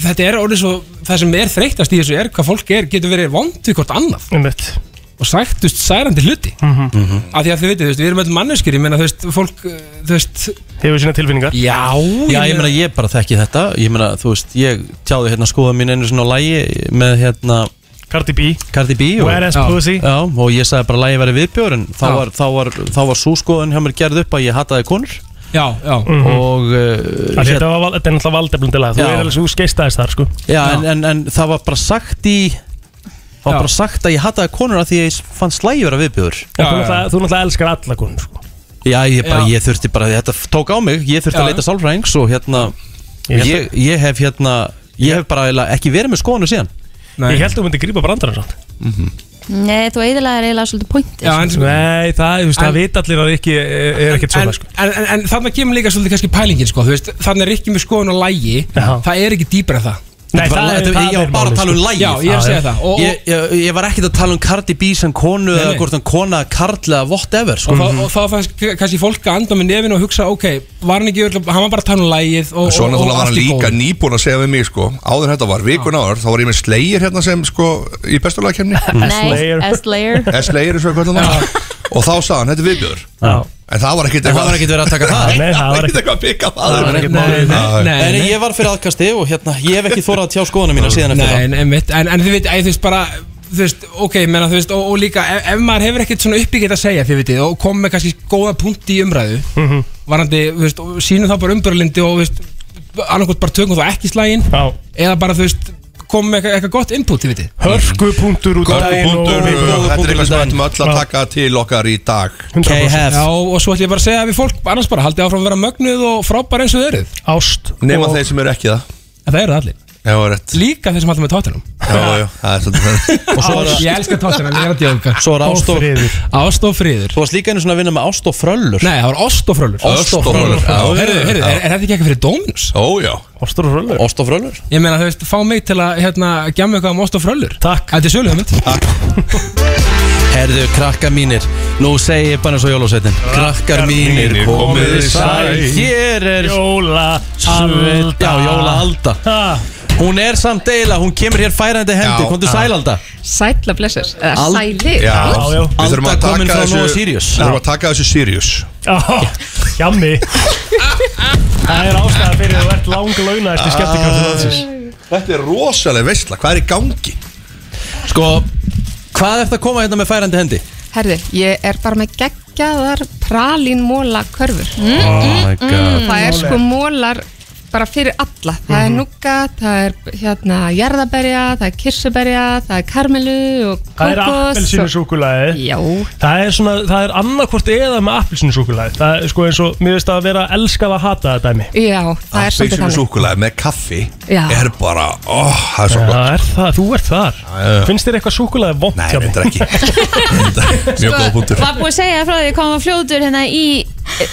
þetta er orðið svo, það sem er þreytast í þessu er hvað fólk er, getur verið vond við hvort annað Einmitt. og sagt, þú veist, særandi hluti Mhm. af því að þið veitir, þú veist, við erum öll manneskir ég meina, þú veist, fólk, uh, þú veist hefur sína tilfinningar Já, Já, ég meina ég bara þekki þetta Ég meina, þú veist, ég tjáði hérna skoða mín einu svona á lægi með hérna Cardi B Cardi B og, Whereas Já. Pussy. Já, og ég sagði bara að lægi verið viðbjör en þá Já. var, þá, var, þá var svo skoðun hjá mér gerð upp að ég hataði konur Já, já Mhm. Og uh, Það Þetta var, þetta er náttúrulega valdeflundilega Þú Já. er alveg svo skeistaðist þar sko Já, en, en, en það var bara sagt í Það var bara sagt að ég hataði konur að því að ég fann slægi vera viðbjör Og þú náttúrulega, þú náttúrulega elskar alla konur sko Já, ég, bara, Já. ég þurfti bara, þetta tók á mig Ég þurfti Já. að leita sálfræðings og hérna Ég ég, held ég, hef hérna Ég hef bara eiginlega ekki verið með skoðunum síðan Nei. Ég held að þú myndir grípa brandarann samt Nei, þú eiginlega er eiginlega svolítið point Já, en- Nei, það, þú veist, það vita allir að ekki er, er ekkert en, svona sko en, en, en þarna kemur líka svolítið kannski pælingin, sko, þú veist, þarna er ekki með skoðun og lægi, það er ekki dýbra það Nei, það, það, það, ég var bara að sko. tala um lægið Já, ég er að segja það og, ég, ég, ég var ekkert að tala um Cardi B sem konu Nei, eða nei. hvort hann kona, karl eða whatever sko. og, Mhm. þá, og þá fannst kannski fólk að anda með nefinu og hugsa ok, var hann ekki, örugglega- hann var bara að tala um lægið og, Svo og, og náttúrulega var hann allt í líka góðu. nýbúin að segja við mig sko Áður en þetta var vikun áður Þá var ég með slegir hérna sem sko Í besturlagakefni [laughs] Nei, S-layer [laughs] S-layer eins og hvað það var Og þá sagði hann, þetta er viðbjör En það var ekkert En það var ekkert [laughs] verið að taka það. Nei, Nei, það var ekkert eitthvað að pika það upp. Nei, nei. En ég var fyrir aðkasti og hérna, ég hef ekki þórað að tjá skoðunum mína síðan eftir Nei, en, einmitt, en, en þið veit, æ, þú veist bara þú veist, ok, menna, þú veist, og, og líka ef, ef maður hefur ekkert svona uppbyggitt að segja, þið veit og kom með kannski góða punkt í umræðu Mhm. varandi, þú veist, og sínum þá bara umbröðlindi og, þú veist, annarkot bara tökum þá ekki slægin Já. eða bara, þú veist, kom með eitthvað- eitthvað gott input, þið veit Hörkupunktur út af daginn og- Góðbúndur, þetta er eitthvað sem við ættum öll að Já. taka til okkar í dag Já, og svo ætlum ég bara að segja að við fólk annars bara haldið áfram að vera mögnuð og frábær eins og þau eruð Ást Nefna þeir sem eru ekki það En það eru allir Já, rétt Líka þeir sem haldið með tóttunum Já, já, það er svolítið Og svo er- Ég elska tóttunum, ég er að djóka Svo er ást og friður Ást og friður Þú varst líka einu svona að vinna með ást og fröllur Nei, það var ást og fröllur Ást og fröllur Herðu, herðu, er, er þetta ekki eitthvað fyrir Dominus? Ó, já Ást og fröllur Ást og fröllur Ég meina, þú veist, fá mig til að, hérna, gjamma eitthvað um ást og fröllur Takk Þetta er sölu, það mitt Herðu, krakka mínir Nú segi ég bara eins og jólasveitin Krakkar mínir, komiði sæl Hér er Jóla Já, Jóla Alda Hún er samt deila, hún kemur hér færandi hendi Já, Komdu já. sæl Alda Sætla blessur Eða Al- sæli Já, já. Við þurfum að Alda komin taka frá þessu Nóa Við Sirius. þurfum að taka þessu Sirius Hjammi Það er ástæða fyrir að þú ert lang launaðist í skemmtikraftur landsins Ah. Þetta er rosalega veistla, hvað er í gangi? Sko, hvað eftir að koma hérna með færandi hendi? Herði, ég er bara með geggjaðar pralínmóla körfur Oh my god. Það er sko mólar bara fyrir alla Það Mhm. er núka, það er hérna jarðaberja, það er kirsuberja það er karmelu og Það er kokos appelsínu súkulæði Já Það er svona, það er annarkvort eða með appelsínu súkulæði Það er sko eins og, mér veist að vera elskað að hata þetta dæmi Já, það er svolítið Appelsinu þannig súkulega með kaffi Já. Er bara, ó, það er svo Já, gott er það, þú ert þar já. Finnst þér eitthvað súkulæði vond Nei, þetta er ekki Mjög góð punktur Sko, Var búið að segja frá því að koma fljótur hérna í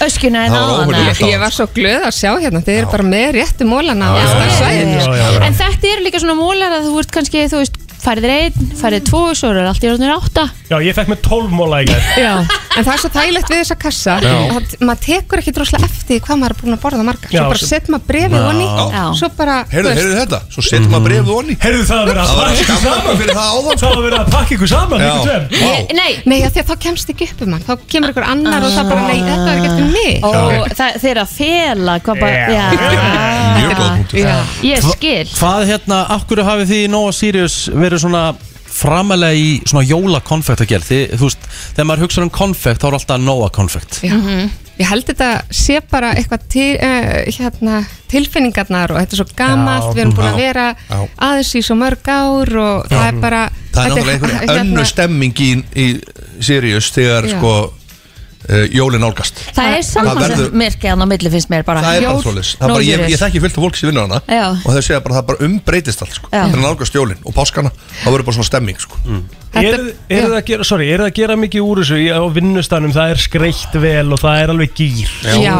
öskjuna en Það var áðan óvenjulegt Ég var svo glöð að sjá hérna, þið eru bara með réttu mólana á Já, alltaf já, svæðinu já, sko. já, já. En þetta eru líka svona mólar að þú ert kannski, þú veist, færið einn, færið tvo, svo eru allt í orðinu átta [laughs] Já, ég fekk með 12 móla í gær Já, en það er svo þægilegt við þessa kassa Já. að maður tekur ekki droslega eftir því hvað maður er búin að borða margar Já, svo bara sem- setjum maður brefið Já. honni Já. svo bara, Heyrðu, heyrðu þetta, svo setjum maður brefið onni Heyrðu það að vera að pakka ykkur saman fyrir það áðan sko. Það var verið að pakka ykkur saman, Já. ykkur tveim Ég, nei, nei af því að þá kemst ekki upp um hann þá kemur ykkur annar og það bara, nei, þetta er ekki eftir mig Ó, það, þeir eru að fela, hvað bara, já Mjög góð punktur Ég skil Hvað hérna, af hverju hafið þið í Nóa Sirius verið svona framalega í svona jólakonfekt að gera Þið, þú veist, þegar maður hugsa um konfekt þá er alltaf nóa konfekt Já. Ég held þetta sé bara eitthvað til, uh, hérna, tilfinningarnar og þetta er svo gamalt, Já. við erum búin að Já. vera Já. aðeins í svo mörg ár og Já. það er hérna- bara Það er þetta náttúrulega [laughs] [laughs] einhver önnu stemming í, í Sirius þegar hérna- Já. sko uh, jólin álgast Það er verður- samfélagsmerkið hann á milli finnst mér bara Það er bara Jól, svoleiðis Það er bara, ég, Nósirus. ég þekki fullt af fólk sem vinnur hana Já. Og þau segja bara að það bara umbreytist allt sko Já. Þegar nálgast jólin og páskana Það verður bara svona stemming sko Mm. Eru er það, að gera- sorry, eru það að gera mikið úr þessu í- á vinnustanum, það er skreitt vel og það er alveg gýr Já,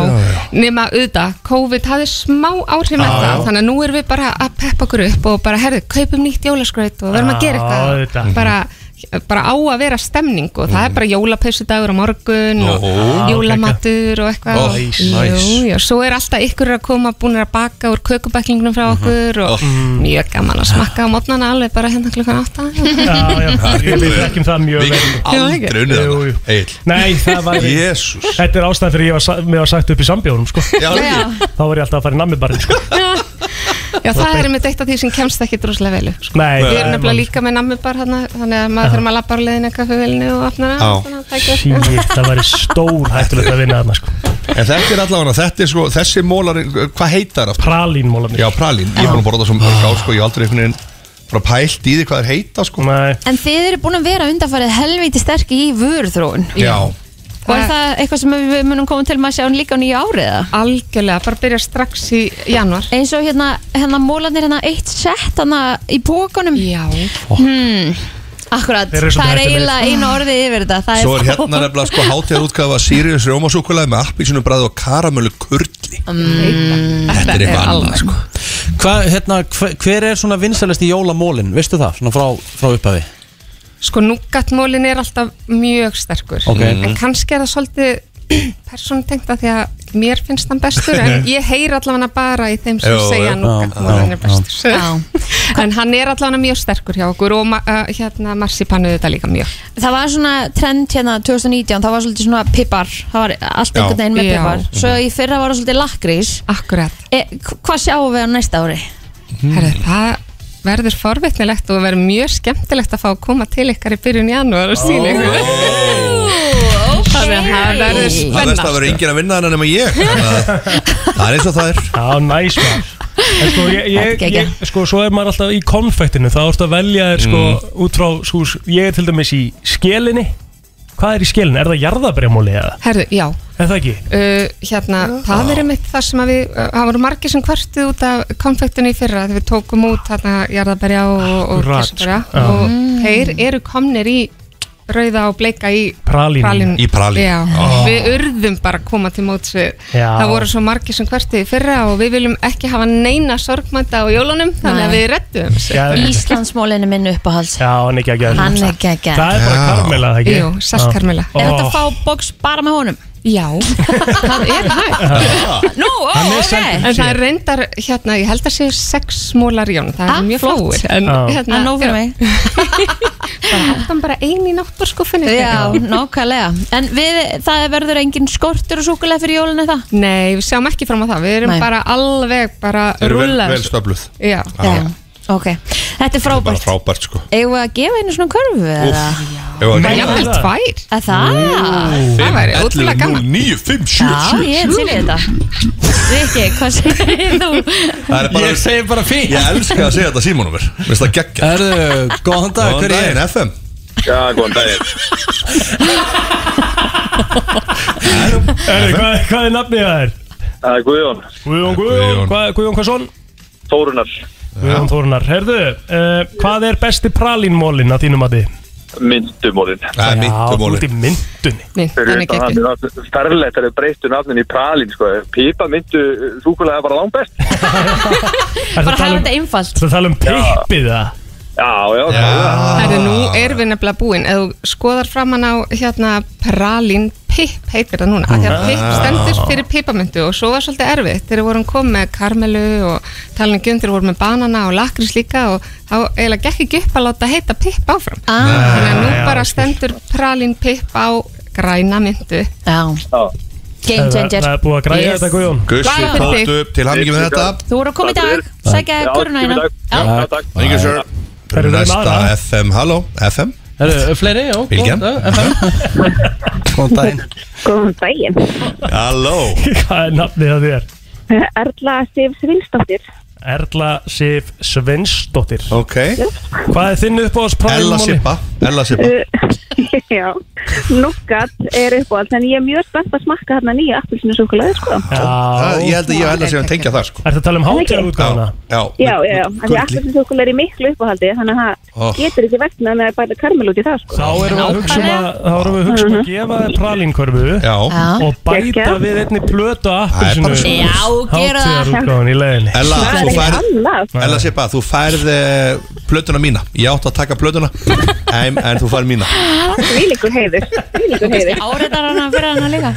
nema auðvitað, COVID hafði smá áhrif með Já, það, já. þannig að nú erum við bara að peppa okkur upp og bara, herðu, kaupum nýtt jólaskraut og verðum að gera Já, eitthvað Mhm. auðvitað. bara, bara á að vera stemning og það er bara jólapeysudagur á morgun og Ah, Nú. jólamatur og eitthvað Ó, og- nice, Jú, nice. já, svo er alltaf ykkur að koma búinir að baka úr kökubæklingnum frá okkur og mjög gaman að smakka á mótnana alveg bara hérna klukkan [laughs] 8 Já, já, við við þekkjum það mjög vel Aldrei unnið Jú, jú. hana Egil Nei, það var Jesús. Þetta er ástæðan fyrir ég var, sa- mér var sagt upp í sambjónum sko. Já, Já. Þá var ég alltaf að fara í nammibarinn sko. Já, það er einmitt eitt af því sem kemst ekki droslega vel upp sko. Nei, Við það erum er nefnilega málið, líka með nammibar hérna, þannig að maður þarf maður að lappa á leiðinu kaffevilinu og opna Já. hana Sýtt, það væri stór hættulegt að vinna þarna sko. En þetta er allavega, þetta er sko, þessi mólar, hvað heita það? Pralín mólarnir. Já, pralín, ég er búin að borða það sem mörg á, sko, ég hef aldrei einhvern veginn bara pælt í því hvað þeir heita, sko. Nei. En þið eru búin að vera undanfarið helviti sterkir í vöruþróun Já, Og er það eitthvað sem við munum koma til með að sjá hann líka á nýja áriða? Algjörlega, bara byrja strax í januar Eins og hérna, hérna mólarnir hérna eitt sett hérna í bókunum Já hmm. Akkurat, Þeir eru svolítið það er hættulegir. eiginlega einu orðið yfir þetta Það svo er er hérna nefnilega, sko, hátíðar útgafa Sirius Rómasúkulega með appilsinu bræði og karamölu kurli. Mm. Þetta er eitthvað annað, sko. Hva, hérna, hver, hver er svona vinsælest í jólamólin, veistu það, svona frá, frá upphafi? Sko núgatmólin er alltaf mjög sterkur Ok. En kannski er það svolítið [clears throat] persónutengt að því að mér finnst hann bestur En ég heyri allavega bara í þeim sem Jú, segja jú. núgatmólin Já, er bestur já. [laughs] En hann er allavega mjög sterkur hjá okkur og ma- uh, hérna marsipanuð þetta líka mjög Það var svona trend hérna 2019, það var svolítið svona pipar Það var allt Já. einhvern veginn með Já. pipar Svo Mhm. í fyrra var það svolítið lakrís Akkurat e, Hvað sjáum við á næsta ári? Herðu, Hmm. það verður forvitnilegt og verður mjög skemmtilegt að fá að koma til ykkar í byrjun janúar og sína ykkur Þannig að það verður Það veist spenna að vera enginn að vinna hana nema ég. þannig að Það er eins og það er. Já, næs maður. En sko, ég, ég, Þetta er ég, sko, svo er maður alltaf í konfektinu Þá ertu að velja þér sko Mm. út frá svo, Ég er til dæmis í skelinni Hvað er í skelinni? Er það jarðabremóli eða? Herðu, já, Er það ekki? uh, hérna, það er einmitt það sem að við, uh, það voru margir sem kvartuð út af konfektinu í fyrra þegar við tókum út hérna jarðaberja og, og Akkurat, kissaberja sko. Já. og Mm. þeir eru komnir í rauða og bleika í Pralínum. pralínum. Í pralínum. Já, Ó. við urðum bara að koma til móts við Já. það voru svo margir sem kvartuð í fyrra og við viljum ekki hafa neina sorgmænta á jólunum þannig að Nei. við rettum Geðveikt. Íslandsmólin er minn uppáhalds Já, hann er ekki að gera Hann er geggjær. Það er bara Já. karmela, það ekki? Jú, saltkarmela. Já. Er þetta Ó. að fá box bara með honum? Já Það er hægt Nú, ó, ok En það er reyndar, hérna, ég held að séu sex smólar jón Það er mjög Ah, flott. flóið En Já. hérna En nóg fyrir mig [laughs] Bara hættan bara ein í náttúrskuffinni Já, nákvæmlega En við, það verður engin skortur og súkulega fyrir jólun eða? Nei, við sjáum ekki fram á það Við erum Nei. bara alveg bara Eru vel, rúlla vel stöfluð. Já, Já. Ok, þetta er Bara frábært frábært, sko. Eigum við að gefa einu svona körfu eða? Ef að- Jafnvel tvær Að það? Fimm, það væri ótrúlega 11, gaman 09, 5, Já, 7, 7, ég er 7. til í þetta Rikki, hvað segir þú? Það er bara, ég segi bara fínt Ég elska að segja þetta símanum mér Vist það geggja Erðu, góðan dag, hver er ég? Góðan daginn, FM Já, góðan daginn Erðu, hvað, hvað er nafnið það er? Það er Guðjón Guðjón, Guðjón, hvað, Guðjón Hvaðsson? Þórunar Guðjón Þórnar, herðu, uh, hvað er besti pralínmólin að þínum að þið? Myndumólin Það er myndumólin. út í myndunni Fyrir hann er utan geggjuð. það, það er starflegt að þau breyttu nafnin í pralin sko. Pípa myndu súkulega bara langbest Bara hafa þetta einfalt Það tala um pippið það Já, já, já. Það er nú erum við nefnilega búin Ef þú skoðar framann á hérna Pralín Pip heitir það núna mm. Því að Pip Ah. stendur fyrir pipamöntu Og svo var svolítið erfitt þegar við vorum komið með karmelu Og um talinu gjöndir voru með banana Og lakrís líka Og þá eiginlega gekk ekki upp að láta heita Pip áfram ah. Þannig að nú Já, bara ég skil. stendur Pralín Pip á græna myndu Já Game Það- changer Það er búið að græja Yes. þetta Guðjón Gussi Bara fyrir Póttu, til hammingi með þetta Þú voru að koma í dag, fyrir. sækja Já, koruna kemur í hérna dag. Já, takk. Thank you, sir. Herru, við erum Næsta aðra. FM, halló, FM Herru, fleiri, já, Vilkjum Góðan daginn Góðan daginn. Halló [laughs] Hvað er nafnið að þér? Erla Sif Svinsdóttir. Erla Sif Svensdóttir Ok Hvað er þinn upp á spræðum? Ella Sibba, Ella Sibba Uh, [laughs] já, núkkat er uppáhald, en ég er mjög spennt að smakka þarna nýja appelsinusúkulaði, sko. Það- Ég held að ég og Ella séum að tengja það sko Er það að tala um Er það ekki? hátíðarútgáfuna? Já, Já, já, já, en því gulli. appelsinusúkulaði er í miklu uppáhaldi, þannig að Oh. það getur ekki vexna með að bæta karmel út í það, sko. Þá erum við að hugsa um að, þá erum við að, hugsa um að gefa þér pralinkörfu Já. og bæta Gekkja. við einni plötu að Það er bara appelsinu svoleiðis. Já, gera það. Hátíðarútgáfan í leiðinni Ella, Það er þú ekki annað. færð Ella Sibba, þú færð eh, plötuna mína Ég átti að taka plötuna en, en þú færð mína Þvílíkur heiður, þvílíkur heiður. Áreitar hana fyrir hana líka.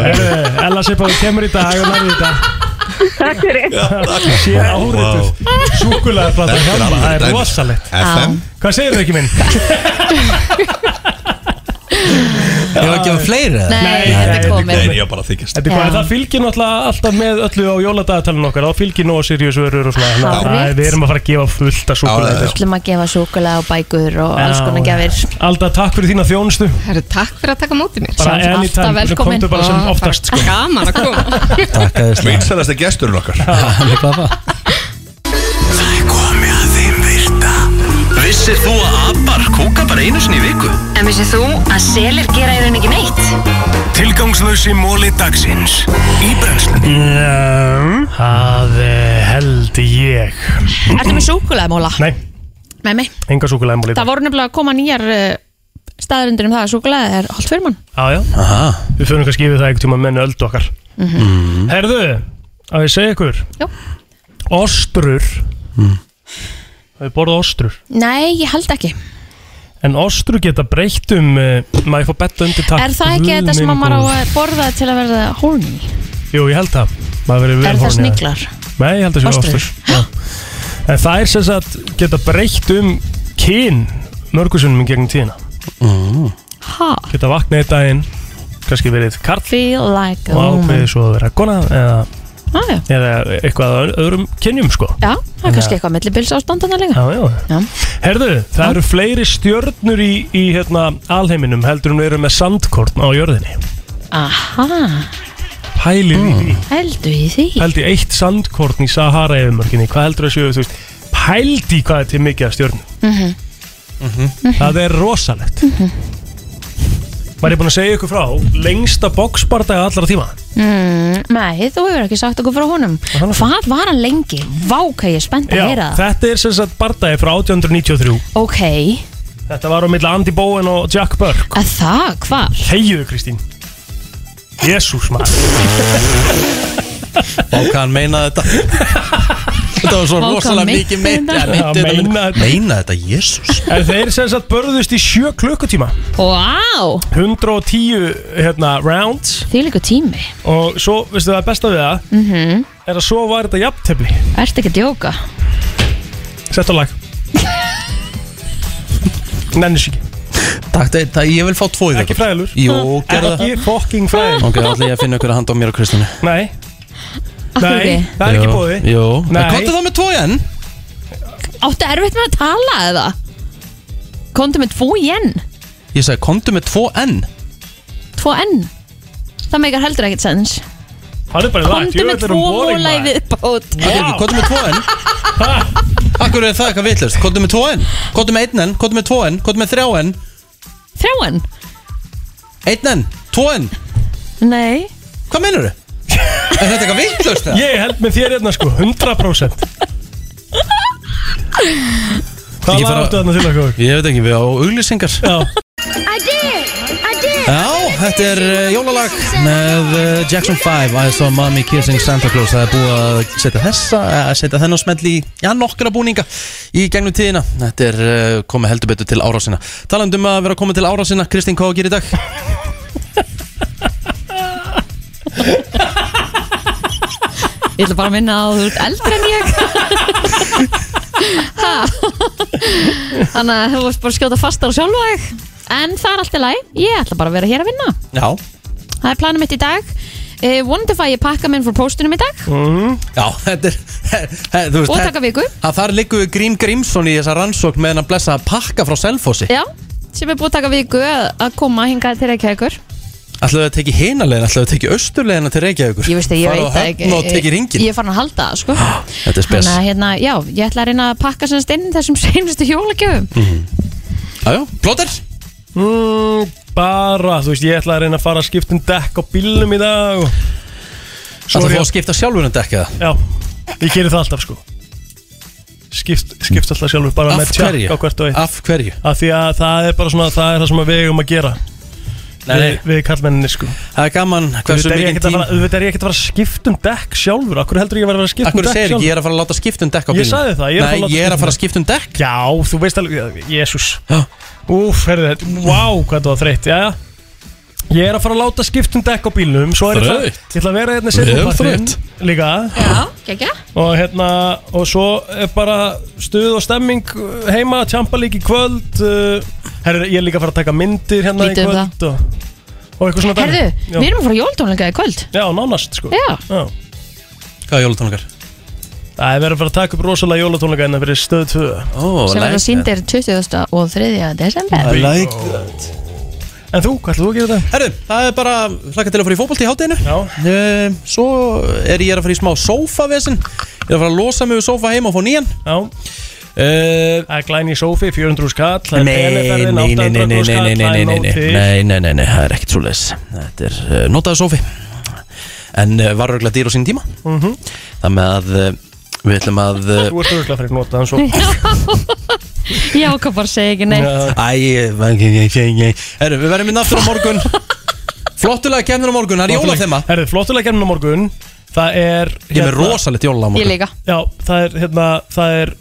Heyrðu, Ella Sippa, þú kemur í dag og nærði í dag Takk fyrir. Sér árituð Súkulæðarplata Þetta er hjálpa, alveg það er dæmis. rosalegt FM. Hvað segir þau ekki minn? [laughs] Ég var ekki að fleiri eða? Nei, Nei, þetta er komið. Nei, ég var bara að þykjast Þetta er hvað, það fylgir náttúrulega alltaf með öllu á jóladagatalinn okkar þá fylgir nóg Sirius vörur og svona þannig að Hárrétt. það- Við erum að fara að gefa fullt að súkulæði Þú ætlum að gefa súkulega og bækur og alls konar gefir. Alda, takk fyrir þína þjónustu Herru, takk fyrir að taka móti mér Bara Sjálfs- anytime, Alltaf þú velkomin. komdu bara sem Ah, Og oftast, sko. Gaman að koma Takk að þess Vinsælasta gesturinn okkar Vissir þú að abar kúka bara einu sinni í viku? En vissið þú að selir gera í raun ekki neitt? Tilgangslösi móli dagsins Í brennslunni Já, Það eh, held ég Ertu með súkulega móla? Nei, Með mig. enga súkulæði múlið Það voru nefnilega að koma nýjar uh, staðarindur um það að súkulega er holdt fyrir mann. Já, já Við fyrir kannski yfir það einhvern tíma menn öldu okkar Herðu, að ég segja ykkur Jú. Ostrur Það er borðað ostrur Nei, ég held ekki. En ostrur geta breytt um uh, Maður fór betta undir takk er það ekki Guð þetta sem minn að maður á góður. að borða til að verða horny? Jú, ég held það Maður verið Er vel það horfinn í sniglar? Nei, ég held það séu Ostrur? ostrur Já. En það er sem sagt geta breytt um kyn mörgusunum í gegnum tíðina Mm. Ha? Geta vaknað í daginn Kannski verið karl Feel like a og woman. ákveðið svo að vera kona eða, Á, já. eða eitthvað að öðrum kynjum sko Já, það er kannski eitthvað millibils ástandana líka. Já, já. Herðu, það eru fleiri stjörnur í, í hérna, alheiminum heldur en við erum með sandkorn á jörðinni Aha, Pælið í því heldur í því. Pældi eitt sandkorn í Sahara efumörkinni Hvað heldur þessu, þú veist Pældi hvað er til mikið af stjörnum Mhm. Það er rosalegt Var ég búinn að segja ykkur frá lengsta boxbardaga allra tíma Mm, nei, þú hefur ekki sagt okkur frá honum Hvað var hann lengi? Vá, hvað ég er spennt að heyra það þetta er sem sagt bardagi frá 1893 Ok, Þetta var á milli Andy Bowen og Jack Burke að það, hvað? Þegiðu Kristín Jésús maður Vá, hvað hann meinaði þetta Þetta var svo Vá, hvað rosalega meinti mikið meint þetta? Já, meinti Já, meina þetta. þetta. Meina þetta, jésus En þeir sem sagt börðust í sjö klukkutíma Vá, 110 hérna, rounds því líka tími Og svo, veistu það besta við það mm -hmm. Er að svo var þetta jafntefni Ertu ekki að djóka? Sett á lag Nennis ekki Takk, það, það, ég vil fá tvo í Ekki viku. fræðilur Jú, gerðu það Ekki fokking fræðilur Ok, þá ætla ég að finna ykkur að handa á mér og Kristínu Nei Af hverju Nei, ekki? það er ekki Jú, bóði Jú, Nei. en komdu þá með tvo í enn Áttu erfitt með að tala eða? Komdu með tvo í enn Ég sagði, komdu með tvo enn Tvo enn Það meikar heldur ekkert sens Það er um bara lag Komdu með tvo hóla í viðbót Komdu með tvo [laughs] enn Akkur er það eitthvað vitlust Komdu með tvo enn Komdu með einn enn Komdu með tvo enn Komdu með þrjá enn Þrjáan? Einn enn Tvo enn Nei Hvað mennur þau? Er þetta eitthvað vitlust það? Ég held með þér hérna sko 100% Hvað lag áttu þarna til okkur? Ég veit ekki, við á auglýsingar Já Já, þetta er uh, jólalag með uh, Jackson 5 I saw mommy kissing Santa Claus Það er búið að setja þessa að setja þennan smell í já, nokkra búninga í gegnum tíðina Þetta er uh, komið heldur betur til ára sinna Talandi um að vera komið til ára sinna Kristín, hvað á að gera í dag? Ég ætla bara að minna á að þú ert eldri en ég Ha. Þannig að þú vorst bara að skjóta fastar á sjálfa þig En það er allt í lagi Ég ætla bara að vera hér að vinna Já Það er planum mitt í dag uh, vonandi fæ ég pakka minn frá póstunum í dag Mhm. Mm. Já, þetta er [laughs] he, þú Og taka viku. að Þar liggur við Grím Grímsson í þessa rannsókn með hann blessa að pakka frá Selfossi Já, sem er búið að taka viku að, að koma hingað til Reykjavíkur Ætlaðu að teki hinalegin, ætlaðu að teki austurlegina til Reykjavíkur Ég veist að ég Fara á veit það höfn ekki Og teki ringin Ég er farin að halda það sko Ah, Þetta er spes Þannig að hérna, já, ég ætla að reyna að pakka sem stinn þessum [laughs] seinustu jólagjöfum Jájá, plóter? Mm, bara, þú veist, ég ætla að reyna að fara að skipta um dekk á bílnum í dag og... Ætlaðu þú að skipta sjálfur um dekka það? Já, ég gerir það alltaf sko Skipt, skipt alltaf sjálfur bara Af með tjakk hverju? á hvert og eitt Af hverju? Af því að það er bara svona, það er það sem við eigum að gera Nei, nei. Við, við kallmenninni sko Það er gaman hversu Auðvitað er ég mikinn ekkert að tím fara- Auðvitað er ég ekkert að fara að skipta um dekk sjálfur Akkur heldur ég að vera að skipta um Akkur dekk segir sjálfur ekki, ég er að fara að láta skipta um dekka á bílnum Ég sagði það, ég er að fara að Nei, láta ég er skipta að um fara dekk. að skipta um dekk Já, þú veist alveg, jésús Úf, herðu þetta, wow, hvað það var þreytt Jæja, ég er að fara að láta skipt um dekk á bílnum Svo er ég að- Þreytt? ég ætla að vera hérna Vel setjum partinn þreytt. Líka Já, gekkja Og hérna, og svo er bara stuð og stemming uh, heima Tjampa lík í kvöld uh, Herru, ég er líka að fara að taka myndir hérna Lítið um í kvöld og, og eitthvað svona Herðu, dæmi. Já. við erum að fara jóltónleika í kvöld Já, nánast sko Já. Hvað er jólutónleikar? Það er verið að fara að taka upp rosalega jólatónleika hérna fyrir stöð 2 oh, sem verður síndir 20. og 3. desember I like that En þú, hvað ætlum þú að gera þetta? Herru, það er bara hlaka til að fara í fótbolt í hátteginu Já Svo er ég að fara í smá sófavesen Ég er að fara að losa mig við sófa heima og fá nýjan Já Það er glæni í sófi, 400 skall það Eh, Nei, er nei, nei, peningaferðin, nei, nei, nei, nei, 800 skall, nei, það er nei, nei, nóg nei, til. nei, nei, nei, nei, það er ekkert svo leiðis Þetta er uh, notaður sófi En uh, var örgulega dýr á sín tíma Mhm. Það með að uh, við ætlum að uh, Þú ert örgulega fyrir notaðan svo Já, hvað bara segja ekki neitt Æ, ég- ég- ég- ég- Herru, við verðum inn aftur á morgun Flottulega kemur á morgun, það er jóla þeim Herðu, flottulega kemur á morgun Það er hérna- Ég er með rosalegt jóla á morgun Já, það er, hérna, það er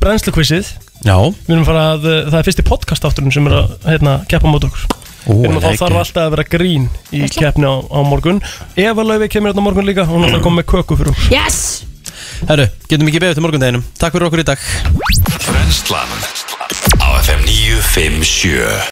brennslukvissið Já Við erum að fara að, uh, það er fyrsti podcast átturinn sem er að, hérna, keppa mót okkur Ó, Við erum að ekki. þá þarf alltaf að vera grín í Veistla. keppni á, á morgun Eva Laufi kemur hérna á morgun líka, hún er alltaf að koma með köku fyrir okkur Yes! Herru, getum ekki beðið til morgundeginum Takk fyrir okkur í dag Brennslan á FM 957